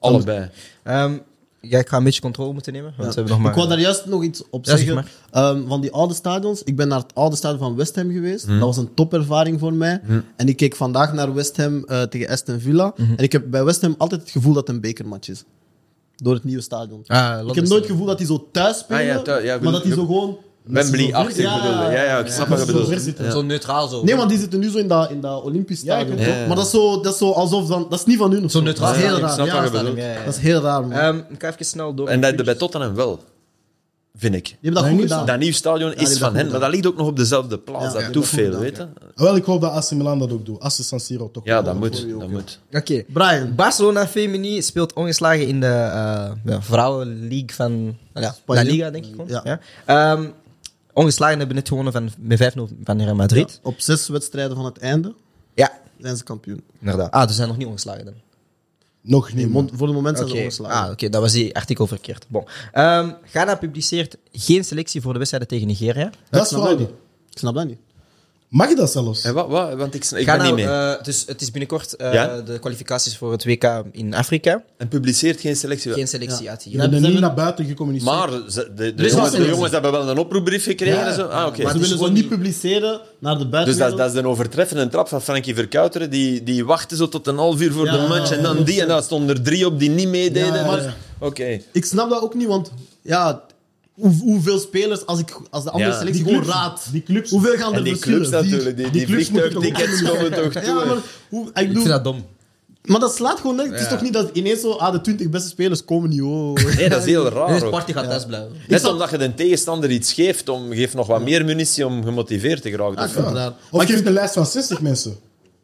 S2: Allebei.
S3: Ehm, ja, ik ga een beetje controle moeten nemen, want we hebben nog maar...
S1: Ik wou daar juist nog iets op
S3: Ja, zeg
S1: zeggen.
S3: maar.
S1: ehm, van die oude stadions. Ik ben naar het oude stadion van West Ham geweest.
S3: Mhm.
S1: Dat was een topervaring voor mij. En ik keek vandaag naar West Ham eh, tegen Aston Villa.
S3: Mhm.
S1: En ik heb bij West Ham altijd het gevoel dat het een bekermatch is. Door het nieuwe stadion.
S3: Ah, Londen
S1: ik heb nooit het gevoel dat die zo thuis spelen.
S2: Ah, ja, thuis, ja,
S1: maar
S2: ik bedoel-
S1: dat die zo gewoon...
S2: Wembley-achtig
S1: Ja.
S2: bedoelde. Ja, ja, ik snap
S4: Dat
S2: wat je
S4: is zo ver
S2: bedoelt.
S4: zitten.
S3: Zo neutraal zo.
S1: Nee, want die zitten nu zo in dat, in dat Olympisch
S4: Ja, ik
S1: stadion.
S4: weet
S1: toch?
S2: het. Ja.
S1: Maar dat is, zo, dat is zo alsof... Dan, dat is niet van hun. of
S3: Zo neutraal.
S1: Dat is heel
S3: Ja, ik
S1: raar.
S2: snap
S1: Ja,
S2: wat je
S1: dat is-
S3: bedoelt. Ja, ja, ja.
S1: Dat is heel raar, man.
S3: Ehm, ik ga even snel door.
S2: En dat heb je bij Tottenham wel, vind ik.
S1: die hebben dat
S4: Nee,
S1: goed
S4: niet
S1: gedaan.
S2: Dat nieuw stadion
S1: die
S2: is
S1: dat
S2: van
S1: goed
S2: hen, maar dat ligt ook nog op dezelfde
S1: Ja,
S2: plaats.
S1: ja,
S2: Dat doet
S1: dat
S2: veel,
S1: goed
S2: weet je.
S4: Ah, wel, ik hoop dat AC Milan dat ook doet. Als ze San Siro toch
S2: Ja,
S4: wel
S2: dat
S4: doen.
S2: moet. Dat moet.
S3: Oké.
S1: Brian.
S3: Barcelona Femini speelt ongeslagen in de eh ja, vrouwenleague van ja, La
S1: Spanje.
S3: Liga, denk ik. gewoon.
S1: Ja.
S3: Ja. Ehm, ongeslagen hebben net gewonnen van, met 5-0 van Real Madrid.
S1: Op zes wedstrijden van het einde
S3: Ja.
S1: zijn ze kampioen.
S3: inderdaad. Ah, dus zijn nog niet ongeslagen dan.
S4: Nog niet, man.
S1: Mond- voor het moment zijn
S3: Oké.
S1: ze ongeslagen.
S3: Ah, oké, dat was die artikel verkeerd. Bon. Ehm, Ghana publiceert geen selectie voor de wedstrijden tegen Nigeria.
S4: Dat
S1: Ik snap
S4: is fraude.
S1: dat niet. Ik snap dat niet.
S4: Mag je dat zelfs?
S2: En wat, wat, want ik, sn- ik ben
S3: Ghana,
S2: niet mee.
S3: eh, dus het is binnenkort eh,
S2: Ja?
S3: de kwalificaties voor het WK in Afrika.
S2: En publiceert geen selectie.
S3: Geen selectie uit
S4: Je
S3: hier.
S1: Ja,
S4: hebt er
S1: ze
S4: niet
S1: hebben-
S4: naar buiten gecommuniceerd.
S2: Maar ze- de, de,
S3: is wel
S2: jongens, de
S3: selectie.
S2: jongens hebben wel een oproepbrief gekregen. en zo. Ah, oké.
S3: maar
S1: ze
S3: het is
S1: willen zo
S3: gewoon
S1: niet
S3: niet-
S1: publiceren naar de
S2: Dus dat,
S1: buitenwereld.
S2: dat is een overtreffende trap van Frankie Verkuiteren. Die, die wachten zo tot een half uur voor
S1: Ja,
S2: de match.
S1: ja,
S2: En dan die. En dan stonden er drie op die niet meededen.
S4: Ja, ja, ja.
S2: Dus- Oké.
S1: Ik snap dat ook niet, want ja, hoe, hoeveel spelers, als, ik, als de andere
S2: Ja.
S1: selectie
S4: Die
S1: gewoon
S4: clubs-
S1: raadt,
S4: die clubs-
S1: hoeveel gaan
S2: En
S1: er
S2: die
S1: verschillen?
S2: clubs natuurlijk. Die, die,
S4: clubs moeten
S2: vliegtuigtickets komen toch toe.
S1: Ja, maar, hoe, ik
S3: Ik
S1: bedoel,
S3: vind dat dom.
S1: maar dat slaat gewoon nergens. Het is
S3: Ja.
S1: toch niet dat ineens zo, ah, de 20 beste spelers komen niet, oh.
S2: Nee, dat is heel raar.
S3: Dus het
S2: ook.
S3: party gaat thuis blijven.
S2: Net
S1: snap-
S2: omdat je de tegenstander iets geeft, om, geeft nog wat meer munitie om gemotiveerd te geraken.
S1: Ah,
S2: Dus-
S1: ik vind dat raar.
S4: Of
S1: Maar ik
S4: je hebt
S1: vind-
S4: een lijst van 60 mensen.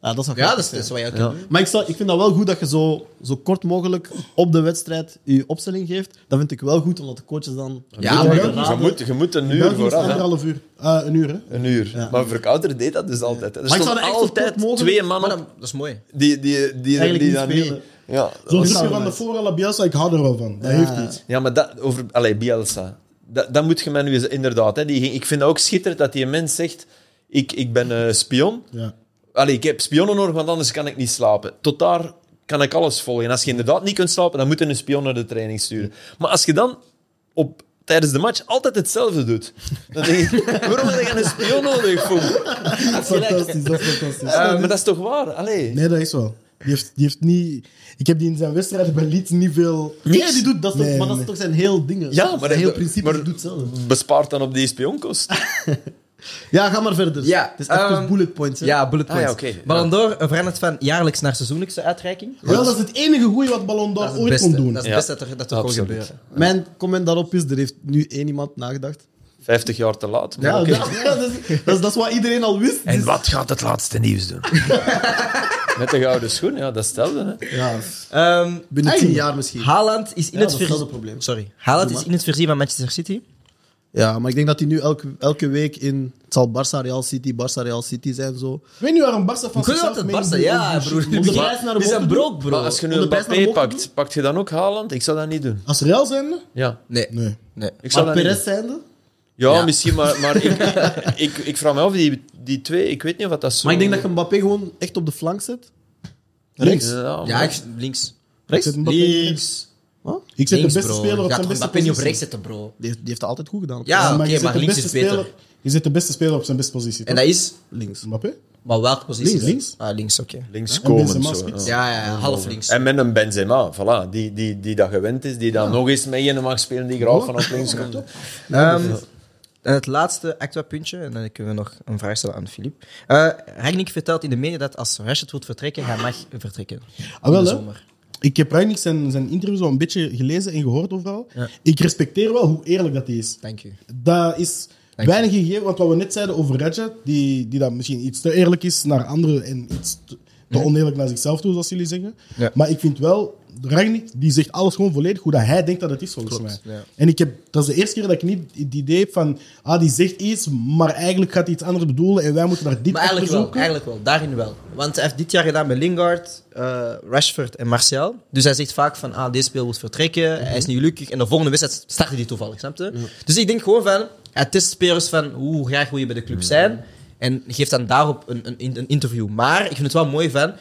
S1: Ja, dat zou
S3: Ja,
S1: grappig
S3: dat is, dat
S1: zijn.
S3: is wat jij ook
S2: Ja.
S3: doet.
S1: Maar ik, zou, ik vind dat wel goed dat je zo, zo kort mogelijk op de wedstrijd je opstelling geeft. Dat vind ik wel goed, omdat de coaches dan...
S3: Ja,
S4: maar-
S1: raden.
S2: Dus je, moet, je moet een
S4: In
S2: uur
S4: België is
S2: vooraf. hè.
S4: anderhalf uur. Eh, een uur, hè?
S2: Een uur. Maar Verkouter deed dat dus altijd. hè. Er
S1: Maar ik
S2: stonden
S1: zou dat echt zo
S2: altijd
S1: kort mogelijk-
S2: twee
S3: Maar
S2: mannen
S3: dat, dat is mooi.
S2: die, die, die, die,
S1: Eigenlijk niet
S2: dat
S1: spelen.
S2: niet... Ja,
S1: zou
S4: Zo'n stukje
S1: wel
S4: van de
S1: nice.
S4: vooral Bielsa, ik hou er wel van. Dat
S1: Ja.
S4: heeft iets.
S2: ja maar dat, over... Allee, Bielsa. Dat, dat moet je mij nu eens... Inderdaad, hè, die, ging- ik vind dat ook schitterend dat die mens zegt... Ik, ik ben eh, spion.
S4: Ja.
S2: Allee, ik heb spionnen nodig, want anders kan ik niet slapen. Tot daar kan ik alles volgen. En als je inderdaad niet kunt slapen, dan moet je een spion naar de training sturen. Maar als je dan op, tijdens de match altijd hetzelfde doet, dan denk ik, waarom heb je een spion nodig? Foem?
S4: Fantastisch, dat is fantastisch.
S2: Eh, maar dat is toch waar? Allee.
S4: Nee, dat is wel. Die heeft, die heeft niet... Ik heb die in zijn wedstrijden bij Leeds niet veel...
S1: Nee, die doet dat, toch,
S4: Nee,
S1: maar dat is
S4: nee.
S1: toch zijn heel dingen.
S2: Ja,
S1: Zijn
S2: maar dat-
S1: heel principe
S2: maar-
S1: die doet zelf.
S2: Bespaart dan op die spionkost.
S1: Ja, ga maar verder.
S3: Ja,
S1: het is echt
S3: ehm,
S1: dus bullet points. Hè.
S3: Ja, bullet
S2: Ah, ja,
S3: points.
S2: oké.
S3: Ballon d'Or verandert van jaarlijks naar seizoenlijkse uitreiking.
S4: Wel, dat is het enige goede wat
S3: Dat
S4: Ballon d'Or
S3: is het
S4: ooit kon
S3: beste.
S4: doen.
S3: Dat is
S2: Ja.
S3: het beste dat er, dat er kon
S2: Absoluut.
S3: gebeuren.
S1: Mijn comment daarop is, er heeft nu één iemand nagedacht.
S2: 50 jaar te laat. maar
S1: Ja,
S2: oké.
S1: dat, dat, is, dat is- dat is wat iedereen al wist.
S2: En
S1: Dus-
S2: wat gaat het laatste nieuws doen? Met de gouden schoen, ja, dat stelde. Hè.
S1: ja,
S3: Ehm,
S1: binnen tien
S4: Eigenlijk.
S1: jaar misschien.
S3: Haaland is in
S1: Ja,
S3: het
S1: dat is
S3: versie-
S1: wel een probleem.
S3: Sorry. Haaland
S1: Doe
S3: is
S1: maar.
S3: in het versie van Manchester City.
S1: Ja, maar ik denk dat hij nu elke, elke week in... Het zal Barça, Real City, Barça, Real City zijn zo.
S4: Weet je waarom Barca van
S3: Kun je altijd Barca? Ja, broer.
S1: Om de prijs naar
S3: Die
S1: boven
S3: zijn
S1: te doen.
S3: broke, bro.
S2: Maar als je nu
S1: Om de
S2: een
S1: prijs naar
S2: Mbappé
S1: boven te
S2: pakt, pakt je dan ook Haaland? Ik zou dat niet doen.
S4: Als Real zijn?
S2: Ja,
S3: Nee,
S4: Nee.
S3: nee.
S2: ik zou
S1: Maar
S2: dat niet
S1: Perez zijnde?
S2: doen. Ja,
S3: Ja.
S2: misschien, maar, maar ik, ik, ik vraag me af, die, die twee, ik weet niet of dat zo...
S1: Maar ik denk dat je Mbappé gewoon echt op de flank zet.
S4: Links.
S2: Ja,
S3: Ja,
S2: maar-
S3: ik- links.
S4: Ik
S1: Rechts?
S4: zet
S1: Die,
S4: Mbappé links.
S1: Wat?
S4: Ik zet
S3: Links,
S4: de beste
S3: bro.
S4: speler op
S3: Ja,
S4: zijn
S3: toch,
S4: beste
S3: Mbappé niet op rechts
S4: positie.
S3: zetten, bro.
S1: heeft, die heeft dat altijd goed gedaan.
S3: Ja,
S4: maar
S3: oké,
S4: je zet
S3: maar
S4: de
S3: links
S4: beste
S3: is beter.
S4: speler- Je zet de beste speler op zijn beste positie.
S3: En
S4: toch?
S3: dat is...
S1: Links.
S4: Mbappé?
S3: Maar welke positie?
S4: Links, links.
S3: Ah, links, oké.
S2: Links
S4: En
S2: komen.
S4: Benzema
S2: zo,
S4: spits.
S2: ja.
S3: Ja, ja, ja, half links.
S2: En met een Benzema, voilà, die, die, die dat gewend is, die dan nog eens met je mag spelen, die graag vanaf links komt.
S3: Ehm, en het laatste extra puntje, en dan kunnen we nog een vraag stellen aan Filip. Eh Ragnik vertelt in de media dat als Rashford wil vertrekken, hij mag vertrekken.
S4: Ah, wel,
S3: In de
S4: hè.
S3: zomer.
S4: Ik heb Rangnick zijn, zijn interview zo een beetje gelezen en gehoord overal. Ik respecteer wel hoe eerlijk dat hij is.
S3: Dank u.
S4: Dat is
S3: Dank je.
S4: weinig gegeven, want wat we net zeiden over Rajat, die, die dat misschien iets te eerlijk is naar anderen en iets te, te oneerlijk naar zichzelf toe, zoals jullie zeggen.
S3: Ja.
S4: Maar ik vind wel, Rangnick, die zegt alles gewoon volledig hoe dat hij denkt dat het is, volgens mij.
S3: ja.
S4: En ik heb, dat is de eerste keer dat ik niet het idee heb van, ah, die zegt iets, maar eigenlijk gaat hij iets anders bedoelen en wij moeten daar dit
S3: Maar
S4: achter
S3: eigenlijk wel,
S4: zoeken.
S3: eigenlijk wel, daarin wel. Want hij heeft dit jaar gedaan met Lingard, eh, Rashford en Martial. Dus hij zegt vaak van, ah, deze speel moet vertrekken, hij is niet gelukkig. En de volgende wedstrijd startte hij toevallig, snap je? Dus ik denk gewoon van, hij test spelers van hoe graag wil je bij de club zijn. En geeft dan daarop een, een, een interview. Maar ik vind het wel mooi van,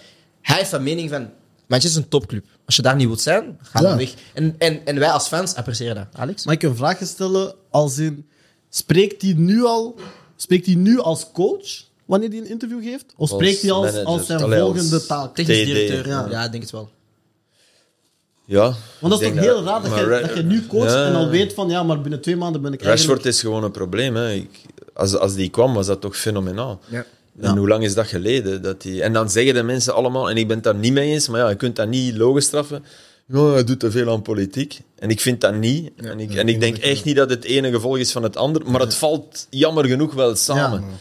S3: hij heeft van mening van, Manchester is een topclub. Als je daar niet wilt zijn, ga dan
S4: Ja.
S3: weg. En, en, en wij als fans appreciëren dat. Alex?
S1: Mag ik een vraag stellen? Als in, spreekt hij nu al... Spreekt hij nu als coach wanneer hij een interview geeft? Of spreekt hij als,
S2: manager,
S1: als zijn
S2: allee, als-
S1: volgende taak?
S3: Technisch
S2: TD,
S3: directeur,
S1: ja.
S3: ja. ja, ik denk het wel.
S2: Ja.
S1: Want dat is
S2: ik
S1: toch
S2: denk
S1: heel raar dat,
S2: maar
S1: je,
S2: Ra-
S1: dat je nu coacht
S2: Ja.
S1: en al weet van ja, maar binnen twee maanden ben ik
S2: Rashford
S1: eigenlijk...
S2: is gewoon een probleem. Hè. Ik, als, als die kwam, was dat toch fenomenaal.
S3: Ja.
S2: En hoe lang is dat geleden? Dat die, en dan zeggen de mensen allemaal, en ik ben het daar niet mee eens, maar ja, je kunt dat niet logisch straffen. Ja, hij doet te veel aan politiek. En ik vind dat niet. en ik, en ik denk echt niet dat het ene gevolg is van het andere, maar het valt jammer genoeg wel samen.
S1: ik denk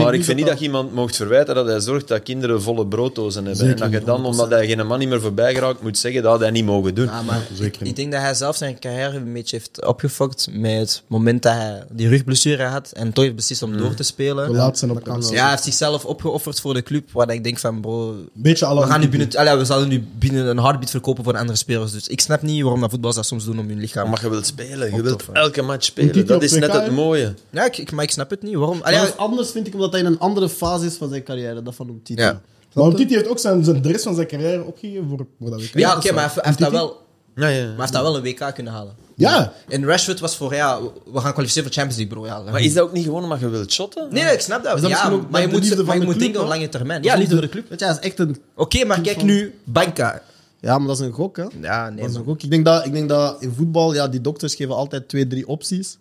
S2: maar ik
S1: niet
S2: vind
S1: dat
S2: niet dat je iemand mocht verwijten dat hij zorgt dat kinderen volle brooddozen hebben. en dat je dan, omdat hij geen man niet meer voorbij geraakt, moet zeggen dat had hij niet mogen doen.
S3: Ah, maar
S4: zeker
S3: ik,
S4: niet.
S3: ik denk dat hij zelf zijn carrière een beetje heeft opgefokt met het moment dat hij die rugblessure had en toch heeft beslist om door te
S4: De
S3: spelen. Ja,
S4: laatste op kans.
S3: hij heeft zichzelf opgeofferd voor de club, waar ik denk van bro,
S4: Beetje alle
S3: we, gaan nu binnen, allee, we zullen nu binnen een heartbeat verkopen voor de andere spelers. Dus ik snap niet waarom dat voetballers dat soms doen om hun lichaam.
S2: Maar je wilt spelen, je wilt
S3: Optoffen.
S2: elke match
S4: Moet die
S2: spelen. Dat
S4: op
S2: is
S4: 2K
S2: net het
S4: hebben?
S2: mooie.
S3: Ja, ik, ik- maar ik snap het niet. Waarom?
S1: Maar
S3: Allee,
S1: dat is anders vind ik, omdat hij in een andere fase is van zijn carrière, dat van Umtiti.
S3: ja,
S4: Maar Omtiti heeft ook zijn, zijn, de rest van zijn carrière opgegeven voor, voor dat WK.
S3: ja oké, maar hij heeft- hij heeft dat wel- maar
S2: Ja, ja.
S3: hij heeft dat wel een WK kunnen halen.
S4: Ja.
S3: En Rashford was voor, ja, we we gaan kwalificeren voor Champions League, bro. Ja,
S2: Maar is dat ook niet gewoon omdat je wilt shotten?
S3: Nee, nee, ik snap dat.
S1: dat
S3: ja,
S1: misschien ook
S3: maar je
S1: de liefde
S3: moet,
S1: van
S3: maar je
S1: de
S3: moet
S1: club,
S3: denken op
S1: hoor?
S3: lange termijn. Ja, liefde voor de club.
S1: Weet je, hij is echt een...
S3: Oké, maar kijk nu, Banka.
S1: Ja, maar dat is een gok, hè?
S3: Ja,
S1: Dat
S3: nee.
S1: is
S3: man.
S1: een gok. Ik denk dat, ik denk dat in voetbal, ja, die dokters geven altijd twee, drie opties.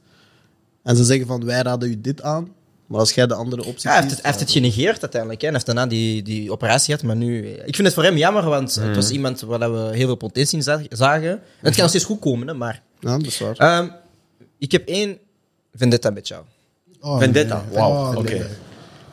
S1: En ze zeggen van, wij raden u dit aan. Maar als jij de andere optie
S3: Ja, hij heeft
S1: kiest-
S3: het, hij heeft het genegeerd uiteindelijk. Hè. Hij heeft daarna die, die operatie gehad, maar nu... Ik vind het voor hem jammer, want het
S2: Mm.
S3: was iemand waar dat we heel veel potentie in za- zagen. En het kan nog steeds goed komen, hè, maar...
S1: Ja, dat is waar.
S3: Ehm, ik heb één vendetta met jou.
S4: Oh,
S2: Vendetta,
S4: nee.
S2: wauw,
S4: Oh,
S2: oké.
S4: nee.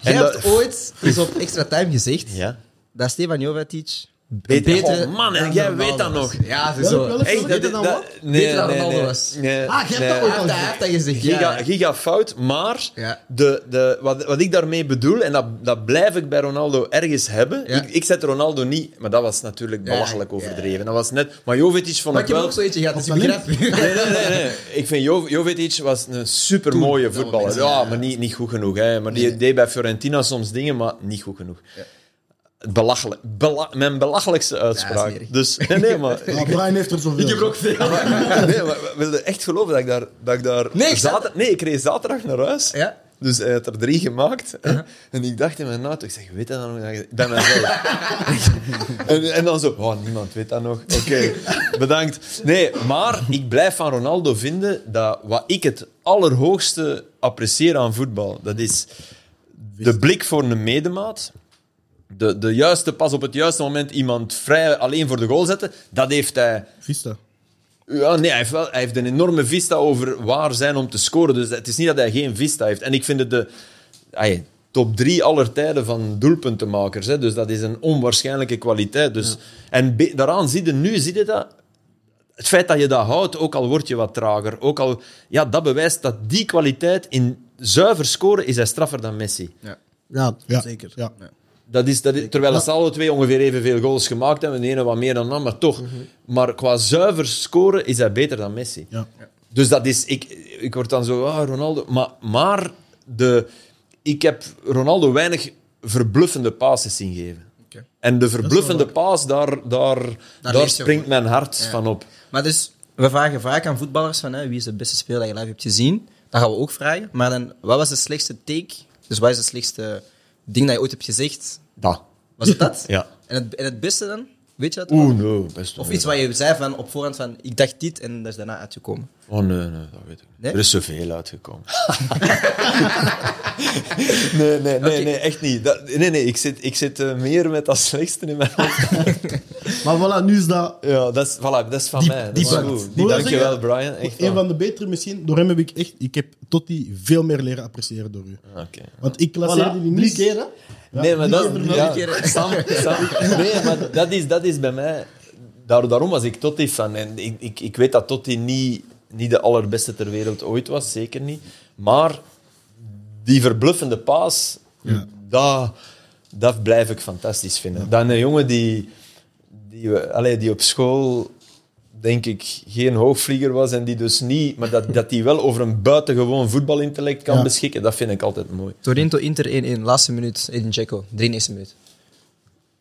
S3: Jij
S2: En dat-
S3: hebt ooit eens op Extra Time gezegd
S2: Ja.
S3: dat Stefan Jovetic
S2: Beter-
S3: beter...
S2: Oh, man, hè,
S3: dan
S2: jij
S3: Ronaldo
S2: weet dat
S3: was.
S2: nog.
S3: Ja,
S4: Welk-
S3: zo.
S4: welk-
S2: Echt,
S4: welk-
S1: dat- dan wat?
S3: Beter dan Ronaldo was.
S2: Nee,
S1: Ah, je hebt
S2: nee.
S1: dat ook
S3: Hij
S1: al
S3: heeft dat- hij heeft dat gezegd, ja.
S2: Giga, giga fout, maar
S3: Ja.
S2: de, de, wat, wat ik daarmee bedoel, en dat, dat blijf ik bij Ronaldo ergens hebben.
S3: Ja.
S2: Ik, ik zet Ronaldo niet, maar dat was natuurlijk
S3: Ja, ja.
S2: belachelijk overdreven. Dat was net, maar Jovetic vond
S3: Maar
S2: ik
S3: ik heb
S2: wel.
S3: ook zo eentje gehad, dus ik
S4: talent.
S3: begrijp je.
S2: Nee, nee, nee, nee. Ik vind Jo- Jovetic was een supermooie voetballer.
S3: wel mensen,
S2: Ja,
S3: ja.
S2: maar niet, niet goed genoeg. Hè. Maar die deed bij Fiorentina soms dingen, maar niet goed genoeg. Belachelijk. Bela- mijn belachelijkste uitspraak.
S3: smerig.
S2: dus, nee, nee, maar...
S4: Ah, Brian heeft er zoveel.
S3: veel.
S2: nee, maar wil je echt geloven dat ik daar... Dat ik daar
S3: Nee, ik zat-
S2: zater- nee, ik reed zaterdag naar huis.
S3: Ja. Uh-huh.
S2: Dus hij had er drie gemaakt. hè. En ik dacht in mijn auto, ik zeg, weet dat dan nog? Dat je- Dat mijzelf. en, en dan zo, oh, niemand weet dat nog. Oké, bedankt. Nee, maar ik blijf van Ronaldo vinden dat wat ik het allerhoogste apprecieer aan voetbal, dat is de blik voor een medemaat. De, de juiste pas op het juiste moment iemand vrij alleen voor de goal zetten, dat heeft hij
S4: Vista.
S2: ja, nee, hij heeft, wel, hij heeft een enorme vista over waar zijn om te scoren. Dus het is niet dat hij geen vista heeft. En ik vind het de ai, top drie aller tijden van doelpuntenmakers. Hè. Dus dat is een onwaarschijnlijke kwaliteit. Dus, En be- daaraan zie je, nu zie je dat het feit dat je dat houdt, ook al word je wat trager, ook al, ja, dat bewijst dat die kwaliteit in zuiver scoren is hij straffer dan Messi.
S1: Ja,
S4: Ja,
S1: zeker.
S4: Ja.
S2: Dat is, dat is, terwijl dat ze alle twee ongeveer evenveel goals gemaakt hebben. De ene wat meer dan de ander, maar toch.
S3: Mhm.
S2: Maar qua zuiver scoren is hij beter dan Messi.
S4: Ja.
S2: Dus dat is... Ik, ik word dan zo, ah, Ronaldo... Maar, maar de, ik heb Ronaldo weinig verbluffende passes zien geven.
S3: Oké.
S2: En de verbluffende paas, daar, daar, daar,
S3: lees je
S2: springt
S3: van.
S2: mijn hart van op.
S3: Maar dus, we vragen vaak aan voetballers van hè, wie is de beste speler dat je live hebt gezien. Dat gaan we ook vragen. Maar dan, wat was de slechtste take? Dus wat is het slechtste ding dat je ooit hebt gezegd?
S2: Dat.
S3: Was het dat?
S2: Ja.
S3: En het, en het beste dan? Weet je dat?
S2: Oeh, no, best
S3: Of
S2: wel.
S3: iets wat je zei van op voorhand van ik dacht dit en dat is daarna uitgekomen.
S2: Oh nee, nee, dat weet ik niet.
S3: Nee?
S2: Er is zoveel uitgekomen. nee, nee, nee, nee, echt niet. Dat- nee, nee, ik zit, ik zit eh, meer met dat slechtste in mijn hoofd.
S1: Maar voilà, nu is dat...
S2: Ja, dat is, voilà, dat is van
S1: Diep-
S2: mij. Dat
S1: diep
S2: is
S1: zakt.
S2: goed.
S4: Moet
S2: Die,
S4: ik
S2: dankjewel,
S4: zeggen,
S2: Brian. Echt
S4: Een
S2: waar.
S4: van de betere misschien. Door hem heb ik echt... Ik heb Totti veel meer leren appreciëren door u.
S2: Oké.
S4: Want ik klasseerde
S1: Voilà,
S4: die
S1: drie
S4: niet...
S1: keer, hè?
S4: Ja,
S2: nee, maar
S4: drie
S2: dat,
S4: keer
S2: ja,
S4: erna.
S2: Sam, Sam- nee, maar dat is, dat is bij mij... Daar, daarom was ik Totti fan. En ik, ik, ik weet dat Totti niet, niet de allerbeste ter wereld ooit was, zeker niet. Maar die verbluffende paas, dat, dat blijf ik fantastisch vinden. Dan een jongen die, die, we- allee, die op school, denk ik, geen hoogvlieger was en die dus niet... Maar dat, dat die wel over een buitengewoon voetbalintellect kan
S4: Ja.
S2: beschikken, dat vind ik altijd mooi.
S3: Torinto Inter 1-1, laatste minuut, Edin Dzeko, 93 minuut.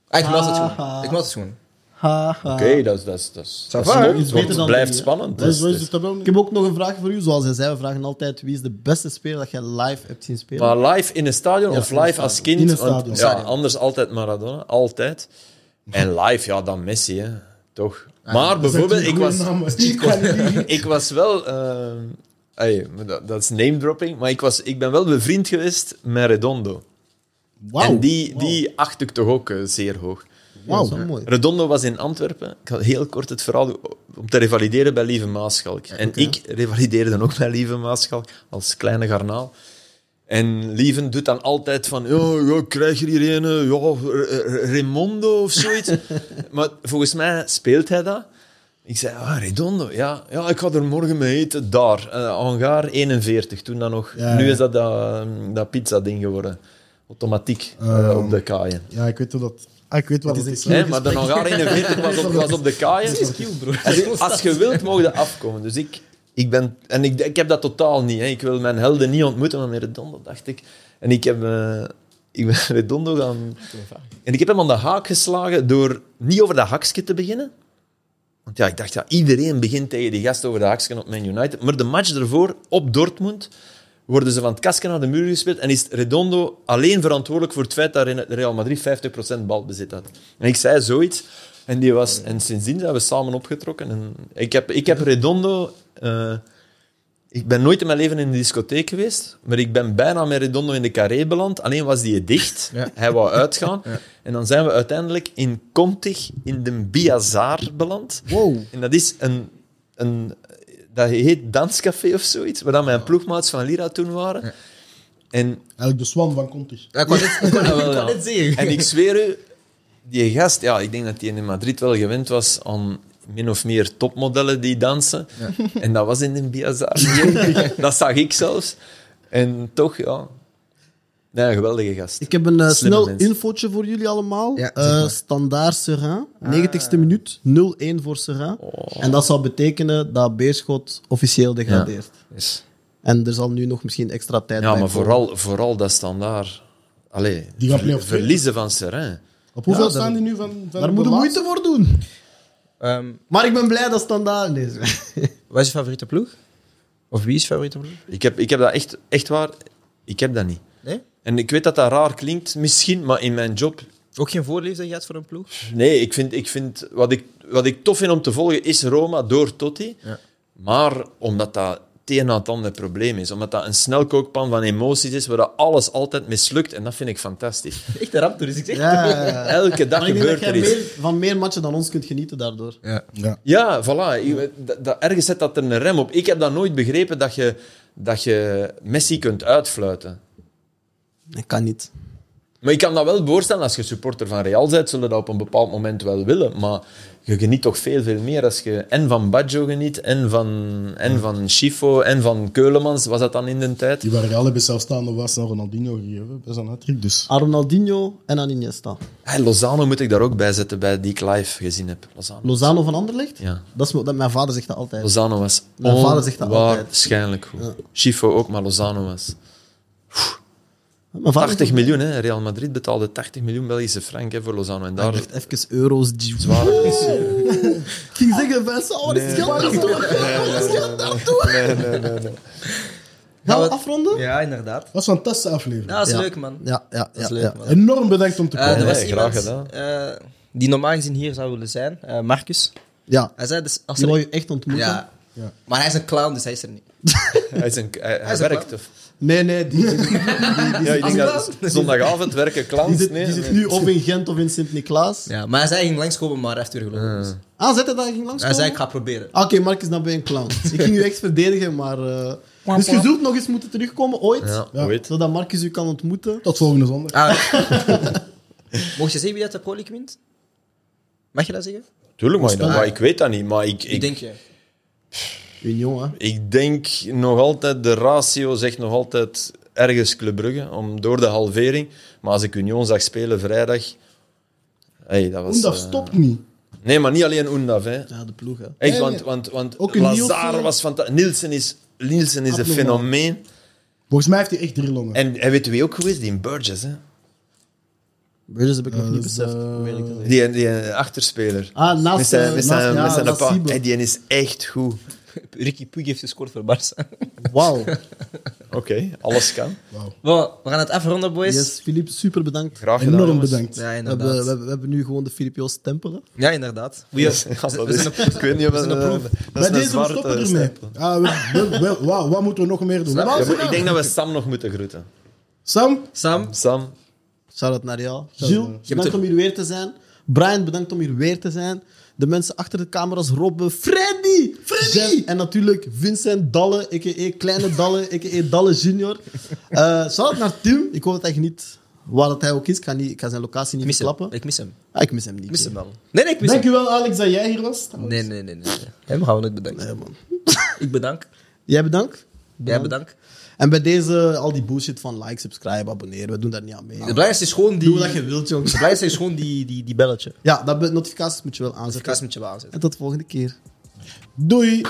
S3: Ah, ik las het gewoon. Ik las het gewoon.
S1: Haha.
S2: Oké, dat is... Dat is, dat is, dat is
S1: va,
S2: leuk.
S1: is
S2: Het
S1: Ah. beter
S2: wordt-
S1: dan
S2: blijft
S1: drie, hè?
S2: spannend.
S4: Wat is-
S2: Dus,
S4: wat is
S2: dus-
S4: de tabel nu?
S1: Ik heb ook nog een vraag voor u. Zoals hij zei, we vragen altijd wie is de beste speler dat jij live hebt zien spelen.
S2: Maar live in een stadion of
S1: in een
S2: live als kind?
S4: In een
S2: want-
S4: stadion.
S2: Ja, anders altijd Maradona, altijd. En live, ja, dan Messi, hè. Toch.
S1: Ah,
S2: Maar bijvoorbeeld, ik was...
S4: Ik
S2: ik was wel. ehm, ey, maar dat, dat is name dropping, maar ik, was, ik ben wel bevriend geweest met Redondo. En die, die acht ik toch ook eh, zeer hoog.
S1: Wauw, zo mooi.
S2: Redondo was in Antwerpen. Ik had heel kort het verhaal doen, om te revalideren bij Lieve Maaschalk. En ik revalideerde ook bij Lieve Maaschalk als kleine garnaal. En Lieven doet dan altijd van, ja, ja krijg je hier een, eh, ja, R- R- Raimondo of zoiets. maar volgens mij speelt hij dat. Ik zei, ah, Redondo, ja, ja, ik ga er morgen mee eten, daar. Eh hangar 41, toen dan nog.
S4: Ja,
S2: nu
S4: ja.
S2: is dat dat, ehm, dat pizza-ding geworden. Automatiek
S4: Ehm,
S2: eh, op de kaaien.
S4: Ja, ik weet hoe dat... Ah, ik weet wat
S1: Dat
S4: het
S1: is
S4: is.
S1: een
S2: Hè, maar de hangar 41 was op, was op de kaaien. Als, als je wilt, mogen je afkomen. Dus ik, ik ben... En ik, ik heb dat totaal niet. Hè. Ik wil mijn helden niet ontmoeten, maar met Redondo dacht ik... En ik heb... eh, ik ben Redondo gaan... En ik heb hem aan de haak geslagen door niet over dat hakje te beginnen. Want ja, ik dacht, ja, iedereen begint tegen die gast over de hakje op Man United. Maar de match ervoor, op Dortmund, worden ze van het kasken naar de muur gespeeld en is Redondo alleen verantwoordelijk voor het feit dat Real Madrid 50% balbezit had. En ik zei zoiets. En, die was, en sindsdien zijn we samen opgetrokken. En ik, heb, ik heb Redondo... eh, ik ben nooit in mijn leven in een discotheek geweest, maar ik ben bijna met Redondo in de carré beland. Alleen was die dicht. Hij wou uitgaan. En dan zijn we uiteindelijk in Contig in de Biazar beland.
S1: Wow.
S2: En dat is een, een... Dat heet Danscafé of zoiets, waar dan mijn ploegmaats van Lira toen waren. En,
S4: Eigenlijk de Swan van Conti.
S3: Ja, ik wou net- ik wou net- ik wou net zeggen.
S2: en ik zweer u, die gast... Ja, ik denk dat die in Madrid wel gewend was aan min of meer topmodellen die dansen. En dat was in de Biazar. dat zag ik zelfs. En toch, ja... Nee, een geweldige gast.
S1: Ik heb een eh,
S2: Slimme
S1: snel
S2: mens.
S1: infootje voor jullie allemaal.
S3: Ja,
S1: Eh,
S3: zeg maar. Ah.
S1: standaard Serain, 90ste minuut, 0-1 voor Serain.
S3: Oh.
S1: En dat zou betekenen dat Beerschot officieel degradeert.
S2: Yes.
S1: En er zal nu nog misschien extra tijd
S2: Ja,
S1: bij
S2: maar
S1: komen.
S2: vooral, vooral dat standaard. Allee,
S4: Die gaan play-off twee.
S2: verliezen van Serain.
S4: Op hoeveel
S1: Ja, dat-
S4: staan die nu van, van
S1: Daar moet
S4: de
S1: je moeite
S4: laatste?
S1: voor doen.
S3: Ehm,
S1: Maar ik ben blij dat standaard is.
S3: wat is je favoriete ploeg? Of wie is je favoriete ploeg?
S2: Ik heb, ik heb dat echt, echt waar. Ik heb dat niet.
S3: Nee?
S2: En ik weet dat dat raar klinkt, misschien, maar in mijn job.
S3: Ook geen voorliefde gehad voor een ploeg?
S2: Nee, ik vind, ik vind wat, ik, wat ik tof vind om te volgen is Roma door Totti.
S3: Ja.
S2: Maar omdat dat het een na het ander probleem is. Omdat dat een snelkookpan van emoties is waar dat alles altijd mislukt. En dat vind ik fantastisch.
S3: Echt een raptor, dus ik zeg.
S1: Ja, ja, ja.
S2: Elke dag
S1: Maar ik denk dat
S2: gebeurt
S1: jij
S2: er iets.
S1: meer, van meer matchen dan ons kunt genieten daardoor.
S3: Ja.
S4: Ja.
S2: Ja, voilà. Ik- dat- dat- ergens zet dat er een rem op. Ik heb dat nooit begrepen dat je, dat je Messi kunt uitfluiten.
S1: Dat kan niet.
S2: Maar ik kan dat wel voorstellen, als je supporter van Real bent, zullen dat op een bepaald moment wel willen. Maar je geniet toch veel, veel meer als je en van Baggio geniet, en van, en van Schifo, en van Keulemans, was dat dan in de tijd?
S4: Die waren al hebben zelfstaande was aan Ronaldinho gegeven. Best een hat
S2: Ah.
S4: dus.
S1: Aan Ronaldinho en aan Iniesta.
S2: Hey, Lozano moet ik daar ook bij zetten, bij die ik live gezien heb. Lozano,
S1: Lozano van Anderlecht?
S2: Ja.
S1: Dat is wat dat, mijn vader zegt dat altijd.
S2: Lozano was
S1: Mijn vader zegt dat altijd.
S2: waarschijnlijk goed. Schifo ook, maar Lozano was...
S1: Mijn vader
S2: 80 miljoen, hè. Real Madrid betaalde 80 miljoen Belgische frank hè, voor Lozano. En daar...
S1: Echt even euro's. Die...
S2: Zware
S1: Ik ging zeggen, Vincent, oh, wat is geld daartoe? Wat is geld daartoe? Gaan we afronden?
S3: Ja, inderdaad.
S4: was een fantastische aflevering.
S3: Ja, dat is
S1: Ja.
S3: leuk, man.
S1: Ja, ja,
S3: Dat is
S1: ja.
S3: leuk,
S1: ja.
S3: man.
S4: Enorm bedankt om te
S3: Eh,
S4: komen.
S3: er was
S2: Nee,
S3: iemand
S2: graag gedaan.
S3: eh, die normaal gezien hier zou willen zijn, eh, Marcus.
S1: ja.
S3: Hij zei dus... Als
S1: Die
S3: er-
S1: wou je echt ontmoeten?
S3: ja.
S4: Ja.
S3: Maar hij is een clown, dus hij is er niet.
S2: Hij, is een, hij, hij
S3: is een
S2: werkt.
S3: clown.
S2: Of,
S1: Nee, nee, die, die, die
S2: ja, ik denk dat
S3: clown?
S2: zondagavond werken clowns.
S1: zit,
S2: nee,
S1: die zit
S2: nee.
S1: nu of in Gent of in Sint-Niklaas.
S3: Ja, maar hij zei, hij ging langskomen, maar hij heeft weer gelogen. dus.
S1: Ah, zet dat ging langs. Ah,
S3: Hij zei, ik ga proberen.
S1: Oké, Marcus, dan ben je een clown. Ik ging u echt verdedigen, maar... eh, Dus je zult nog eens moeten terugkomen, ooit.
S2: Ja,
S4: Ja.
S2: ooit.
S1: Zodat Marcus u kan ontmoeten.
S4: Tot volgende zondag.
S3: Ah. Mocht je zeggen wie dat de Pro League wint? Mag je dat zeggen?
S2: Tuurlijk, maar, maar ik weet dat niet. Maar ik,
S3: Wie
S2: ik,
S3: denk je?
S1: Union, hè.
S2: ik denk nog altijd, de ratio zegt nog altijd ergens Club Brugge, om, door de halvering. Maar als ik Union zag spelen vrijdag... Hey, dat was,
S4: Oendaf
S2: eh,
S4: stopt niet.
S2: Nee, maar niet alleen Oendaf. Hè.
S1: Ja, de ploeg, hè.
S2: Echt,
S4: Nee,
S2: want,
S4: nee.
S2: want, want
S4: Ook een
S2: Lazar
S4: Nielsen.
S2: was fantastisch. Nielsen is, Nielsen is een
S4: Abnormaal.
S2: fenomeen.
S4: Volgens mij heeft hij echt drie longen.
S2: En hij weet wie ook geweest? Die Burgess, hè?
S1: Burgers heb ik nog
S4: Eh,
S1: niet
S4: dat is,
S1: beseft,
S4: eh,
S1: om eerlijk te zijn.
S2: Die, die eh, achterspeler.
S1: dus, Ah, naast...
S2: Met zijn,
S1: eh,
S2: met
S1: naast-
S2: zijn,
S1: ja,
S2: met zijn
S1: naast
S2: pa.
S1: Siebe.
S2: Hey, die is echt goed.
S3: Ricky Puig heeft gescoord voor Barça.
S1: Wauw.
S2: Oké, alles kan.
S3: Bon, we gaan het afronden, boys.
S1: Yes, Filip, super bedankt.
S2: Graag gedaan.
S4: Enorm
S2: jongens.
S4: bedankt.
S3: Ja,
S1: We
S3: inderdaad.
S1: hebben, we, hebben, we hebben nu gewoon de Filip Joost stempel, hè.
S3: Ja, inderdaad. We,
S2: Ja, dat
S3: we
S2: is,
S3: zijn op-
S2: ik weet niet of dat, eh,
S3: een proef.
S2: dat is
S4: Bij
S2: een
S4: deze, we
S2: zwarte
S4: stoppen ermee.
S2: stempel.
S4: Ah, we- we- we- wauw, wat moeten we nog meer doen?
S3: Snap
S4: Wat
S2: Ja,
S4: was
S2: maar
S4: het
S2: ik
S4: nou?
S2: denk dat we Sam nog moeten groeten.
S4: Sam,
S3: Sam,
S2: Sam,
S1: Shout-out naar jou. Gilles, bedankt
S3: het-
S1: om hier weer te zijn. Brian, bedankt om hier weer te zijn. De mensen achter de camera's, Robbe, Freddy, Freddy! en natuurlijk Vincent Dalle, a.k.a. Kleine Dalle, a.k.a. Dalle Junior. Eh shout-out naar Tim. Ik hoop dat hij geniet waar dat hij ook is. Ik ga, niet, ik ga zijn locatie
S3: ik
S1: niet
S3: mis
S1: verklappen.
S3: hem. Ik mis hem.
S1: Ah, ik mis hem niet.
S3: Ik mis hem wel. Nee, nee, ik mis
S4: dankjewel Alex dat jij hier was.
S3: hem. Nee, nee, nee, nee. nee. Hem gaan we nooit bedanken.
S1: Nee, Eh, man.
S3: Ik bedank.
S1: Jij bedankt.
S3: Jij bedankt.
S1: En bij deze, al die bullshit van like, subscribe, abonneren, we doen daar niet aan mee.
S3: Het belangrijkste is gewoon die...
S1: Doe wat je wilt, jongens.
S3: Het belangrijkste is gewoon die, die, die belletje.
S1: Ja, dat be- notificaties moet je wel aanzetten.
S3: Verkaas met je wel aanzetten.
S1: En tot de volgende keer.
S4: Doei.